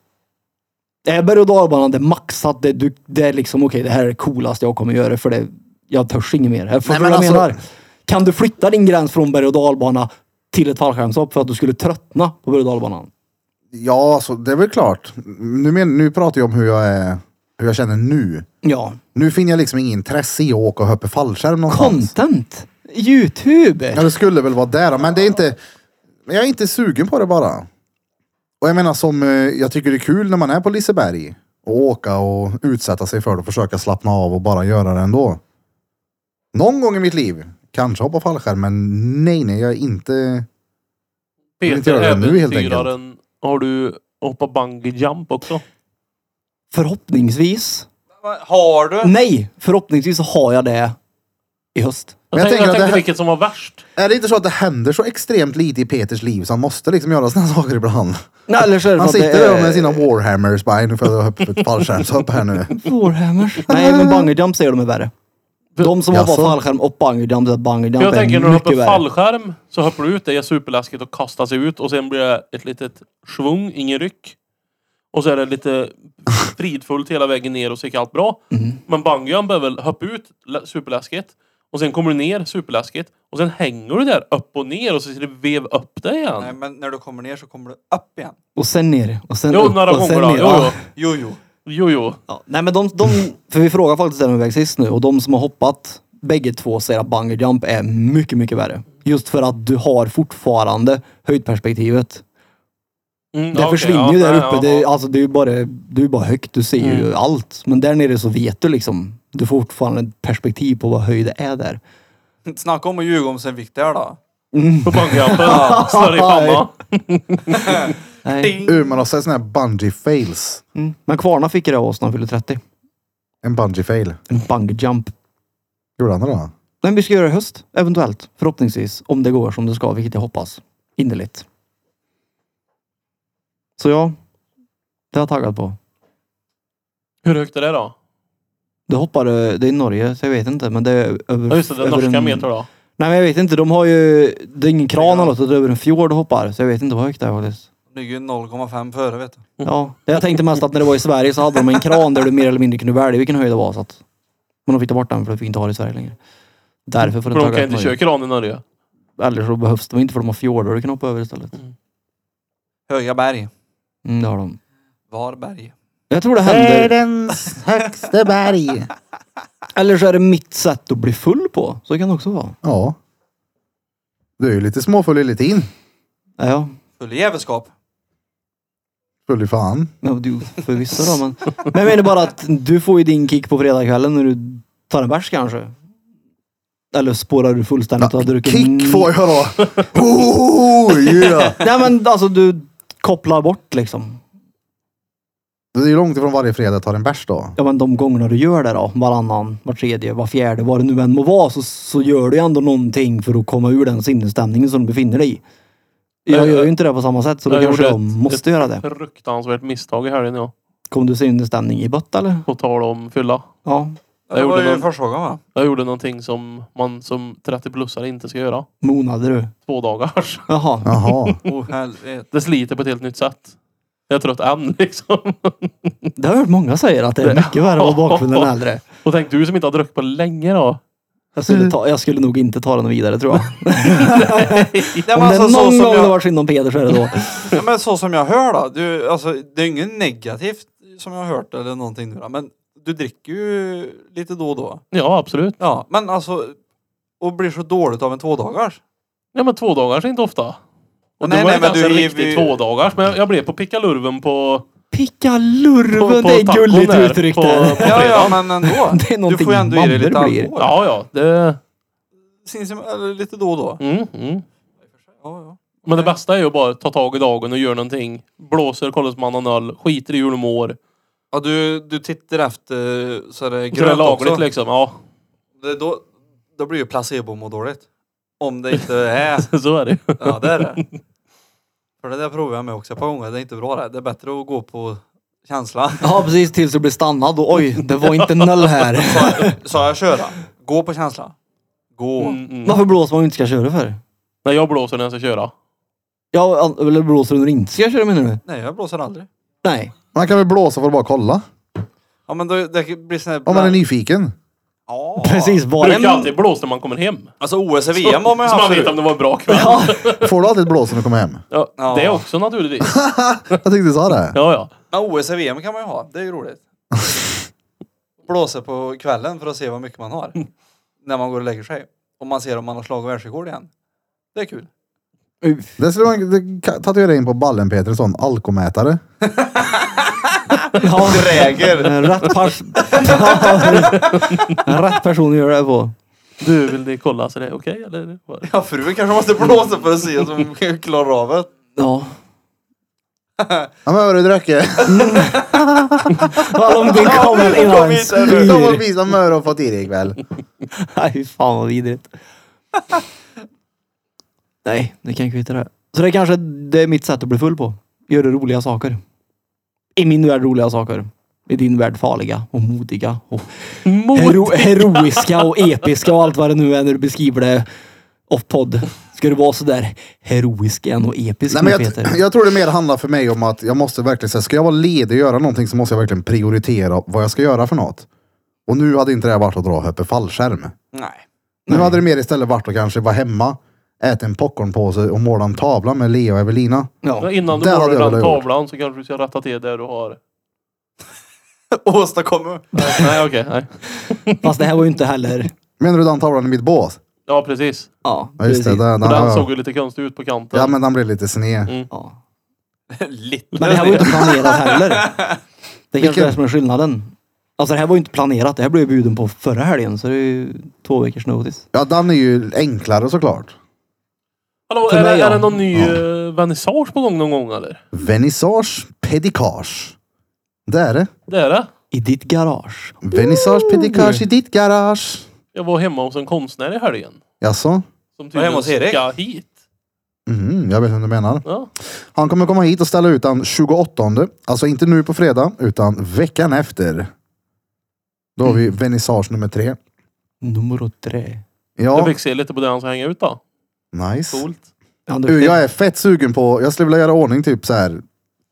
B: Är berg och dalbanan det maxat? Det, du, det är liksom okej, det här är det coolaste jag kommer göra för det, jag törs inget mer. Förstår
A: Nej,
B: du
A: men
B: vad jag
A: alltså-
B: menar? Kan du flytta din gräns från berg och dalbana till ett fallskärmshopp för att du skulle tröttna på berg och dalbanan?
A: Ja, så det är väl klart. Nu, men, nu pratar jag om hur jag, är, hur jag känner nu.
B: Ja.
A: Nu finner jag liksom inget intresse i att åka och hoppa fallskärm någonstans.
B: Content! Youtube!
A: Ja, det skulle väl vara där, men det är inte... men Jag är inte sugen på det bara. Och jag menar som, eh, jag tycker det är kul när man är på Liseberg. Och åka och utsätta sig för det och försöka slappna av och bara göra det ändå. Någon gång i mitt liv, kanske hoppa fallskärm, men nej, nej, jag är inte... vill inte
C: Peter,
A: göra det nu, helt
C: äventyraren. Har du hoppat bungee jump också?
B: Förhoppningsvis
D: Har du?
B: Nej, förhoppningsvis så har jag det i höst.
C: Jag,
A: jag
C: tänkte-
A: tänker att
C: jag
A: det
C: tänkte
A: här-
C: vilket som var värst.
A: Är det inte så att det händer så extremt lite i Peters liv så han måste liksom göra såna [laughs] saker ibland?
B: Nej, eller så är det
A: Han
B: för att
A: sitter
B: det är-
A: där med sina warhammers bara, "Nej, nu får jag hoppa upp ett fallskärmshopp här nu.
B: [laughs] Warhammers. Nej, men bungee jump säger de är värre. De som hoppar
A: Jaså?
B: fallskärm och bungee jump, det är bungee jump
C: För jag
B: är
C: tänker när du hoppar
B: mycket värre.
C: fallskärm så hoppar du ut, det är superläskigt och kastar sig ut och sen blir det ett litet svung, ingen ryck. Och så är det lite fridfullt hela vägen ner och så gick allt bra.
B: Mm.
C: Men bungyjump är väl hoppa ut, lä- superläskigt. Och sen kommer du ner, superläskigt. Och sen hänger du där upp och ner och så ser det vev upp dig igen.
D: Nej men när du kommer ner så kommer du upp igen.
B: Och sen ner. Och sen
C: jo,
B: upp,
C: några
B: och sen
C: gånger då.
B: ner.
C: Jo,
B: Ja.
C: jo.
D: Ah, Jo jo.
C: jo, jo.
B: Ja. Nej, men de, de, för vi frågar faktiskt den väg sist nu och de som har hoppat bägge två säger att bungee jump är mycket, mycket värre. Just för att du har fortfarande höjdperspektivet.
C: Mm,
B: Det
C: ja, okej,
B: försvinner
C: ja,
B: ju där
C: nej,
B: uppe.
C: ja,
B: det, är-
C: ja. Mm.
B: alltså, det är ju bara, du är bara högt. Du ser ju allt. Men där nere så vet du liksom. Du får fortfarande ett perspektiv på vad höjd är där.
D: Snacka om att ljuga om sin vikt där då.
B: [laughs]
C: På bungyjumpen. Slår i pannan.
B: Nej.
A: Uh, man har sett såna här bungee fails.
B: Mm. Men Kvarna fick det av oss när han fyllde 30.
A: En bungee fail.
B: En bungee jump.
A: Gjorde han det då?
B: Men vi ska göra det i höst. Eventuellt. Förhoppningsvis. Om det går som det ska, vilket jag hoppas. Innerligt. Så ja. Det är jag taggad på.
C: Hur högt är det då?
B: Det hoppar, eh, det är i Norge, så jag vet inte. Men det är över...
C: Ja, just det, den
B: över
C: norska
B: en-
C: meter då.
B: Nej men jag vet inte, de har ju... Det är ingen kran eller något, utan det är över en fjord och hoppar. Så jag vet inte vad högt det är faktiskt.
D: Det ligger ju 0,5 före vet du.
B: Ja, jag tänkte mest att när det var i Sverige så hade de en kran där du mer eller mindre kunde välja vilken höjd det var. Så att, men de fick ta bort den för att vi inte har det i Sverige längre. Därför får
C: För
B: det
C: de
B: tagga
C: kan
B: upp
C: inte
B: Norge.
C: köra kran i Norge.
B: Eller så behövs de inte för de har fjordar du kan hoppa över istället.
D: Höga berg.
B: Mm, det har de.
D: Varberg.
B: Jag tror det händer.
A: Världens högsta berg.
B: Eller så är det mitt sätt att bli full på. Så kan det också vara.
A: Ja. Du är ju lite småfull i lite in.
B: Ja, Ja,
D: Full i jävelskap.
A: Full i fan.
B: ja du förvisso då. Men, men jag menar bara att du får ju din kick på fredagskvällen när du tar en bärs kanske. Eller spårar du fullständigt och har druckit...
A: Kick får jag då.
B: [laughs]
A: Oh, yeah.
B: Nej men alltså du kopplar bort liksom.
A: Det är ju långt ifrån varje fredag jag tar en bärs då.
B: ja, men de gångerna du gör det då, varannan, var tredje, var fjärde, vad det nu än må vara, så, så gör du ju ändå någonting för att komma ur den sinnesstämningen som du befinner dig i. Jag
C: Äh,
B: gör ju inte det på samma sätt, så då
C: jag
B: kanske
C: gjorde
B: jag
C: ett-
B: måste
C: ett-
B: göra det.
C: Fruktansvärt misstag i helgen ja.
B: Kom du sinnesstämning i bött eller?
C: På tal om fylla.
B: Ja.
D: Ja,
C: Jag
D: Det var
C: gjorde
D: ju
C: någon-
D: första
B: [laughs]
D: gången va?
C: Jag gjorde någonting som man som 30-plussare inte ska göra.
B: Monade du?
C: Två dagars.
B: Jaha.
A: Jaha.
D: Oh helvete.
C: [laughs] Det sliter på ett helt nytt sätt. Jag är trött än [laughs] liksom.
B: Det har jag hört många säga att det är mycket värre att vara bakfull än äldre.
C: Och tänk du som inte har druckit på länge då.
B: Jag skulle, ta, jag skulle nog inte ta den vidare tror jag.
D: Det
B: Om
D: var
B: det
D: alltså
B: är
D: så
B: någon
D: som
B: gång det
D: jag...
B: var synd om Peder så är det
C: [laughs]
B: då.
D: Ja, men så som jag hör då. Du, alltså, det är inget negativt som jag har hört eller någonting nu då. Men du dricker ju lite då och då.
C: Ja absolut.
D: Ja, men alltså. Och blir så dåligt av en tvådagars.
C: Ja men två dagars är inte ofta. Och
D: Nej,
C: du var
D: nej,
C: inte ens
D: men
C: en
D: du är ju-
C: riktig två dagars. Men jag- jag blev på pickalurven på...
B: Picka
C: på, på
B: lurven, det är
C: tacon
B: gulligt
C: där,
B: uttryckt.
C: På,
B: där.
C: på
D: Ja, ja
C: fredagen.
D: men
C: [laughs]
D: ändå.
B: Det är
D: Du
B: någonting
D: får ju ändå i dig lite
B: mammor blir.
D: alkohol. Ja.
C: Ja ja. Det...
D: Eller lite då och då.
C: Mm, mm.
D: Ja, ja.
C: Men det bästa är ju bara att ta tag i dagen och göra någonting. Blåser, kollar man någon öl, skiter i hur de mår.
D: Ja, du, du tittar efter eh, så
C: Så
D: är det
C: det är
D: grönt
C: lagligt
D: också.
C: liksom. Ja, [laughs]
D: Det, då, då blir ju placebo må dåligt. Om det inte är...
C: så är det ju. [laughs]
D: Ja, det är det. För det där provade jag med också ett par gånger. Det är inte bra det. Det är bättre att gå på känsla. [laughs]
B: Ja, precis. Tills du blir stannad och oj, det var inte noll här.
D: Sa jag köra? Gå på känsla. Gå.
C: Mm, mm.
B: Varför blåser man om du inte ska köra för?
C: Nej, jag blåser när jag ska köra.
B: Ja, an- eller blåser du när du inte ska köra menar du?
D: Nej, jag blåser aldrig.
B: Nej.
A: Man kan väl blåsa för att bara kolla?
D: Ja men då, det blir sån här...
A: Om man är nyfiken.
D: Ja.
B: Precis, bara
C: Brukar
B: en...
C: alltid blåsa när man kommer hem.
D: Alltså OS och [laughs] VM har man ju
C: Så man
D: haft
C: vet om
D: förut.
C: det var en bra kväll.
B: Ja,
A: Får du alltid ett blås när du kommer hem?
C: Ja,
D: Ja.
C: Det också naturligtvis.
A: Jag tyckte du sa det.
C: Ja, ja.
D: Men OS och VM kan man ju ha. Det är ju roligt. Blåser på kvällen för att se vad mycket man har. När man går och lägger sig. Och man ser om man har slagit världsrekord igen. Det är kul.
B: Uff.
A: Det skulle man det kan- tatuera in på ballen Peter, en sån alkomätare.
D: [laughs]
B: ja.
D: Dräger.
B: En Rätt pers... [laughs] Ja, en Rätt person att göra det på.
C: Du, vill ni kolla så det är okej eller? vad?
D: Ja, frun kanske måste blåsa för att se om hon klarar av det.
B: Ja.
A: Ja men hörru Dröcke.
B: Alla de kommer innan
D: kom
B: han
D: hit
A: [laughs]
D: här
A: De
D: nu.
A: har
B: spyr.
A: visat vad Möre har fått i dig ikväll.
B: Nej, fy fan vad vidrigt. Nej, det kan jag kvitta det. Så det är kanske det är mitt sätt att bli full på. Göra roliga saker. I min värld roliga saker. I din värld farliga och modiga och hero heroiska och episka och allt vad det nu är när du beskriver det off-podd. Ska du vara sådär heroisk igen och episk
A: Nej, men
B: nu, Peter?
A: [laughs] jag, jag tror det mer handlar för mig om att jag måste verkligen säga, ska jag vara ledig och göra någonting så måste jag verkligen prioritera vad jag ska göra för något. Och nu hade inte det här varit att dra upp en fallskärm.
D: Nej. [laughs]
A: Nu hade det mer istället varit att kanske vara hemma, äta en popcornpåse och måla en tavla med Lea och Evelina.
C: Ja,
B: Ja.
C: Innan du
A: Det hade
C: målar
A: jag
C: den
A: väl gjort.
C: tavlan så kanske du ska rätta till det du har.
D: Åstadkommer.
C: Nej, okej. nej.
B: Fast det här var ju inte heller...
A: Menar du den tavlan i mitt bås?
C: Ja, precis.
B: Ja,
A: Ja just det,
B: precis.
A: den,
C: Och
A: den,
C: den
A: ja,
C: såg ju lite konstig ut på kanten.
A: ja men den blev lite sned.
B: Ja.
D: Lite.
B: Men det här var ju inte planerat heller. Det är kanske är det som är skillnaden. Alltså det här var ju inte planerat. Det här blev jag bjuden på förra helgen. Så det är ju två veckors notice.
A: Ja den är ju enklare såklart.
C: Hallå,
B: För
C: är,
B: mig,
C: det,
B: ja.
C: är det någon ny ja. vernissage på gång någon gång eller?
A: Vernissage, pedikage. Det är det.
C: Det är det.
B: I ditt garage.
A: Vernissage, pedikage i ditt garage.
C: Jag var hemma hos en konstnär i helgen.
A: Jaså?
C: Som
D: Var hemma
C: tydligen
D: hos Erik?
C: ska hit.
A: Mhm, jag vet inte vad du menar.
C: Ja.
A: Han kommer komma hit och ställa ut den 28. Alltså inte nu på fredag, utan veckan efter. Då har vi vernissage nummer tre.
B: Nummer tre.
C: Jag
A: Ja,
C: fick se lite på det han ska hänga ut då.
A: nice.
C: Coolt.
B: Ja, det-
A: Du, jag är fett sugen på, jag skulle vilja göra ordning typ så här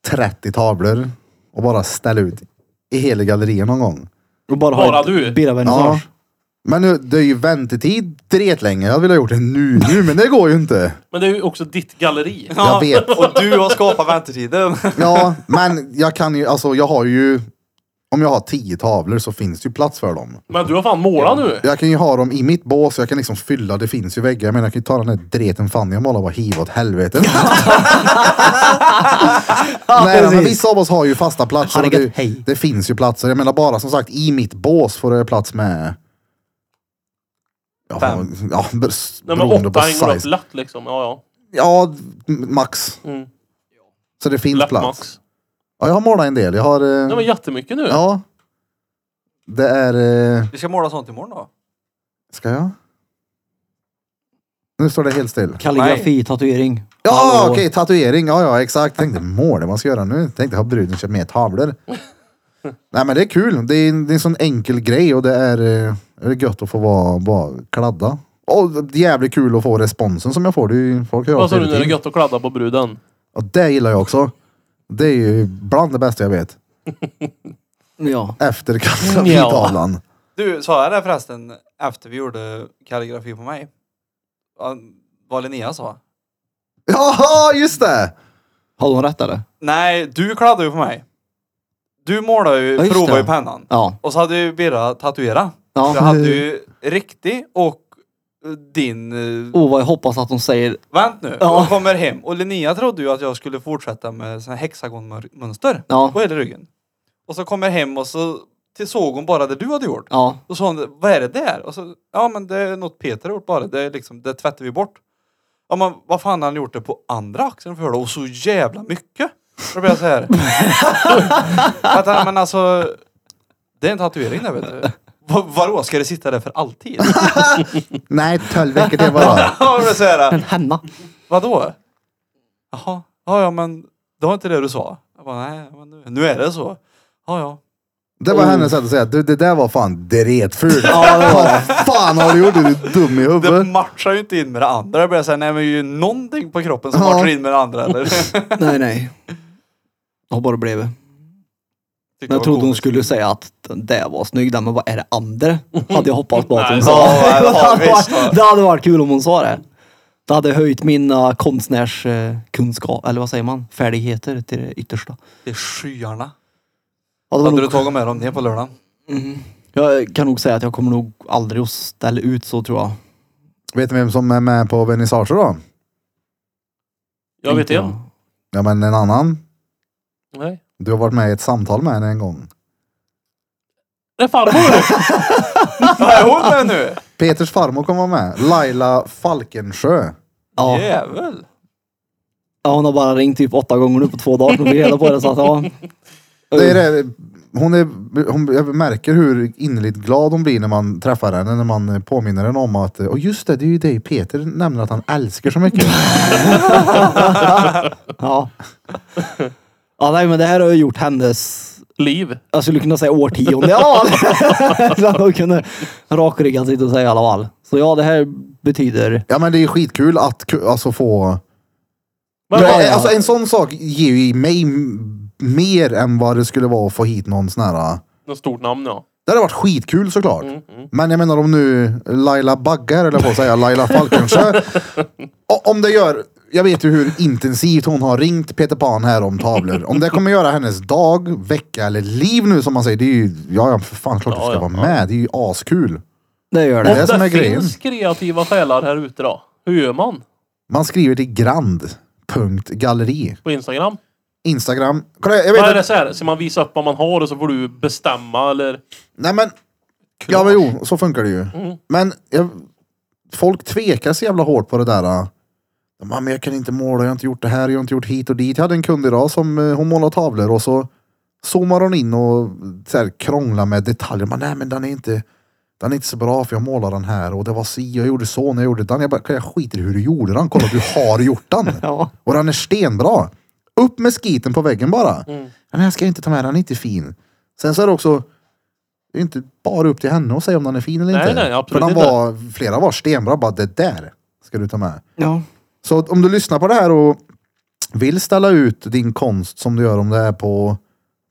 A: 30 tavlor och bara ställa ut i hela galleriet någon gång.
B: och bara
C: Bara
B: ha
C: du?
B: ett birravernissage.
A: Men nu, det är ju väntetid dret länge. Jag vill ha gjort det nu, nu, men det går ju inte.
C: Men det är ju också ditt galleri.
A: Jag vet.
D: [laughs] Och du har skapat väntetiden.
A: [laughs] Ja, men jag kan ju, alltså jag har ju, om jag har 10 tavlor så finns det ju plats för dem.
C: Men du har fan målat nu.
A: Jag kan ju ha dem i mitt bås och jag kan liksom fylla, det finns ju väggar. Men jag kan ju ta den där dreten Fanny och måla bara hiva åt helvete. [laughs] Nej, men
B: precis.
A: vissa av oss har ju fasta platser. Och
B: Herregud,
A: det,
B: hej.
A: det finns ju platser. Jag menar bara som sagt, i mitt bås får jag plats med... Ja,
D: Fem.
A: ja bes-
C: Nej, men
A: beroende på
C: åtta hänger upp
A: size.
C: lätt liksom. Ja, ja.
A: Ja, m- max.
C: Mm.
A: Så det finns
C: Lätt
A: plats.
C: max.
A: Ja, jag har målat en del. Jag har... eh,
C: Nej, men jättemycket nu.
A: ja. Det är... eh,
D: Vi ska måla sånt imorgon då.
A: Ska jag? Nu står det helt still.
B: Kalligrafi, tatuering.
A: Ja,
B: Hallå.
A: okej, tatuering. Ja, ja, exakt. Tänkte mål det man ska göra nu. Tänkte har bruden köpt mer
C: [laughs]
A: tavlor? Nej, men det är kul. Det är, en- det är en sån enkel grej och det är, eh, det är gött att få vara, vara kladda. Och det är jävligt kul att få responsen som jag får. Det är ju, folk hör av
C: Vad sa
A: sig
C: du
A: hela
C: nu? Det är
A: tiden.
C: gött att kladda på bruden.
A: Och det gillar jag också. Det är ju bland det bästa jag vet.
B: Ja.
A: Efter
C: Ja.
A: kalligrafitavlan.
D: Du, sa jag det förresten efter vi gjorde kalligrafi på mig? Ja, Vad Linnea sa?
A: Jaha, just det!
B: Har hon rätt eller?
D: Nej, du kladdade ju på mig. Du målade ju,
B: Ja, just
D: provade
B: det.
D: ju pennan.
B: Ja.
D: Och så hade ju Birra tatuerat.
B: Ja.
D: Du hade ju riktig och eh, din... eh,
B: Åh vad jag hoppas att hon säger.
D: Vänt nu,
B: Oh. Ja.
D: jag kommer hem. Och Linnea trodde ju att jag skulle fortsätta med såna här hexagonmönster
B: Ja.
D: på hela ryggen. Och så kommer jag hem och så till såg hon bara det du hade gjort.
B: Ja.
D: Då sa hon, vad är det där? Och så, ja men det är något Peter har gjort bara, det, är liksom, det tvättar vi bort. Ja men vad fan har han gjort det på andra axeln för då? Och så jävla mycket! Då blir jag så här. att, nej, men alltså, det är en tatuering där vet du. Va- Vadå, ska det sitta där för alltid? [laughs]
A: Nej, 12 veckor till bara.
D: Ja, då blir jag så här,
B: Henna.
D: vadå? Jaha, Ja, ja, men det var inte det du sa. Jag bara, nej, men nu, nu är det så. Ja, ja.
A: Det var hennes sätt att säga du, det där var fan dretfult. ja, Vad fan har du gjort? Är du dum i
D: Det
A: huvudet?
D: matchar ju inte in med det andra. Jag börjar säga, nej men ju någonting på kroppen som
A: Ja.
D: matchar in med det andra eller? Tyckte
B: Nej, nej. Jag bara blev. Men
D: det var
B: jag trodde hon
D: komiskt.
B: skulle säga att den där var snygg den, men vad är det andra? Hade jag hoppats på att hon
C: Nej,
B: sa.
D: ja,
B: [laughs]
D: ja,
B: det, hade
D: visst,
B: varit-
D: ja.
B: det hade varit kul om hon sa det. Det hade höjt mina konstnärskunskap, eller vad säger man? Färdigheter till det yttersta.
D: Det är skyarna.
B: Ja, det var
D: Hade
B: nog- Mm.
D: du tagit med dem ner på lördagen?
B: [laughs] Jag kan nog säga att jag kommer nog aldrig att ställa ut så tror jag.
A: Vet ni vem som är med på vernissage då?
C: Jag vet
B: Tänkte
C: en.
A: Ja men en annan.
C: Nej.
A: Du har varit med i ett samtal med henne en gång.
C: Det är farmor! [laughs]
D: Ja, är hon med nu?
A: Peters farmor kommer vara med. Laila Falkensjö.
B: Ja.
D: Jävel.
B: ja, hon har bara ringt typ åtta gånger nu på två dagar. så Hon fick reda på det så att ja.
A: Det är det. Hon är, hon, jag märker hur innerligt glad hon blir när man träffar henne, när man eh, påminner henne om att, eh, och just det, det är ju dig Peter nämner att han älskar så mycket.
B: Ja. ja, nej men det här har ju gjort hennes,
C: Liv.
B: jag skulle kunna säga årtionde. Ja! [laughs] Så att hon kunde rakryggat sitta och säga i alla fall. Så ja, det här betyder...
A: Ja men det är skitkul att ku- alltså få...
C: Men,
A: Ja,
B: ja, ja.
A: Alltså en sån sak ger ju mig m- mer än vad det skulle vara att få hit någon sån här...
C: Något stort namn ja.
A: Det hade varit skitkul såklart.
C: Mm, mm.
A: Men jag menar om nu Laila Baggar eller på att säga, Laila
C: [laughs]
A: Falkensjö. O- om det gör, jag vet ju hur intensivt hon har ringt Peter Pan här om tavlor. Om det kommer göra hennes dag, vecka eller liv nu som man säger, det är ju, ja ja, för fan klart du
C: Ja,
A: ska
C: ja,
A: vara
C: ja.
A: med. Det är ju askul.
B: Det gör
A: Det
B: det.
A: är det som är
C: det
A: grejen.
C: finns kreativa själar här ute då. Hur gör man?
A: Man skriver till grand.galleri.
C: På Instagram?
A: Instagram. Kolla, jag vet
C: Vad är
A: inte.
C: det så här? Ska man visa upp vad man har och så får du bestämma eller?
A: Nej men, ja men jo, så funkar det ju.
C: Mm.
A: Men jag, folk tvekar så jävla hårt på det där. äh. De bara, men jag kan inte måla, jag har inte gjort det här, jag har inte gjort hit och dit. Jag hade en kund idag som eh, hon målade tavlor och så zoomar hon in och så här, krånglar med detaljer. Man, nej men den är inte den är inte så bra för jag målade den här och det var si, jag gjorde så när jag gjorde den. Jag bara, jag skiter i hur du gjorde den. Kolla, du har gjort
C: [laughs]
A: den.
B: Ja.
A: Och den är stenbra. Upp med skiten på väggen bara.
C: Mm.
A: Men Den här ska jag inte ta med, den är inte fin. Sen så är det också, det är inte bara upp till henne att säga om den är fin eller
C: Nej,
A: inte.
C: nej, absolut
A: För den
C: inte.
A: var, flera var stenbra, bara det där ska du ta med.
B: Ja.
A: Så att om du lyssnar på det här och vill ställa ut din konst som du gör om det är på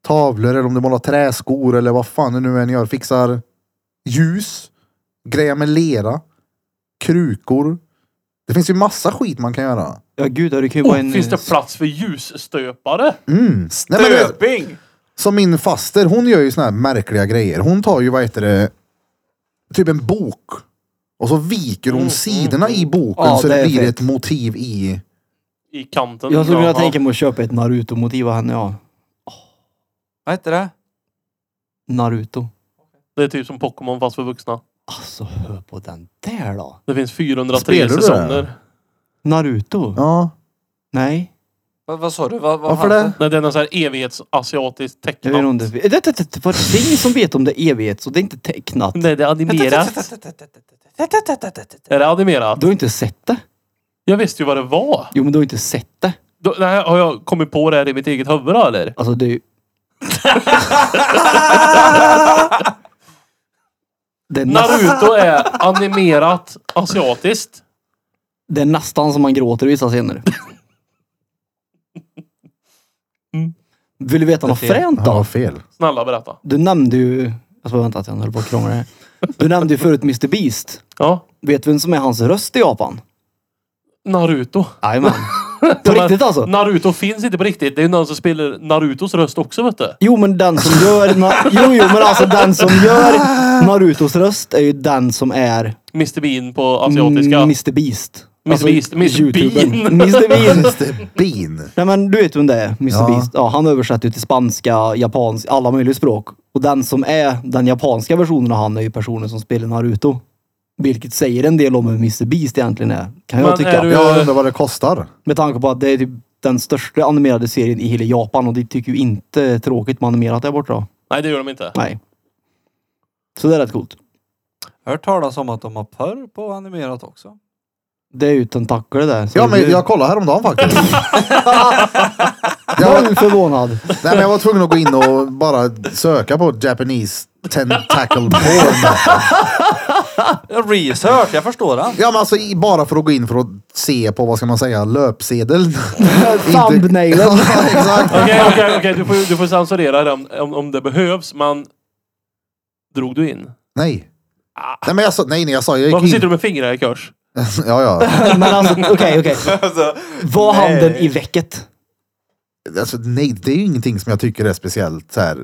A: tavlor eller om du målar träskor eller vad fan det nu än gör. Fixar ljus, grejer med lera, krukor. Det finns ju massa skit man kan göra.
B: ja, gud, det kan ju vara
C: Oh,
B: en...
C: finns det plats för ljusstöpare?
A: Mm. Nej, men, du vet,
D: Döping!
A: som min faster, hon gör ju såna här märkliga grejer. Hon tar ju, vad heter det, typ en bok. Och så viker hon sidorna i boken
B: Ja,
A: så
B: det
A: det
B: är
A: blir
B: fett.
A: ett motiv i.
C: I kanten?
B: Jag skulle kunna
C: Ja.
B: tänka mig att köpa ett Naruto-motiv av henne, ja.
D: Vad heter det?
B: Naruto.
C: Det är typ som Pokémon fast för vuxna.
B: Alltså, hör på den där då.
C: Det finns 403
A: Spelar du det?
C: säsonger.
B: Naruto?
A: Ja.
B: Nej.
D: Vad, vad sa du? Vad, vad
A: Varför
D: fan?
A: det?
C: Nej, det är någon sån här evighetsasiatisk
B: Jag vet
C: tecknat.
B: inte om det... Det, det, det, det, det är ingen som vet om det är evigt, så det är inte tecknat.
C: Nej, det är animerat. är det animerat?
B: Du har inte sett det?
C: Jag visste ju vad det var.
B: Jo, men du har inte sett det.
C: Då, nej, har jag kommit på det här i mitt eget huvud då, eller?
B: Alltså det är ju... det, är nas-
C: Naruto är animerat asiatiskt.
B: det är nästan som man gråter i vissa scener. Vill du veta något fränt
A: Ja,
B: då?
A: fel.
C: Snälla berätta.
B: Du nämnde ju... Jag ska vänta att jag höll på att krångla här. Du nämnde ju förut Mr Beast.
C: Ja.
B: Vet du vem som är hans röst i Japan?
C: Naruto.
B: Jajamän. På riktigt alltså?
C: Naruto finns inte på riktigt. Det är ju någon som spelar Narutos röst också vet du.
B: Jo men den som gör... Na- jo jo men alltså den som gör Narutos röst är ju den som är
C: Mr Bean på asiatiska.
A: Mm.
B: Mr Mm, Beast. Alltså,
C: Mr. Beast. Mr.
B: youtubern. [laughs]
C: Bean.
A: [laughs]
B: Mr
C: [laughs]
B: Bean.
A: Mr Bean.
B: Nej men du vet vem det är, Mr
A: Ja.
B: Beast. Ja, han översätter ju till spanska, japanska, alla möjliga språk. Och den som är den japanska versionen av han är ju personen som spelar Naruto. Vilket säger en del om hur Mr Beast egentligen är. Kan jag
C: Men
B: tycka.
C: är du-
A: Jag undrar vad det kostar.
B: Med tanke på att det är typ den största animerade serien i hela Japan och det tycker ju inte är tråkigt med animerat där borta. då.
C: Nej det gör de inte.
B: Nej. Så det är rätt coolt.
D: Jag har hört talas om att de har porr på animerat också.
B: Det är ju tentakler där. så
A: Ja,
B: det
A: men
B: blir-
A: jag kollade häromdagen faktiskt. jag,
B: Noll förvånad.
A: nej, men jag var tvungen att gå in och bara söka på Japanese tentacle porn.
D: Research, jag
B: [laughs]
D: förstår det.
A: Ja, men alltså i- bara för att gå in för att se på, vad ska man säga, löpsedeln.
B: Thumbnailen.
A: [laughs] Ja, exakt.
C: Okej, okej, okej. Du får, du får censurera det om, om, om det behövs, men... Drog du in?
A: [laughs] Nej. Nej, men jag sa, nej, nej, jag sa, jag
C: Varför
A: gick
C: sitter du
A: in.
C: med fingrarna i kors?
A: [laughs] Ja, ja.
B: Men alltså, okej, okej.
D: Alltså,
B: Var
D: Nej.
B: handen i väcket?
A: Alltså, nej, det är ju ingenting som jag tycker är speciellt så här,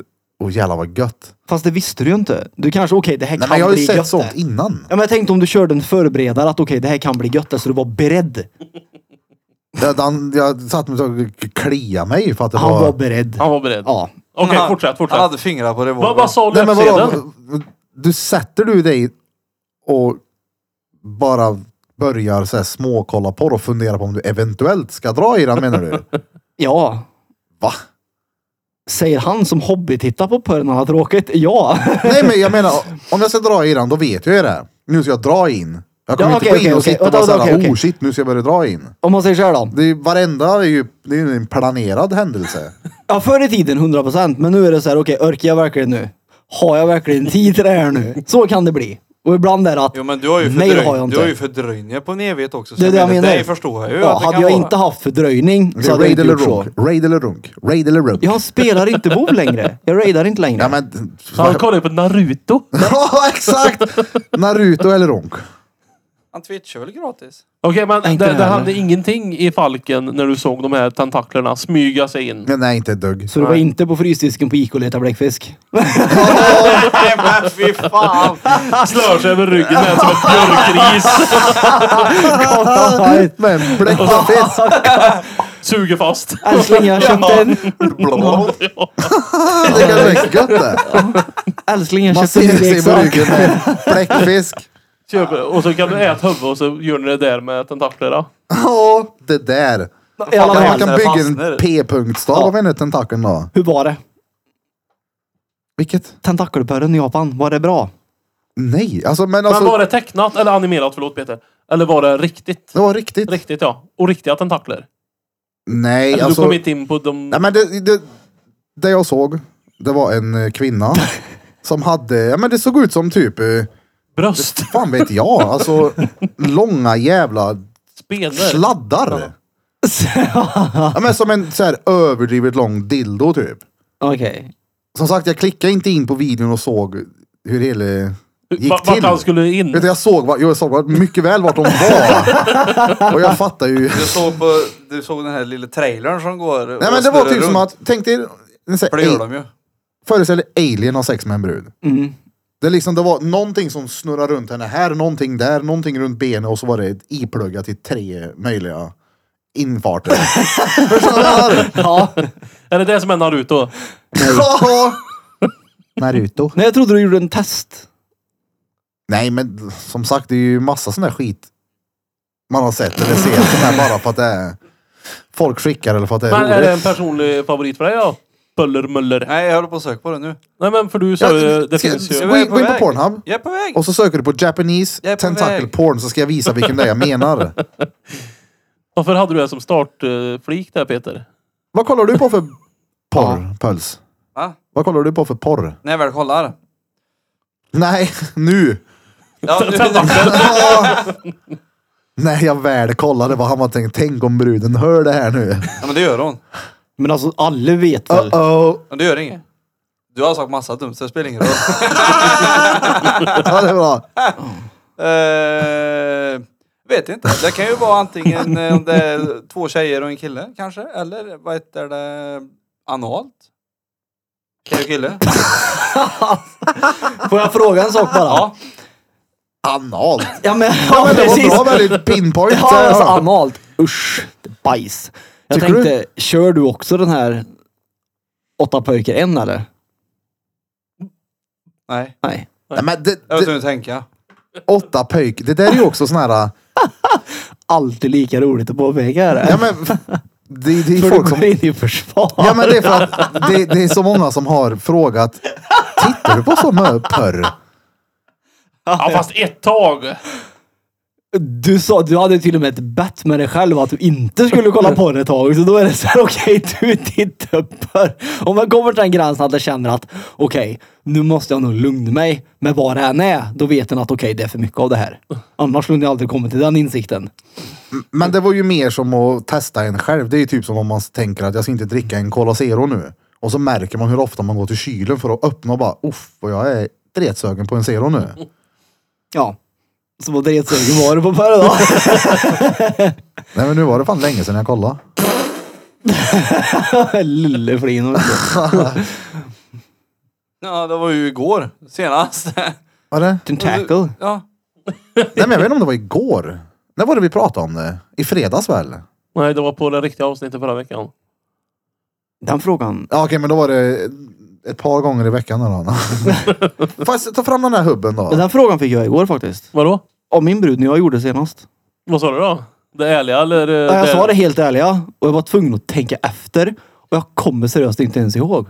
A: åh jävlar vad gött.
B: Fast det visste du ju inte. Du kanske, okej det här
A: Nej, men
B: kan
A: jag har ju
B: bli
A: sett
B: gött
A: sånt
B: det.
A: innan.
B: Ja, men jag tänkte om du körde en förberedare att okej det här kan bli gött det, så du var beredd.
A: Jag, han, jag satt mig och kliade mig för att det
B: Han
A: var...
B: var beredd.
C: Han var beredd.
B: Ja.
C: Okej,
D: han-
C: fortsätt,
D: Han
C: fortsätt.
D: hade fingrar på revolvern.
C: Vad vad sa
A: Nej, men
C: löpsedeln?
A: vadå? Du sätter du dig och bara börjar så här, småkolla på det och fundera på om du eventuellt ska dra i den menar du?
B: Ja.
A: Va?
B: Säger han som hobbytittar på porren han har tråkigt? Ja. [laughs]
A: Nej men jag menar, om jag ska dra i den då vet jag ju det. Nu ska jag dra in. Jag kommer
B: Ja,
A: inte
B: okej,
A: gå in
B: okej,
A: och
B: okej.
A: sitta och bara
B: Vänta,
A: såhär,
B: vänta, okej,
A: oh
B: okej.
A: shit nu ska jag börja dra in.
B: Om man säger så här då.
A: Det är, ju- varenda är ju det är ju en planerad händelse.
B: Ja, förr i tiden 100%, men nu är det så här, okej, orkar jag verkligen nu? Har jag verkligen tid till det här nu? Så kan det bli. Och ibland är det att,
D: Jo men du har ju
B: Nej, det har jag
D: fördröjning.
B: inte.
D: Du har ju fördröjningar på en evighet också. Så
B: det är det jag
D: menar,
B: menar.
D: dig förstår jag ju.
B: ja,
D: att det
B: hade
D: kan
B: jag
D: vara.
B: inte haft fördröjning
A: Det
B: så
A: är
B: hade jag
A: raid
B: inte
A: eller
B: gjort så.
A: runk, raid eller runk, raid eller runk.
B: Jag spelar inte WoW längre. Jag raidar inte längre.
A: Ja men...
C: Han kollade ju på Naruto.
A: ja [laughs] exakt! Naruto eller runk.
D: Han twitchar väl gratis? [laughs]
C: Okej, men
B: Inte
C: det,
B: det
C: det
B: heller.
C: hände ingenting i Falken när du såg de här tentaklerna smyga sig in.
A: Men Nej inte ett dugg.
B: Så du var inte på frysdisken på IK och letade bläckfisk?
D: Nej men
B: [laughs]
D: fy fan!
C: Slår sig över ryggen med som
A: [laughs]
C: ett björkris.
A: Men bläckfisk!
C: Suger fast.
B: [laughs] Älskling, jag köpte en...
A: Det kan räcka gött det.
B: Älskling, jag
A: Man
B: köpte en
A: ser sig på
B: leksak.
A: ryggen med bläckfisk.
C: Köper, och så kan du äta huvudet och så gör ni det där med tentaklerna.
A: Ja, det där.
B: I alla
A: Ja, man
B: fall,
A: kan
D: det
A: bygga
D: fastnar.
A: en p-punktstav av en tentakeln då.
B: hur var det?
A: Vilket?
B: Tentakelpörren i Japan, var det bra?
A: Nej, alltså men alltså.
C: Men var det tecknat eller animerat? Förlåt Peter. Eller var det riktigt?
A: Det var riktigt.
C: Riktigt ja. Och riktiga tentakler.
A: Nej,
C: Eller du
A: alltså.
C: kom inte in på de...
A: Nej, men det, det, det jag såg, det var en eh, kvinna som hade, ja men det såg ut som typ, eh,
C: Bröst.
A: fan vet jag, alltså långa jävla
C: Spelar.
A: sladdar. Ja, men som en så här överdrivet lång dildo typ.
B: Okej.
A: Som sagt, jag klickade inte in på videon och såg hur det hela gick
C: Vart
A: till.
C: han skulle
A: Vet du,
C: in.
A: jag såg, vad- jag såg vad- mycket väl vart de var. och jag fattar ju.
D: Du såg, på, du såg den här lilla trailern som går
A: Nej men det var typ som att, tänk dig, en sån
D: För
A: här
D: det gör
A: a-
D: de ju.
A: föreställ dig alien har sex med en brud.
B: Mm.
A: Det, är liksom, det var någonting som snurrar runt henne här, någonting där, någonting runt benet och så var det ipluggat i tre möjliga
D: [laughs]
A: infarter. Förstår du vad jag menar?
B: Ja.
C: Är det det som är Naruto?
A: Ja. Naruto.
B: Nej, jag trodde du gjorde en test.
A: Nej men som sagt det är ju massa sån där skit man har sett eller ser sån här bara för att det är folk skickar eller för att det
C: Men
A: är
C: är det en
A: roligt.
C: personlig favorit för dig då? Pöller Möller.
D: Nej jag håller på att söka på det nu.
C: Nej men för du sa ju, det
A: ska-
C: finns
A: ska
C: ju...
A: vi- Gå in- gå in på Pornhub.
D: Jag är på väg.
A: Och så söker du på Japanese
D: Jag är på
A: tentacle
D: väg.
A: porn så ska jag visa vilken det är jag menar.
C: Varför hade du det som startflik där Peter?
A: Vad kollar du på för porr, Puls?
D: Va?
A: Vad kollar du på för porr?
D: När jag väl kollar.
A: Nej, [laughs] nu!
D: Ja, nu,
A: När jag väl kollade vad han var tänkt. Tänk om bruden hör det här nu.
D: ja men det gör hon.
B: Men alltså, alla vet väl?
A: Uh-oh.
D: Men det gör inget. Du har sagt massa dumt så det spelar ingen roll.
A: Ja, det är bra.
D: Eh, vet inte. Det kan ju vara antingen eh, om det är två tjejer och en kille kanske. Eller vad heter det? Analt? Tjej och kille?
B: Får jag fråga en sak bara?
D: Ja.
A: Analt.
B: Ja men,
A: Ja,
B: ja,
A: men det
B: precis.
A: var bra väldigt pinpoint.
B: Ja, alltså analt. Usch, bajs. Jag
A: Tycker
B: tänkte, kör du också den här åtta pojkar en eller?
D: Nej.
B: Nej.
A: Nej, men det,
D: Jag vet
A: det,
D: inte hur tänka.
A: åtta pöjk. Det där är ju också sån här...
B: Alltid lika roligt att påpeka det.
A: Ja, men, det, det är
B: För du
A: folk
B: går
A: som
B: in i försvar.
A: Ja men det är för att det, det är så många som har frågat. Tittar du på så mö- porr?
C: Ja fast ett tag.
B: Du sa, du hade till och med ett bett med dig själv att du inte skulle kolla på det ett tag. Så då är det så här, [laughs] okej, du tittar på Om man kommer till den gränsen att jag känner att, okej, nu måste jag nog lugna mig med vad det än är. Då vet den att, okej, det är för mycket av det här. Annars skulle jag aldrig kommit till den insikten.
A: Men det var ju mer som att testa en själv. Det är ju typ som om man tänker att jag ska inte dricka en Cola Zero nu. Och så märker man hur ofta man går till kylen för att öppna och bara uff, vad jag är dretsögen på en Zero nu.
B: Ja. Så vad dretsugen var det på Per då? [laughs]
A: Nej men nu var det fan länge sedan jag kollade.
B: Lulleflin. [laughs]
D: Ja, det var ju igår senast. [laughs]
A: Var det?
B: Tentacle.
D: Ja.
A: Nej men jag vet inte om det var igår. När var det vi pratade om det? I fredags väl?
C: Nej, det var på det riktiga avsnittet förra veckan.
B: Den frågan.
A: Ja okej men då var det ett par gånger i veckan då.
C: [laughs]
A: Fast ta fram den där hubben då.
B: Den frågan fick jag igår faktiskt.
C: Vadå?
B: Av min brud när jag gjorde senast.
C: Vad sa du då? Det ärliga eller? eh,
B: Ja, jag sa det helt ärliga och jag var tvungen att tänka efter. Och jag kommer seriöst inte ens ihåg.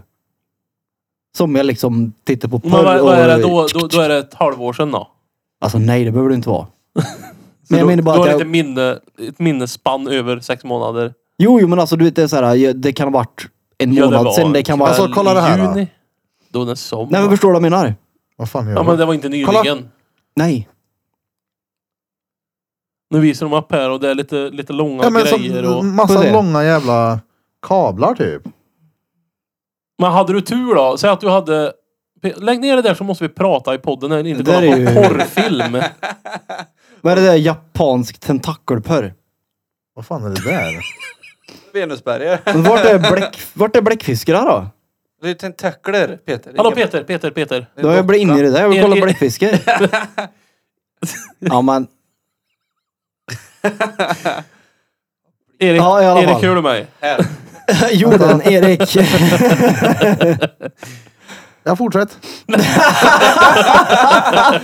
B: Som jag liksom tittar på
C: Men vad,
B: porr
C: vad är
B: och-
C: det då? då? Då är det ett halvår sedan då?
B: Alltså nej, det behöver det inte vara.
C: [laughs] Så
B: Men jag
C: då,
B: menar bara
C: då
B: att
C: är det
B: jag...
C: ett, minne, ett minnesspann över sex månader.
B: Jo, jo, men alltså du vet, det är så här, jag- det kan ha varit en
C: Ja, det
B: månad
C: var-
B: sedan. Det kan vara...
A: Alltså kolla det här då.
C: Juni? Då är det sommar.
B: nej, men förstår du vad jag menar?
A: Vad fan
C: ja,
A: gör
C: men
A: du?
C: det var inte nyligen.
B: Nej.
C: Nu visar de upp här och det är lite, lite långa
A: Ja, men
C: grejer.
A: så,
B: Får
C: Och...
A: massa
B: se.
A: långa jävla kablar typ.
C: Men hade du tur då? Säg att du hade... Lägg ner det där så måste vi prata i podden när inte
B: Det
C: kolla
B: där
C: på
B: är ju-
C: porrfilm.
B: Vad är det där japansk tentakelpörr?
A: Vad fan är det där?
D: Venusberger.
B: Men Vart är, bläck, vart är bläckfiskarna då?
D: Det är ju tentakler, Peter.
C: Hallå
D: Ingen-
C: Peter, Peter, Peter.
B: Då har jag blivit inne i det där. Jag vill
C: Är-
B: kolla [laughs]
C: är-
B: bläckfiskar. ja, men... [laughs]
C: Erik,
B: Ja, i alla
C: Erik
B: fall.
C: hör du mig?
D: Här.
B: Jorden, [laughs] Erik.
A: Ja fortsätt.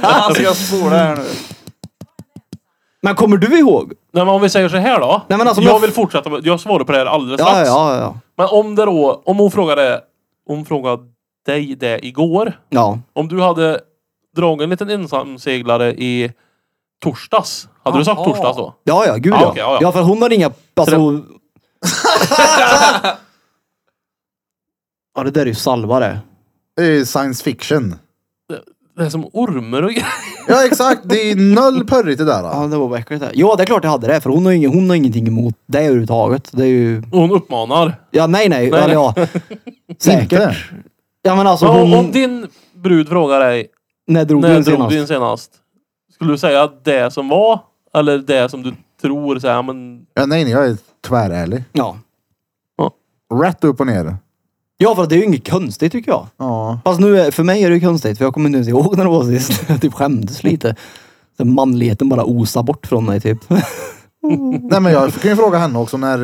D: Han ska spola här nu.
B: men kommer du ihåg?
C: Nej, men om vi säger så här då.
B: Nej, men alltså, om
C: jag
B: jag-
C: vill fortsätta. med- Jag svarar på det här alldeles
B: Ja, ja,
C: strax.
B: ja, ja.
C: Men om det då, om hon frågade, hon frågade dig det igår.
B: Ja.
C: Om du hade dragit en liten ensamseglare i torsdags. Hade du sagt
D: Aha.
C: torsdags då?
B: Ja, ja, gud
C: Ja,
B: ja.
C: okej, ja, ja.
B: för hon har inga... Alltså... [laughs] hon- ja, det där är ju salvare.
A: Det är science fiction.
C: Det är som ormar och grejer.
A: Ja exakt, det är noll pörrigt det där.
B: Ja,
A: Då.
B: det var vad äckligt det. Ja, det är klart jag hade det. För hon har, ingen, hon har ingenting emot det överhuvudtaget. Det är ju...
C: Och [laughs] Hon uppmanar.
B: Ja, nej, nej.
C: Nej,
B: Eller ja.
A: Inte.
B: [laughs] Säkert. Ja, men alltså
C: Men om,
B: hon...
C: om din brud frågar dig,
B: när drog du
C: när
B: den
C: drog
B: senast?
C: du in senast? Skulle du säga det som var? Eller det som du tror så här, men...
A: Ja, nej nej, jag är tvärärlig.
B: Ja.
A: Rätt upp och ner.
B: Ja, för det är ju inget konstigt tycker jag.
A: Ja.
B: Fast nu, är- för mig är det ju konstigt. För jag kommer inte ens ihåg när det var sist. [laughs] Jag typ skämdes lite. Så manligheten bara osar bort från mig typ. [laughs]
A: Nej men jag kan ju fråga henne också när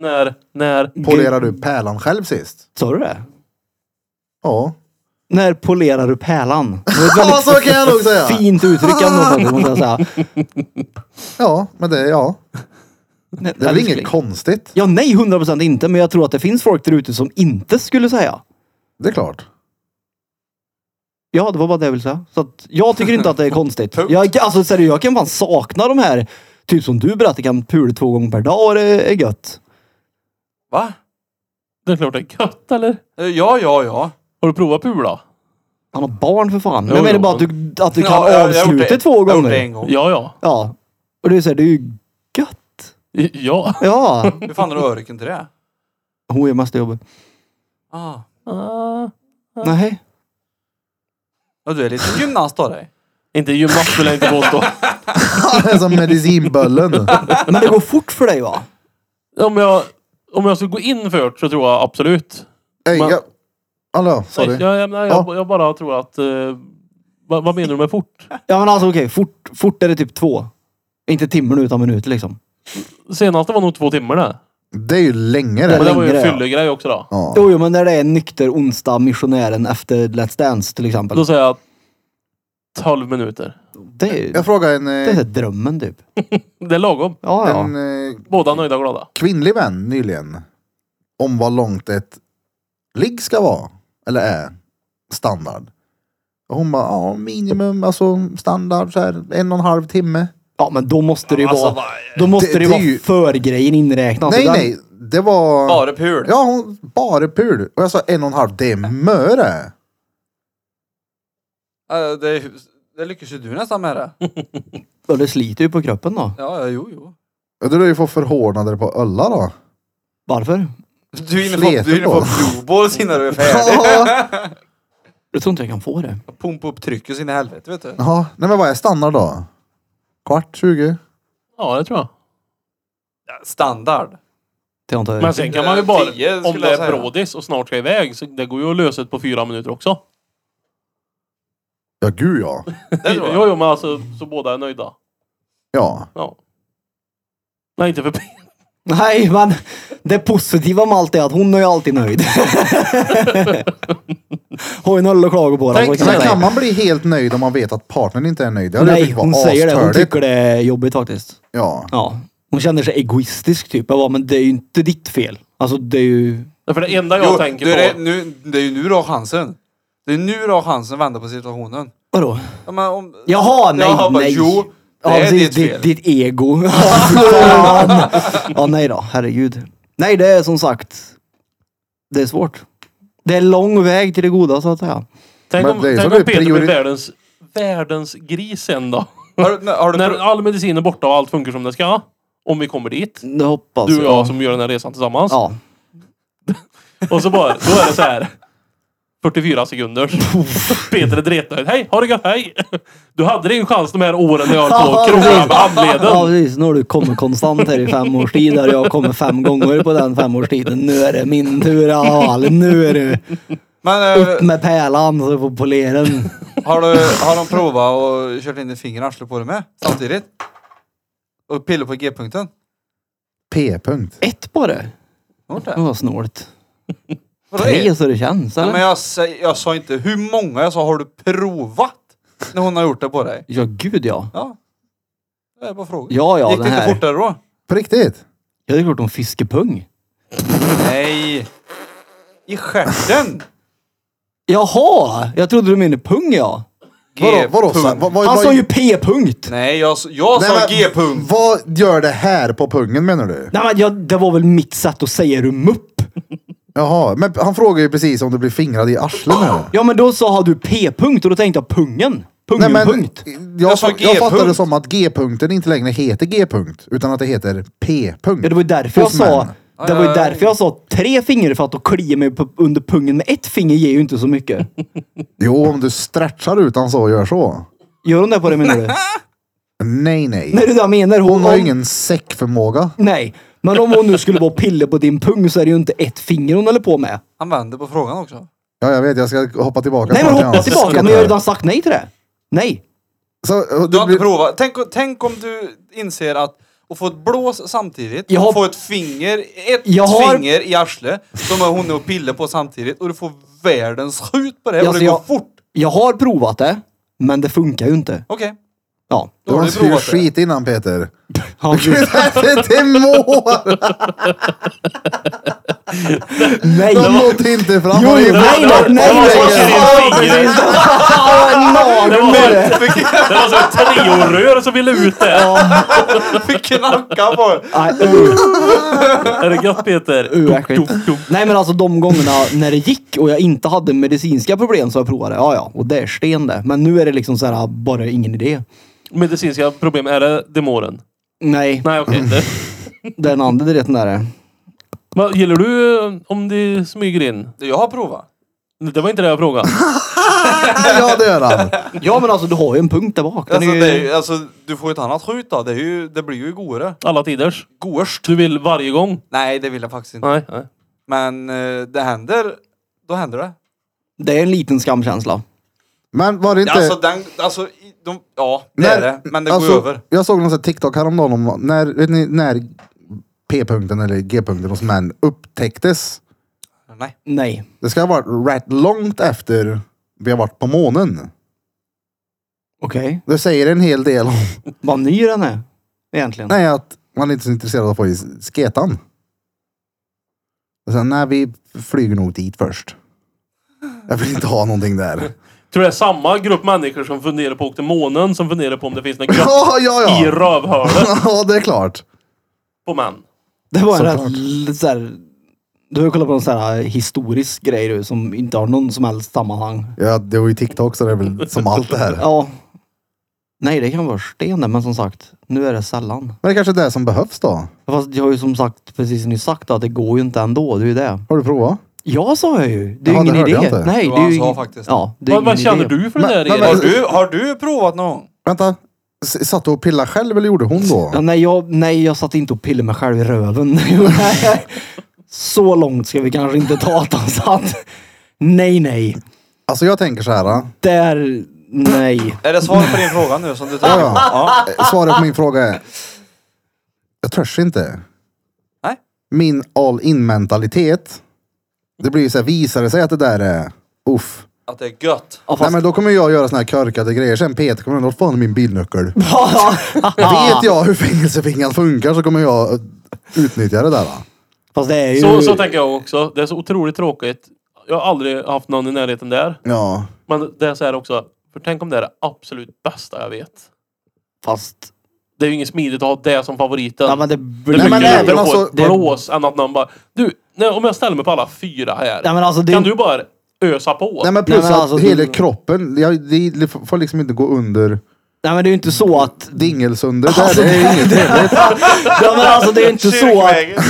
C: När, när...
A: polerar du pärlan själv sist?
B: Sa du det?
A: Ja.
B: När polerar du pärlan?
A: [laughs]
B: Det var ett
A: Ja,
B: väldigt
A: så kan jag nog säga.
B: fint uttryck ändå, måste
A: [laughs]
B: jag säga.
A: Ja, men det, ja. det är väl
B: Älskling.
A: inget konstigt.
B: Ja, nej, 100 procent inte. Men jag tror att det finns folk där ute som inte skulle säga.
A: Det är klart. [laughs]
B: Ja, det var bara det jag ville säga. Så att jag tycker inte att det
A: [laughs]
B: är konstigt.
D: Punkt.
B: Jag, alltså seriöst, jag kan fan sakna de här. Typ som du berättade, kan pula två gånger per dag och det är gött.
D: Va?
C: Det är klart det är gött eller?
D: Eh, Ja, ja, ja.
C: Har du provat pula?
B: Han har barn för fan.
C: Jo,
B: Men jag menar
C: jo.
B: bara att du, att du kan
D: ja, jag- jag har gjort
B: avsluta
D: det-
B: två
D: Jag har gjort det en
B: gånger.
D: gång.
C: Ja, ja.
B: Ja. Och det är så här, det är ju gött.
C: I- Ja.
B: Ja.
D: Hur fan har du öroken till det?
B: Hon gör mest jobbet.
D: Ah.
C: Ah.
B: Nej.
D: Ja, du är lite gymnast av dig.
C: Inte gymnast vill jag inte påstå.
A: Det är som medicinböllen.
B: Men det går fort för dig va?
C: om, jag, om jag skulle gå in först så tror jag absolut.
A: Hey,
C: Men-
A: jag... Hallå, sa
C: Nej,
A: du?
C: jag, jag, nej, jag, jag bara tror att... eh, vad, vad menar du med fort?
B: Ja men alltså okej, fort, fort är det typ två. Inte timmen utan minuter liksom.
C: Senaste var nog två timmar det.
A: Det är ju länge
B: Det
C: Men
A: det.
C: det var ju en
B: längre, ja.
C: fyllegrej också då.
A: Ja.
B: Jo, jo men när det är nykter onsdag missionären efter Let's Dance till exempel.
C: Då säger jag 12 minuter.
B: Det är,
A: Jag frågade en,
B: det är
A: eh,
B: drömmen typ.
C: Det är lagom.
B: Ja, ja.
A: en eh,
C: Båda nöjda och glada.
A: kvinnlig vän nyligen om vad långt ett ligg ska vara. Eller är. Standard. Och hon bara, ja minimum, alltså standard så här en och en halv timme.
B: Ja, men då måste det ju
D: Alltså,
B: vara,
D: vad-
B: då måste det,
A: det är
B: vara
A: ju-
B: förgrejen inräknad.
A: nej,
B: Så den-
A: nej. Det var...
D: Bara pul.
A: Ja, hon bara pul. Och jag sa en och en halv. Det är möre.
D: Eh, Det, det lyckas ju du nästan med det.
B: Ja, det sliter ju på kroppen då.
D: Ja, ja, jo, jo.
A: Ja, Du lär ju få förhårdnader på ölla då.
B: Varför?
D: Du är inne på,
A: Sleten
D: du är inne
A: på.
D: på blodballs innan du är färdig.
A: Ja.
B: Jag tror inte jag kan få det.
D: Pumpa upp trycket så in i helvete vet du.
A: Jaha. Nej men vad är standard då? Kvart, 20?
C: Ja, det tror jag.
D: Ja, Standard.
B: Det har inte
C: Men sen kan man ju
D: Eh,
C: bara,
D: tio
C: om
D: skulle
C: det
D: jag säga.
C: är brådis och snart ska iväg, så det går ju att lösa det på fyra minuter också.
A: Ja gud ja.
D: Det tror jag.
C: Jo, jo, men alltså så båda är nöjda.
A: Ja.
C: Ja. Nej, inte för Peter.
B: Nej, men det positiva med allt är att hon är ju alltid nöjd. har ju noll att klaga på.
C: Tänk
B: alltså, kan
A: Men
B: jag säga.
A: kan man bli helt nöjd om man vet att partnern inte är typ nöjd? Det hade jag
B: Nej,
A: tyckt var
B: hon säger det. Hon
A: astörligt.
B: tycker det är jobbigt faktiskt.
A: Ja.
B: Ja. Hon känner sig egoistisk typ. Jag bara, men det är ju inte ditt fel. Alltså det är ju...
C: För det enda jag
D: Jo,
C: tänker
D: det, är
C: på...
D: det, nu, det är ju nu du har chansen. Det är nu du har chansen att vända på situationen.
B: Vadå?
D: Ja, men om,
B: Jaha, nej,
D: Ja, bara,
B: nej.
D: Jo, det
B: Ja,
D: är
B: precis,
D: ditt fel.
B: Ditt ego. Ja, fan. ja, nej då. Herregud. Nej, det är som sagt. Det är svårt. Det är lång väg till det goda så att säga.
C: Tänk
A: Men
C: om,
A: det är ju
C: tänk
A: så
C: om
A: det är
C: Peter blir
A: priori-
C: världens, världens gris sen då.
D: Har, du- men har du,
C: När
D: pr-
C: all medicin är borta och allt funkar som det ska. Om vi kommer dit.
B: Det hoppas
C: Du och jag som gör den här resan tillsammans.
B: Ja.
C: Och så bara, då är det så här. 44 sekunder. Peter är dretnöjd. Hej, ha det gött, hej! Du hade din chans de här åren när jag höll på att krona med
B: Ja,
C: handleden.
B: precis. Nu har du kommit konstant här i fem års tid och jag har kommit fem gånger på den femårstiden. Nu är det min tur i alla fall. Nu är det
D: men, eh,
B: upp med pärlan så du får polera den.
D: har, du, har de provat och kört in i finger i arslet på dig med samtidigt? Och pillat på G-punkten?
A: P-punkt.
B: Ett bara.
D: Har du gjort
B: Det
D: det?
B: var snålt.
D: Vadå,
B: Mm. Tre
D: är-
B: så det känns.
D: Nej,
B: Eller?
D: men jag, sä- jag sa inte hur många, jag sa har du provat? När hon har gjort det på dig.
B: Ja, gud ja.
D: Ja. Det är bara frågan.
B: Ja, ja.
D: Gick det
B: den
D: inte
B: här.
D: fortare då?
A: På riktigt?
B: Ja, det är klart hon fiskepung.
D: Nej. I stjärten!
B: Jaha! Jag trodde du menade pung ja.
A: Vadå? Vadå? så- Vad, vad, vad,
B: Han sa ju p-punkt.
D: Nej, jag, s- jag
A: Nej,
D: sa
A: men-
D: G-punkt.
A: Vad gör det här på pungen menar du?
B: Nej men jag, det var väl mitt sätt att säga du mupp.
A: Jaha, men han frågar ju precis om du blir fingrad i arslet nu.
B: Ja men då sa du p-punkt och då tänkte jag pungen. Pungen punkt.
A: jag,
D: Jag sa
A: jag, jag fattade det
D: G-punkt.
A: som att G-punkten inte längre heter G-punkt, utan att det heter P-punkt.
B: Ja, det var ju därför jag
A: Hos
B: sa...
A: män.
B: Det var ju
D: Aj, aj, aj.
B: därför jag sa tre fingrar för att då kliar mig på, under pungen med ett finger ger ju inte så mycket.
A: Jo, om du stretchar utan så och gör så.
B: Gör hon det på det menar du?
A: Nej, nej.
B: Nej det är det jag menar.
A: Hon har
B: om-
A: ju ingen säckförmåga.
B: Nej. Men om hon nu skulle vara och pilla på din pung så är det ju inte ett finger hon håller på med.
D: Han vänder på frågan också.
A: Ja, jag vet. Jag ska hoppa tillbaka.
B: Nej men
A: snart till
B: hoppa
A: hans
B: tillbaka. Men
A: sketch
B: jag
A: här.
B: har redan sagt nej till det. Nej.
A: Så, eh,
D: Du
A: du
D: har inte
A: blir...
D: provat. Tänk, tänk om du inser att att få ett blås samtidigt,
B: Jag har-
D: och få ett finger, ett
B: Jag har-
D: finger i arslet som är hon och pillar på samtidigt och du får världens skjut på det och
B: Alltså,
D: det går
B: jag-
D: fort.
B: Jag har provat det, men det funkar ju inte.
D: Okej.
B: Ja.
A: Du
D: Då har
A: har
D: du provat
A: styrt
D: det.
A: skit innan
D: [laughs]
A: Peter.
B: Han,
A: det mår! [laughs]
B: nej!
A: De nådde inte fram.
B: Jo, nej, nej, nej!
C: Det var som
B: nej.
C: att sätta in fingret. Det var-
B: det.
C: Det var så ett treorör som ville ut det.
D: Fick knacka på det.
B: Nej, usch.
C: Är det gött Peter?
B: Uh, vad äckligt.
C: Dum, dum, dum.
B: Nej men alltså de gångerna när det gick och jag inte hade medicinska problem så jag provade. Ja ja, och det är sten det. Men nu är det liksom så här bara ingen idé.
C: Medicinska problem, är det demoren?
B: Nej,
C: Nej okej. Det-
B: den andra det är den där.
C: Vad Gillar du eh, om det smyger in?
D: Jag har provat.
C: Det var inte det jag frågade.
A: Ja, det gör han.
B: Ja men alltså du har ju en punkt där bak. Den
D: Alltså,
B: är ju...
D: det är, ju- alltså, du får ju ett annat skjut då. Det, är ju, det blir ju godare.
C: Alla tiders.
D: Godast.
C: Du vill varje gång?
D: Nej, det vill jag faktiskt inte.
C: Nej. nej.
D: Men eh, det händer, då händer det.
B: det är en liten skamkänsla.
A: Men var det inte...
D: Alltså, den, alltså, i- de, ja, det är det. Men det
A: alltså,
D: går över.
A: Jag såg någon sån här TikTok häromdagen om när, vet ni, när P-punkten eller G-punkten hos män upptäcktes.
D: Nej.
B: Nej.
A: Det ska ha varit rätt långt efter vi har varit på månen.
B: Okej.
A: Det säger en hel del om
B: Vad ny den är. Egentligen.
A: nej, att man är inte är så intresserad av att få i sketan. Och sen, nej, vi flyger nog dit först. Jag vill inte ha någonting där.
C: Tror det är samma grupp människor som funderar på att åka till månen som funderar på om det finns något gött
A: Ja, ja,
C: i
A: ja.
C: rövhålet
A: [laughs] Ja, det är klart.
C: på män.
B: Det var en
A: Såklart.
B: rätt l- så här, Du har ju kollat på någon sån här eh, historisk grej du, som inte har någon som helst sammanhang.
A: Ja, det var ju TikTok så det är väl som allt det här.
B: Ja. Nej, det kan vara sten där, men som sagt, nu är det sällan.
A: Men det är kanske är det som behövs då.
B: Fast jag har ju som sagt precis nyss sagt att det går ju inte ändå. Det är ju det.
A: Har du provat?
B: Ja, sa jag ju. Det är ju
A: Jaha,
B: ingen
A: det hörde
B: idé.
A: jag inte.
B: Nej,
D: Det
B: det
D: var
B: är
D: han
B: ju
D: sa
B: ingen-
D: faktiskt.
B: Ja, det är
C: Vad,
B: ingen
C: vad känner
B: idé.
C: du för
A: Men-
C: det där
A: men-
C: Erik?
D: Har du, har du provat någon gång?
A: Vänta. S- Satt du och pillade själv eller gjorde hon
B: Ja,
A: då?
B: nej, jag, nej, jag satt inte och pillade mig själv i röven. [laughs] så långt ska vi kanske inte ta att han satt. Nej, nej.
A: Alltså jag tänker så här.
B: Där, nej. [laughs]
D: Är det svar på din fråga nu som du tar?
A: Ja, ja.
D: ja.
A: eh, Svaret på min fråga är. Jag törs inte.
D: Nej.
A: Min all in mentalitet. Det blir ju så här, visar det sig att det där är uff.
D: Att det är gött.
B: Ja,
A: Nej
B: fast,
A: men då kommer jag göra såna här körkade grejer. Sen Peter kommer ändå, "Vad fan är min [laughs] bilnyckel? Vet jag hur fängelsefingran funkar så kommer jag eh, utnyttja det där. va?
B: fast det är ju...
C: Så, så tänker jag också. Det är så otroligt tråkigt. Jag har aldrig haft någon i närheten där.
A: Ja.
C: Men det är så här också. För tänk om det är det absolut bästa jag vet.
B: fast...
C: Det är ju inget smidigt att ha det som favoriten.
B: Ja, men det
C: det
B: blir...
C: är
A: Nej,
C: mycket
A: men
C: lättare
A: även
C: att få
A: alltså-
C: ett blås än att någon bara... Du, nej, om jag ställer mig på alla fyra här.
B: Ja, men alltså, det-
C: Kan du bara ösa på?
A: Nej men
B: Nej,
A: plus
B: men alltså,
A: att hela
B: du-
A: kroppen, jag, det, det får liksom inte gå under
B: Nej, men det är ju inte så att...
A: dingelsundet. Alltså, det är inget trevligt.
B: Ja, men alltså, det är
C: [laughs]
B: inte så att...
D: Kyrkvägen.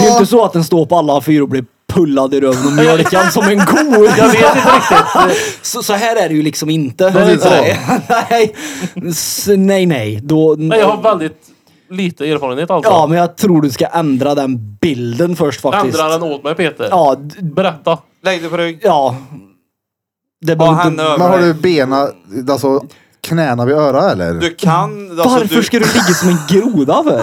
B: Det är ju inte så att den står på alla fyra och blir pullad i röven och mjölkad som en ko.
C: [laughs] Jag vet inte riktigt.
B: Så, så här är det ju liksom inte.
C: Nej, det är
B: nej, [laughs] S- nej, nej. Då,
C: Men jag har väldigt lite erfarenhet alltså.
B: Ja, men jag tror du ska ändra den bilden först faktiskt.
C: Ändra den åt mig Peter.
B: Ja, d-
C: Berätta.
D: Lägg dig på rygg.
B: ja. Det
D: Ha
B: behöver
D: händerna
B: inte...
A: Men har
D: över
A: du
D: dig.
A: bena, alltså knäna vid öra eller?
D: Du kan... Alltså,
B: Varför
D: du,
B: ska du ligga som en groda för?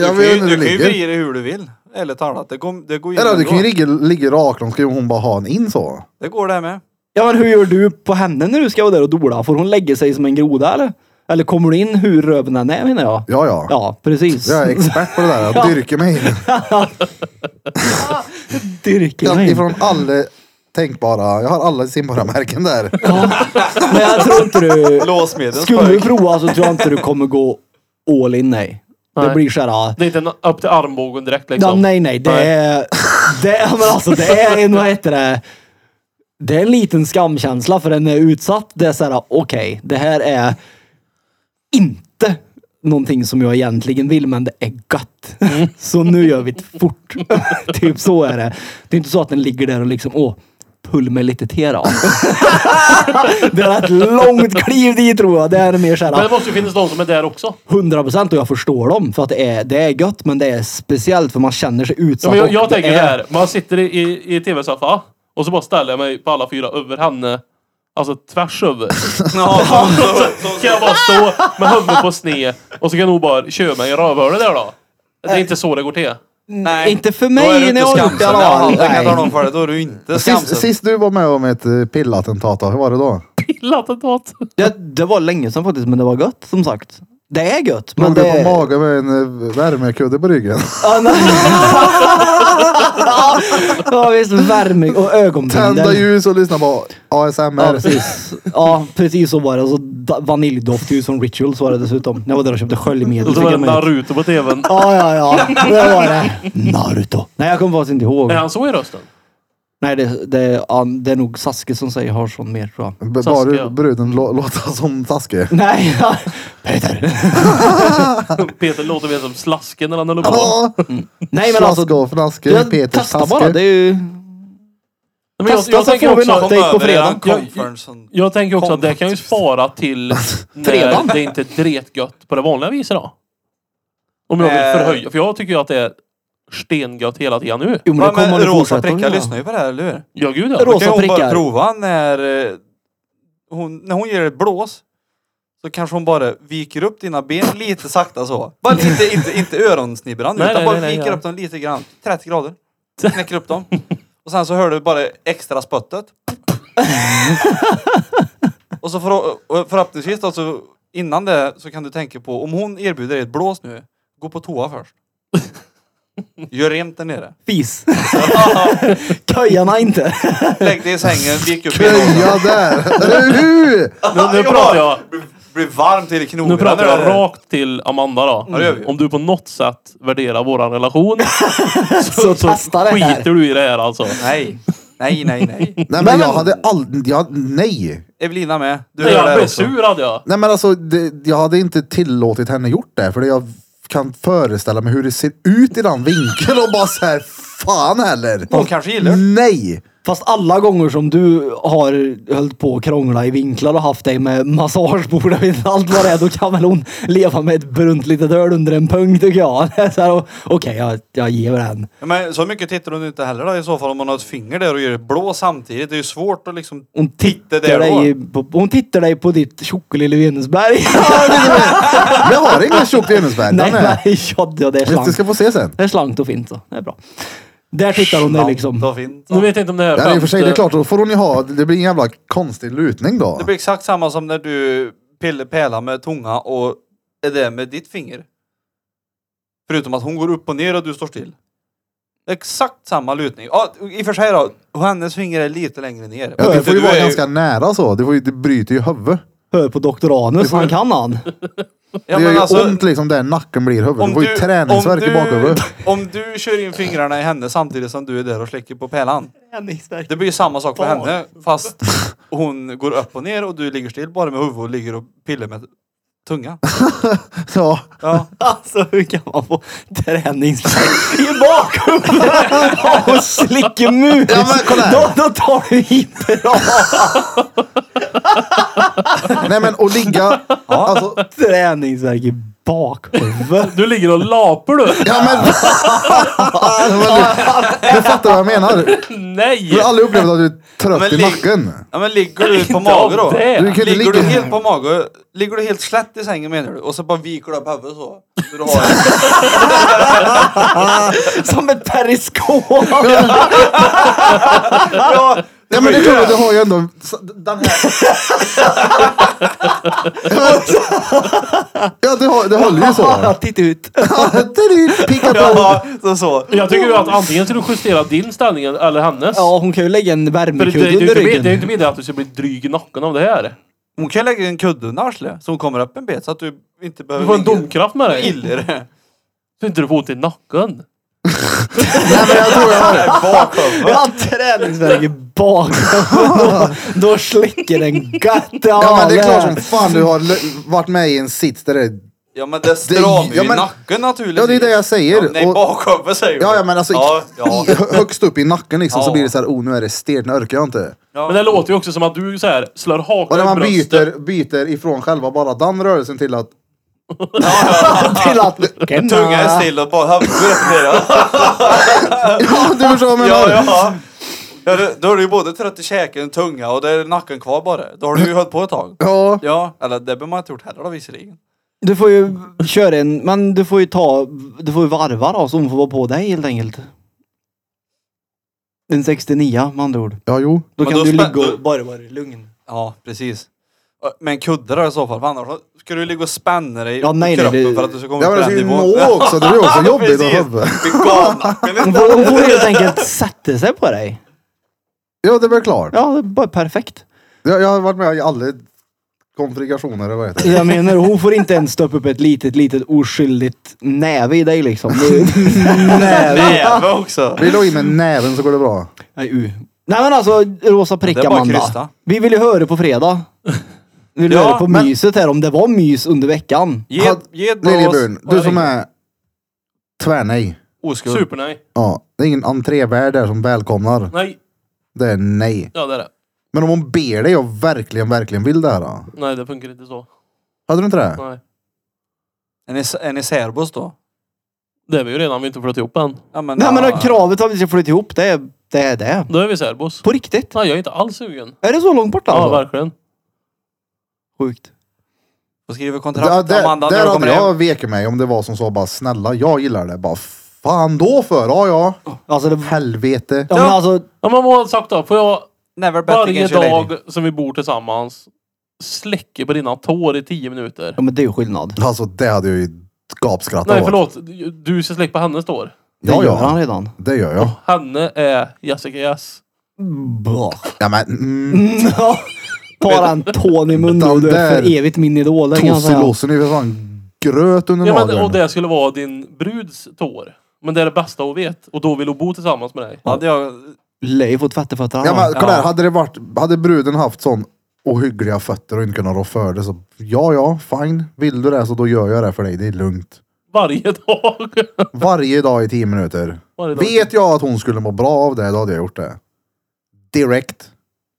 A: jag
D: du,
A: vet
D: kan
A: inte
D: ju,
A: hur det
D: du kan ju
A: ligger.
D: vrida dig hur du vill. Ärligt talat. Det går, det går ju
A: Eller du
D: ändå.
A: kan ju ligga, ligga rak, då ska ju hon bara ha en in så.
D: Det går det här med.
B: Ja, men hur gör du på henne när du ska vara där och dola? Får hon lägga sig som en groda eller? Eller kommer du in hur röven än är menar jag?
A: Ja, ja.
B: Ja, precis.
A: Jag är expert på det [laughs] där, jag dyrker mig in.
B: Dyrka
A: Jag,
B: mig.
A: ifrån alla tänkbara, jag har alla simborgarmärken där.
B: Men jag tror inte du...
D: Låsmedel.
B: Skulle du prova så tror jag inte du kommer gå all in nej. Det
C: Nej.
B: blir så här...
C: Det är inte en upp till armbågen direkt
B: Ja,
C: liksom.
B: nej, nej. Det
C: Nej.
B: är... [laughs] Det är, men alltså, det är en, vad heter det? Det är en liten skamkänsla för den är utsatt. Det är så här, okej, det här är inte någonting som jag egentligen vill, men det är gött.
C: Mm.
B: [laughs] Så nu gör vi det fort. [laughs] typ så är det. Det är inte så att den ligger där och liksom, åh, pull mig lite till då. [laughs] det är ett långt kliv dit tror jag. Det är mer så här,
C: Men det måste ju finnas någon som är där också.
B: 100 procent och jag förstår dem. För att det är, det är gött men det är speciellt för man känner sig utsatt.
C: Ja, men jag,
B: och
C: jag tänker
B: det
C: det
B: är-
C: här. Man sitter i, i, i tv-soffa och så bara ställer jag mig på alla fyra över henne. Alltså tvärs över.
D: Ja,
C: kan jag bara stå med huvudet på sne och så kan hon bara köra mig i rövhålet där då. Det är inte så det går till.
D: nej.
B: Inte för
D: Då är du
B: mig när
D: inte
B: jag har gjort det i
D: skamsen.
B: alla
D: Ja,
B: fall.
D: jag
B: Nej.
D: kan ta någon för det. Då är du inte
A: Sist,
D: skamsen.
A: sist du var med om ett eh, pillattentat, då, hur var det då?
C: Pillattentat.
B: Det, det var länge sedan faktiskt men det var gött som sagt. Det är gött. Men
A: Låg du
B: det
A: på magen med en eh, värmekudde på ryggen?
B: Ja, nej. [laughs] ja visst, värme och
A: [laughs] Tända
B: ögonbindel.
A: ljus och lyssna på
B: Ja
A: ASMR.
B: precis. ja precis så var det. Och så da- vaniljdoft ljus som rituals var det dessutom. När jag var där och köpte sköljmedel.
C: Och så
B: fick
C: var det
B: jag med-
C: Naruto på tvn.
B: Ja, ja, ja. Det var det. Naruto. Nej, jag kommer faktiskt inte ihåg.
C: Är han så i rösten?
B: Nej, det, det, ja, det är nog Saske som säger har sån mer tror jag.
A: B-
C: Taskiga.
A: Bara bruden lå- låta som taskig.
B: Nej, Peter.
C: Peter låter mer som slasken när han håller på.
A: Ja,
B: Nej men alltså,
A: Flaska och flaska,
B: jag
A: Peters
B: testar bara. Det är
A: taske.
B: ju...
C: Nej, Men jag,
B: Testa
C: jag,
B: så
C: tänker
B: får vi
C: också,
B: något.
D: Kom
B: Dejt på
D: över
B: fredag.
D: eran conference.
C: jag tänker också att det kan ju
D: Kom.
C: spara till
B: Fredag.
C: när det inte är dretgött på det vanliga viset då. Om jag
D: Eh.
C: vill förhöja. För jag tycker ju att det är stengött hela tiden nu.
B: Jo men det
D: Ja,
B: kommer
D: men
B: det
D: Rosa
B: fortsätta
D: prickar
B: att göra.
D: lyssnar ju på det här, eller hur?
C: Ja gud
B: Rosa-
C: ja.
D: Då kan hon bara
B: prickar.
D: prova när, eh, hon, när hon ger ett blås. Så kanske hon bara viker upp dina ben lite sakta så. Bara lite, inte, inte öronsnibban
C: Nej,
D: utan
C: nej,
D: bara
C: nej, nej,
D: viker
C: ja.
D: upp dem lite grann.
C: [laughs]
D: 30 grader. Knäcker upp dem. Och sen så hör du bara extra spottet. och så för, och förhoppningsvis då, så innan det så kan du tänka på om hon erbjuder dig ett blås nu. Gå på toa först. Gör rent där nere.
B: [laughs] Fis. Köjarna inte.
D: Lägg dig i sängen,
C: [laughs]
D: vik
A: [laughs]
D: upp benen.
A: Köja där!
C: Nu,
D: [laughs]
C: nu pratar jag,
D: Blir varmt i knogarna.
C: nu pratar
D: där.
C: jag rakt till Amanda då.
D: Ja, det gör vi.
C: Om du på något sätt värderar våran relation
B: Så testa det här.
C: skiter du i det här alltså.
D: Nej. Nej, nej, nej.
A: Nej men jag hade aldrig, jag, nej.
D: Evelina med. Du
C: Nej,
D: gör
C: jag
D: det
C: blev
D: också.
C: sur hade jag.
A: Nej men alltså, det, jag hade inte tillåtit henne gjort det. För det jag kan föreställa mig hur det ser ut i den vinkeln och bara så här, fan heller.
D: Hon kanske gillar det.
A: Nej!
B: Fast alla gånger som du har hållit på och krångla i vinklar och haft dig med massagebord och [laughs] inte allt vad det är, då kan väl hon leva med ett brunt litet öl under en pung tycker jag. [laughs] Det är så här, och- Okej, jag, jag ger den.
D: Ja, Men så mycket tittar hon inte heller då i så fall om hon har ett finger där och gör ett blå samtidigt. Det är ju svårt att liksom...
B: Hon tittar,
D: Det där
B: dig, på, hon tittar dig på ditt tjocka lille [laughs] Venusberg.
A: Jag har ingen tjock Venusberg. Den
B: nej,
A: är...
B: nej, ja, ja, det
A: Du
B: är
A: ska
B: slankt.
A: få se sen.
B: Det är slankt och fint så. Det är bra. Där tittar hon dig liksom.
D: Slant och fint.
C: Nu vet jag inte om det här
A: Ja, i och för sig, det är
C: femte-
A: klart. Då får hon ju ha, det blir en jävla konstig lutning då.
D: Det blir exakt samma som när du pill- pelar med tunga och är det med ditt finger. Förutom att hon går upp och ner och du står still. Exakt samma lutning. Ja, i och för sig då. Hennes finger är lite längre ner.
A: Ja, du får ju
D: Du är
A: vara ganska nära så. Du, får ju, du bryter ju huvudet.
B: Hör på Dr. Anus, han kan han.
D: Ja,
A: det gör
D: men
A: ju
D: alltså,
A: ont liksom där nacken blir huvudet. Du får ju träningsvärk i bakhuvudet.
D: [laughs] Om du kör in fingrarna i henne samtidigt som du är där och släcker på pärlan. Det blir ju samma sak för henne. Fast hon går upp och ner och du ligger still bara med huvudet och ligger och pillar med tunga.
A: Ja.
D: Ja.
B: Alltså hur kan man få träningsvärk i
A: [laughs]
B: bakhuvudet och slicka mus?
A: Ja, men kolla här.
B: då, då tar du i bra
A: Nej men och ligga... Alltså,
B: träningsvärk i bakhuvudet.
C: Du ligger och lapar du.
A: ja
D: [laughs]
A: men... Du fattar vad jag menar.
C: Nej!
A: Du har aldrig upplevt att du är
D: Men
A: trött i
D: ligg-
A: nacken.
D: Ja
C: [laughs]
D: men ligger du på
C: Inte
D: mage
C: av
D: då?
C: det.
A: Du kan inte
D: Ligger du
A: ligga...
D: helt på mage, ligger du helt slätt i sängen menar du? Och så bara viker du upp huvudet så. så du har
A: [laughs]
B: Som ett periskop.
D: ja,
A: Ja men det är klart att du har ju ändå... så- Den här... Ja du, har, du håller ju så.
B: Titta ut.
A: Picka på.
D: ja, så så.
C: Jag tycker ju att antingen ska du justera din ställning eller hennes.
B: Ja, hon kan ju lägga en
C: För det, det,
B: värmekudde
C: det,
B: under
C: det, det, det är ju
B: ryggen.
C: inte med det att du ska bli dryg i nacken av det här.
D: Hon kan lägga en kudde under arslet så hon kommer upp en bit så att du inte behöver...
C: Du får en domkraft med dig.
D: Illa det.
C: Så inte du får ont i nacken.
A: Nej men jag tror jag har...
D: [laughs]
B: Jag har träningsvärk i bakhuvudet. Då, då slicker den gött.
A: Ja men det är klart som fan du har l- varit med i en sits där det...
D: Ja men det stramar ju
A: ja, men-
D: nacken naturligtvis.
A: Ja det är det jag säger.
D: Ja, nej
A: Och-
D: bakhuvudet säger du.
A: Ja, ja men alltså
D: Ja,
A: i-
D: ja.
A: i- hö- högst upp i nacken liksom så
D: Ja.
A: blir det så här, oh nu är det stelt, nu orkar jag inte.
D: Ja.
C: Men det låter ju också som att du så här slår
A: Och när
C: hakan i
A: man
C: bröstet.
A: byter, byter ifrån själva bara den rörelsen till att [laughs]
B: Till att...
D: Tunga är still och bara huvudet går upp och ner.
A: [laughs]
D: ja.
A: Ja du förstår vad jag menar!
D: Ja, ja. ja det- då är du ju både trött i käken och tunga och det är nacken kvar bara. Då har du ju hållit på ett tag.
A: Ja.
D: Ja, eller det behöver man inte gjort heller då visserligen.
B: Du får ju köra en, men du får ju ta, du får ju varva då så hon får vara på dig helt enkelt. En 69 med andra ord.
A: Ja, jo.
B: Då
D: Men
B: kan
D: då
B: du
D: spä-
B: ligga
D: då-
B: och bara vara lugn.
D: Ja, precis. Med en kudde där i så fall, för annars så ska du ligga och spänna dig
B: Ja, nej,
D: i
B: nej,
D: kroppen
B: det-
D: för att du ska komma
A: Ja men alltså,
D: upp
A: det
D: på
A: ska
D: den
A: ju
D: nivån.
A: nå också, det är ju [laughs] också jobbigt att
D: Precis.
A: hubba.
D: Bli galnacken
B: Hon
D: lite.
B: får, hon får helt enkelt sätta sig på dig.
A: Ja det är väl klart.
B: Ja, det är bara perfekt.
A: Jag, jag har varit med i alla konfrontationer eller vad heter det?
B: Jag menar, hon får inte ens stoppa upp ett litet, litet oskyldigt näve i dig liksom. näve?
D: [laughs] Näve
A: [laughs]
D: också.
A: Vill du ha i med näven så går det bra.
B: Nej, u. Nej men alltså, rosa prick
D: Det är bara
B: Amanda.
D: krysta.
B: Vi vill ju höra på fredag. Vi vill
D: Ja,
B: höra på
D: men-
B: myset här, om det var mys under veckan.
D: Ge, ge ett blås.
A: Liljeburn, du som är tvärnej.
D: oskuld.
C: Super nej.
A: Ja, det är ingen entrévärd där som välkomnar.
C: Nej.
A: Det är nej.
C: Ja det är det.
A: Men om hon ber dig och verkligen, verkligen vill det här då?
C: Nej det funkar inte så.
A: Hade du inte det?
C: Nej.
D: Är ni, är ni särbos då?
C: Det är vi ju redan, vi har inte flyttat ihop än.
D: Ja, men,
B: Nej men
D: ja.
A: Ah.
B: det kravet att vi ska flytta ihop, det är det. Är det.
C: Då är vi särbos.
B: På riktigt?
C: Nej jag är inte alls sugen.
B: Är det så långt bort
C: Ja
B: alltså?
C: verkligen.
B: Sjukt.
D: Då skriver
A: Ja,
D: kontrakt
A: där,
D: Amanda när
A: där
D: du kommer
A: hade
D: hem.
A: jag veket mig om det var som så bara snälla jag gillar det. Bara fan då för, ja ja.
B: Alltså det...
A: Helvete.
B: Ja, men alltså,
C: Ja men vad har jag sagt då? Får jag
D: Never bet
C: varje
D: against your lady.
C: dag som vi bor tillsammans släcka på dina tår i tio minuter?
B: ja men det är ju skillnad.
A: Alltså det hade jag ju gapskrattat
C: Nej
A: åt.
C: förlåt. Du ska släcka på hennes tår.
B: Det
A: Ja,
B: gör
A: ja.
B: han redan.
A: Det gör jag.
C: Henne är Jessica Yes.
B: Bra.
A: Ja, men, mm,
B: Tar han tån i munnen och du är för
A: där
B: evigt min idol. det kan jag säga.
A: Tossilossen är ju för fan gröt under
C: Ja, men, och
A: nageln.
C: det skulle vara din bruds tår. Men det är det bästa hon vet. Och då vill hon bo tillsammans med dig.
D: Hade jag...
B: Lär ju få tvättefötter
A: Ja, men,
B: han.
A: kolla här,
D: Ja.
A: hade, det varit, hade bruden haft sån ohyggliga fötter och inte kunnat rå för det så ja, ja, fine. Vill du det så då gör jag det för dig. Det är lugnt.
C: Varje dag. [laughs]
A: Varje dag i tio minuter.
C: Varje dag.
A: Vet jag att hon skulle må bra av det, då hade jag gjort det. Direkt.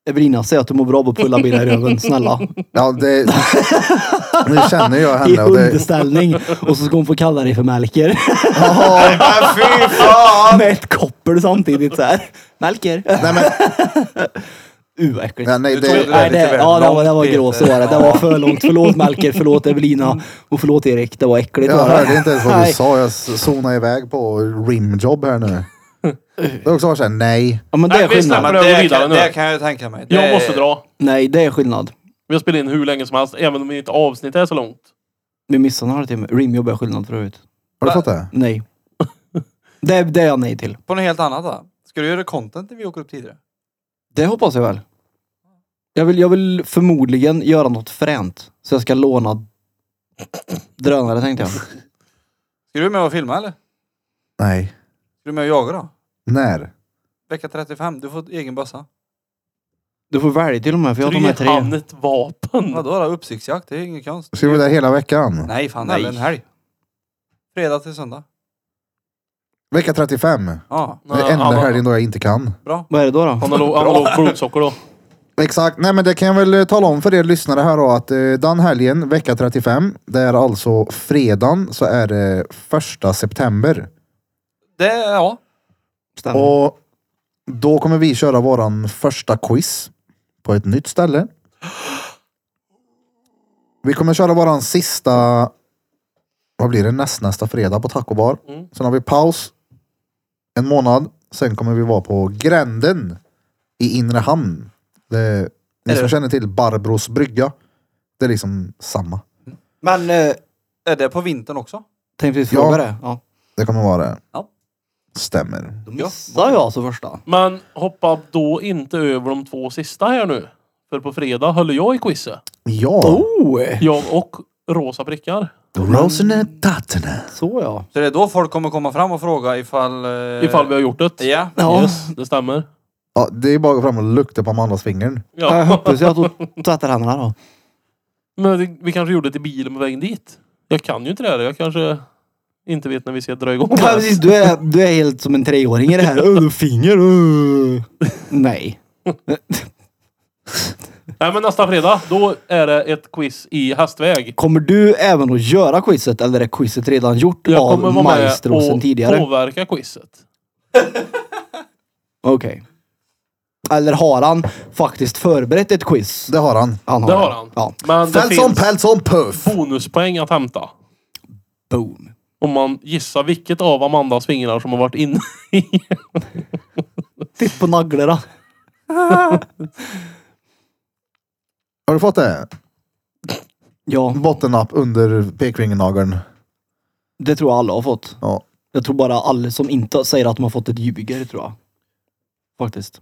B: Evelina, säg att du mår bra på att pulla bilar i
A: [laughs]
B: röven, snälla.
A: Ja, det... Nu känner jag
B: I
A: henne och det...
B: underställning. Och så ska hon få kalla dig för Melker.
A: Jaha.
D: Men fy
B: [laughs]
D: fan!
B: Med ett koppel samtidigt så här. Melker.
A: Nej, men,
B: Uh, vad äckligt.
A: ja, nej,
D: Du tog
A: det...
D: det
B: Nej,
D: lite
B: det,
D: väl
B: ja, det var, det
D: långt,
B: var
D: Peter.
B: grås det var det. Det var för långt. Förlåt Melker, förlåt Evelina och förlåt Erik. Det var äckligt.
A: Jag
B: var det.
A: hörde inte ens vad Mm. du
B: Nej.
A: sa. Jag zonade iväg på rimjobb här nu. Det har också varit såhär, nej.
B: Ja, men det
C: Nej,
B: är
C: vi
B: skillnad.
C: släpper
D: Men
C: Men jag går
D: det,
C: vidare
D: kan,
C: nu.
D: det kan jag ju tänka mig. Det
C: Jag
D: är-
C: måste dra.
B: Nej, det är skillnad.
C: Vi har spelat in hur länge som helst. Även om inte avsnittet är så långt.
B: Vi missar en halvtimme. Rimjobb är skillnad förut.
A: Har du fått det?
B: Nej. Det, det är jag nej till.
D: På något helt annat då? Ska du göra content när vi åker upp tidigare?
B: Det hoppas jag väl. Jag vill, jag vill förmodligen göra något fränt. Så jag ska låna drönare tänkte jag.
D: Ska du med och filma eller? Ska
A: Nej.
D: du med och jaga då?
A: När?
D: Vecka 35, du får egen bössa.
B: Du får välja till och med för jag tar med tre.
C: Trehannet vapen.
D: Vadå då? Uppsiktsjakt, det är ingen konst.
A: Ska vi vara där hela veckan?
D: Nej fan,
B: Nej.
D: Nej. en helg. Fredag till söndag.
A: Vecka 35.
D: Ja,
C: Mm.
A: Det är enda helgen då jag inte kan.
D: bra.
B: Vad är det då? då?
C: Analog, [laughs] analog blodsocker då.
A: Exakt. Nej men det kan jag väl eh, tala om för er lyssnare här då att eh, den helgen, vecka 35, det är alltså fredagen så är det första september.
D: Det, ja.
B: Stämmer.
A: Och då kommer vi köra våran första quiz på ett nytt ställe. Vi kommer köra våran sista, vad blir det, nästnästa fredag på Taco Bar.
C: Mm.
A: Sen har vi paus en månad. Sen kommer vi vara på Gränden i Inre Hamn. Det, ni
D: Är
A: som
D: det-
A: känner till Barbros brygga. Det är liksom samma.
B: Men eh,
D: Är det på vintern också?
B: tänkte precis
A: Ja.
B: fråga det. Ja.
A: Det kommer vara det.
D: Ja.
A: Stämmer.
B: Då missade jag så första.
C: Men hoppa då inte över de två sista här nu. För på fredag höll jag i quizet.
A: Ja.
B: Oh!
C: Jag och Rosa prickar.
A: Rosene Tatene.
B: Så ja.
D: Så det är då folk kommer komma fram och fråga ifall... eh,
C: Ifall vi har gjort det.
D: Ja.
B: ja.
C: Yes, det stämmer.
A: Ja, det är bara att gå fram och lukta på Amandas fingern.
B: Jag
C: Ja.
B: hoppas ju att hon tvättar händerna då.
C: Men det- vi kanske gjorde det i bilen på vägen dit. Jag kan ju inte det här. Jag kanske inte vet när vi ska dra igång. det
B: Ja,
C: här.
B: precis, du, är, du är helt som en treåring i det
C: [laughs]
B: här. Öh, finger. öh. Nej.
C: Nej men nästa fredag, då är det ett quiz i hästväg.
B: Kommer du även att göra quizet eller är quizet redan gjort
C: Jag kommer
B: av
C: vara med
B: maestro sen
C: och
B: tidigare?
C: påverka quizet.
B: Okej. Eller har han faktiskt förberett ett quiz?
A: Det har han.
B: Han
C: Det har han.
B: Ja.
C: Men det
A: Fältson,
C: finns
A: Pältson, Puff!
C: bonuspoäng att hämta.
B: Boom.
C: Om man gissar vilket av Amandas fingrar som har varit inne [laughs] i.
B: Titt på naglarna.
A: Har du fått det?
B: Ja,
A: Bottennapp under pekfingernageln.
B: det tror jag alla har fått.
A: Ja.
B: Jag tror bara alla som inte säger att de har fått ett ljugare tror jag. Faktiskt.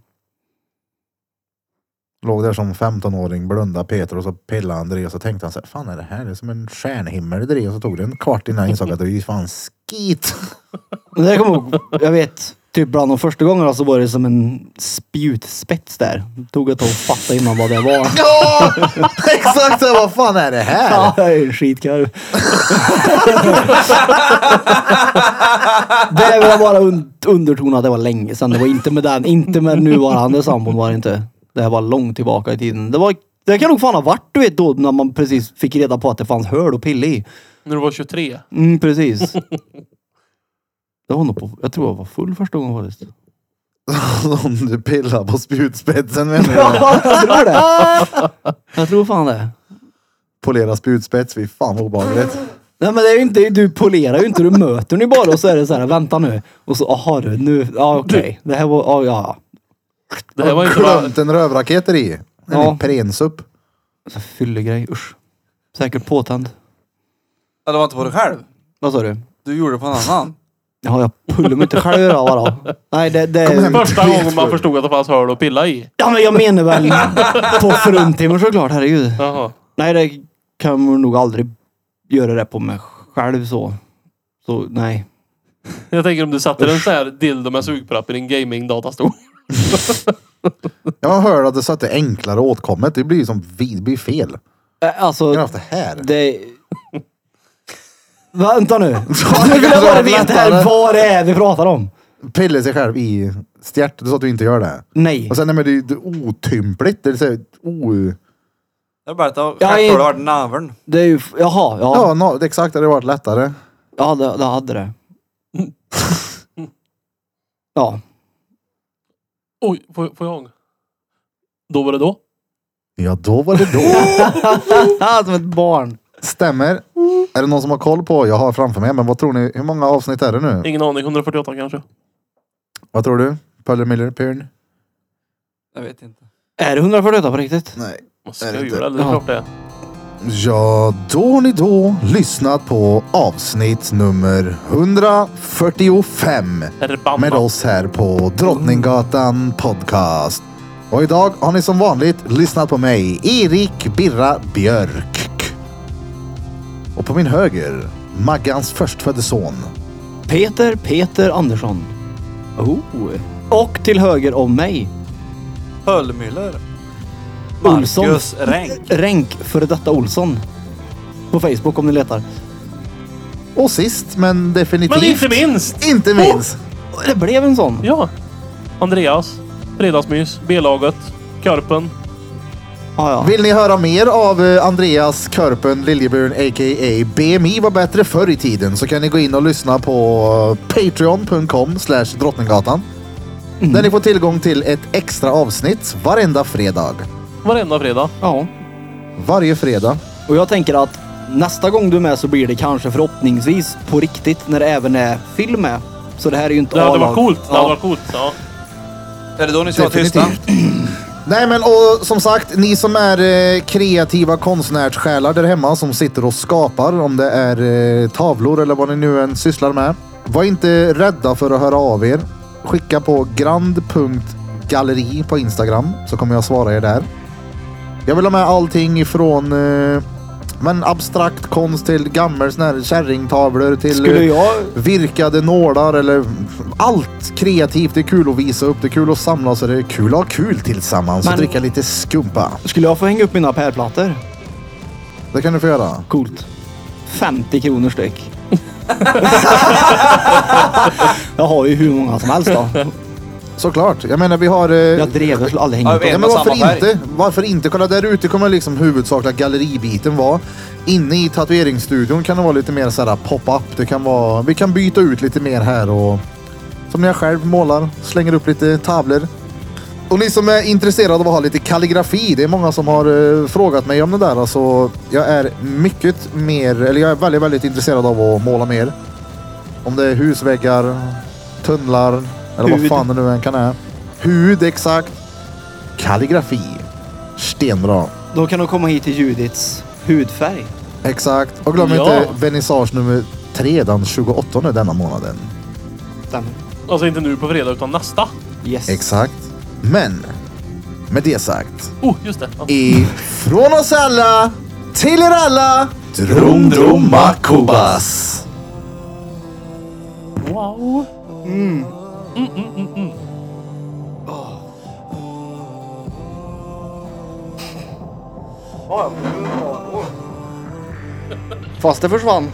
A: Låg där som 15-åring, blunda Peter och så pillade han det och så tänkte han så här, fan är det här? Det är som en stjärnhimmel det är." och så tog det en kvart innan jag insåg att det är ju fan skit. [laughs]
B: Men det kommer jag ihåg. Jag vet, typ bland de första gångerna så var det som en spjutspets där. Det tog ett tag att fatta innan vad det var.
A: Ja! Exakt så, här, vad fan är det
B: Ja,
A: här?
B: [laughs] det är en skitkarv. det vill jag bara un- undertona att det var länge sedan. Det var inte med den, inte med nuvarande sambon var det inte. Det här var långt tillbaka i tiden. Det, var, det kan nog fan ha varit du vet då när man precis fick reda på att det fanns hål och pilla i.
C: När du var 23.
B: Mm, precis. Det var nog på, jag tror jag var full första gången faktiskt.
A: Någon du pillar på spjutspetsen menar du?
B: Ja, jag tror det. Jag tror fan det.
A: Polera spjutspets, fy fan vad obehagligt.
B: Nej men det är ju inte, du polerar ju inte, du möter nu bara och så är det så här, vänta nu. Och så, aha du, nu, ja okej. Det här var, ja ja.
C: Det här var inte bara...
A: Klömt en rövrakater i. En
B: Ja.
A: ja. prensupp.
B: Så Fyllegrej, usch. Säkert påtänd.
D: Eller var inte på dig själv?
B: Vad sa du?
D: Du gjorde det på en annan.
B: Ja, jag pullar mig inte själv i röva då. Nej, det...
A: Kom
B: det
A: hem.
C: Första
A: Det är
C: gången man
A: svårt.
C: förstod att det fanns hål att pilla i.
B: ja, men jag menar väl på fruntimmer såklart, herregud.
C: Jaha.
B: Nej, det kan man nog aldrig göra det på mig själv så. Så nej.
C: Jag tänker om du satte en sån här dildo med sugpropp i din gaming-datastol.
A: Jag hörde att det satte enklare åtkommet. Det blir ju som vi- det blir fel.
B: Eh, Alltså,
A: Jag har haft det
B: [laughs]
A: här.
B: det... Vänta nu. Nu vill jag bara
A: [laughs]
B: veta här vad det är vi pratar om.
A: Pilla sig själv i stjärt. Du sa att du inte gör det.
B: Nej.
A: Och sen nej, men det är ju det är otympligt. Det är så här, o...
D: Jag bara att
B: Ja,
D: stjärthålet
B: i-
D: har varit naveln.
B: Det är ju... Jaha, ja.
A: Ja, no, exakt. Det hade varit lättare.
B: Ja, det, det hade det. Ja.
C: Oj, får, får jag? Då var det då.
A: Ja, då var det
B: [laughs]
A: då.
B: Ah, som ett barn.
A: Stämmer. Är det någon som har koll på? Jag har framför mig, men vad tror ni? Hur många avsnitt är det nu?
C: Ingen aning, 148 kanske.
A: Vad tror du? Pöller Miller Pyrn?
D: Jag vet inte.
B: Är det 148 på riktigt?
A: Nej.
C: Man
A: Är det
C: skojar
A: inte?
C: eller? Det är
B: Ja.
C: klart det är.
A: Ja, då har ni då lyssnat på avsnitt nummer 145
C: Är det bamma?
A: med oss här på Drottninggatan Podcast. Och idag har ni som vanligt lyssnat på mig, Erik Birra Björk. Och på min höger, Maggans förstfödde son.
B: Peter Peter Andersson. Oh. Och till höger om mig,
D: Höllmüller.
B: Olsson.
D: Marcus Renk.
B: Renk före detta Olsson. På Facebook om ni letar.
A: Och sist men definitivt
C: Men inte minst!
A: Inte minst.
B: Och Det blev en sån.
C: Ja. Andreas. Fredagsmys. B-laget. Körpen.
B: Ja, ja.
A: Vill ni höra mer av eh, Andreas Körpen Liljebrun a.k.a. BMI var bättre förr i tiden så kan ni gå in och lyssna på eh, patreon.com slash drottninggatan.
C: Mm.
A: Där ni får tillgång till ett extra avsnitt varenda fredag.
C: Varenda fredag.
B: ja.
A: Varje fredag.
B: Och jag tänker att nästa gång du är med så blir det kanske förhoppningsvis på riktigt när det även är film med. Så det här är ju inte
C: Det hade
B: A-lag.
C: varit coolt. Det hade
B: Ja.
C: varit coolt. Ja.
D: Är det då ni ska vara tysta?
A: Nej men och som sagt, ni som är eh, kreativa konstnärssjälar där hemma som sitter och skapar, om det är eh, tavlor eller vad ni nu än sysslar med. Var inte rädda för att höra av er. Skicka på grand.galleri på Instagram så kommer jag svara er där. Jag vill ha med allting ifrån eh, men abstrakt konst till gammel sån här kärringtavlor till...
B: Skulle jag...
A: Virkade nålar eller allt kreativt. Det är kul att visa upp, det är kul att samlas och det är kul att ha kul tillsammans och
B: Men-
A: dricka lite skumpa.
B: Skulle jag få hänga upp mina pärlplattor?
A: Det kan du få göra.
B: Coolt. 50 kronor styck. [laughs] jag har ju hur många som helst då.
A: Såklart. Jag menar vi har... Eh,
B: Jag drev, jag skulle aldrig hänga
D: Ja,
B: upp
D: jag
A: ja,
B: dem.
A: men
D: med
A: varför
D: samma färg.
A: inte? Varför inte? Kolla där ute kommer liksom huvudsakliga galleribiten vara. Inne i tatueringsstudion kan det vara lite mer såhär pop-up. Det kan vara... Vi kan byta ut lite mer här och... Som när jag själv målar, slänger upp lite tavlor. Och ni som är intresserade av att ha lite kalligrafi, det är många som har eh, frågat mig om det där. Alltså, jag är mycket mer, eller jag är väldigt, väldigt intresserad av att måla mer. Om det är husväggar, tunnlar eller
B: Hud.
A: vad fan det nu än kan är. Hud, exakt. Kalligrafi. Stenbra.
B: Då kan du komma hit till Judits hudfärg.
A: Exakt. Och glöm
C: Ja.
A: inte vernissage nummer tre den 28 nu denna månaden.
B: Stämmer.
C: Alltså inte nu på fredag utan nästa.
B: Yes.
A: Exakt. Men, med det sagt.
C: Oh, just det. Ja.
A: Ifrån oss alla, till er alla. Drum drum makubas.
C: Wow.
B: Fast det försvann.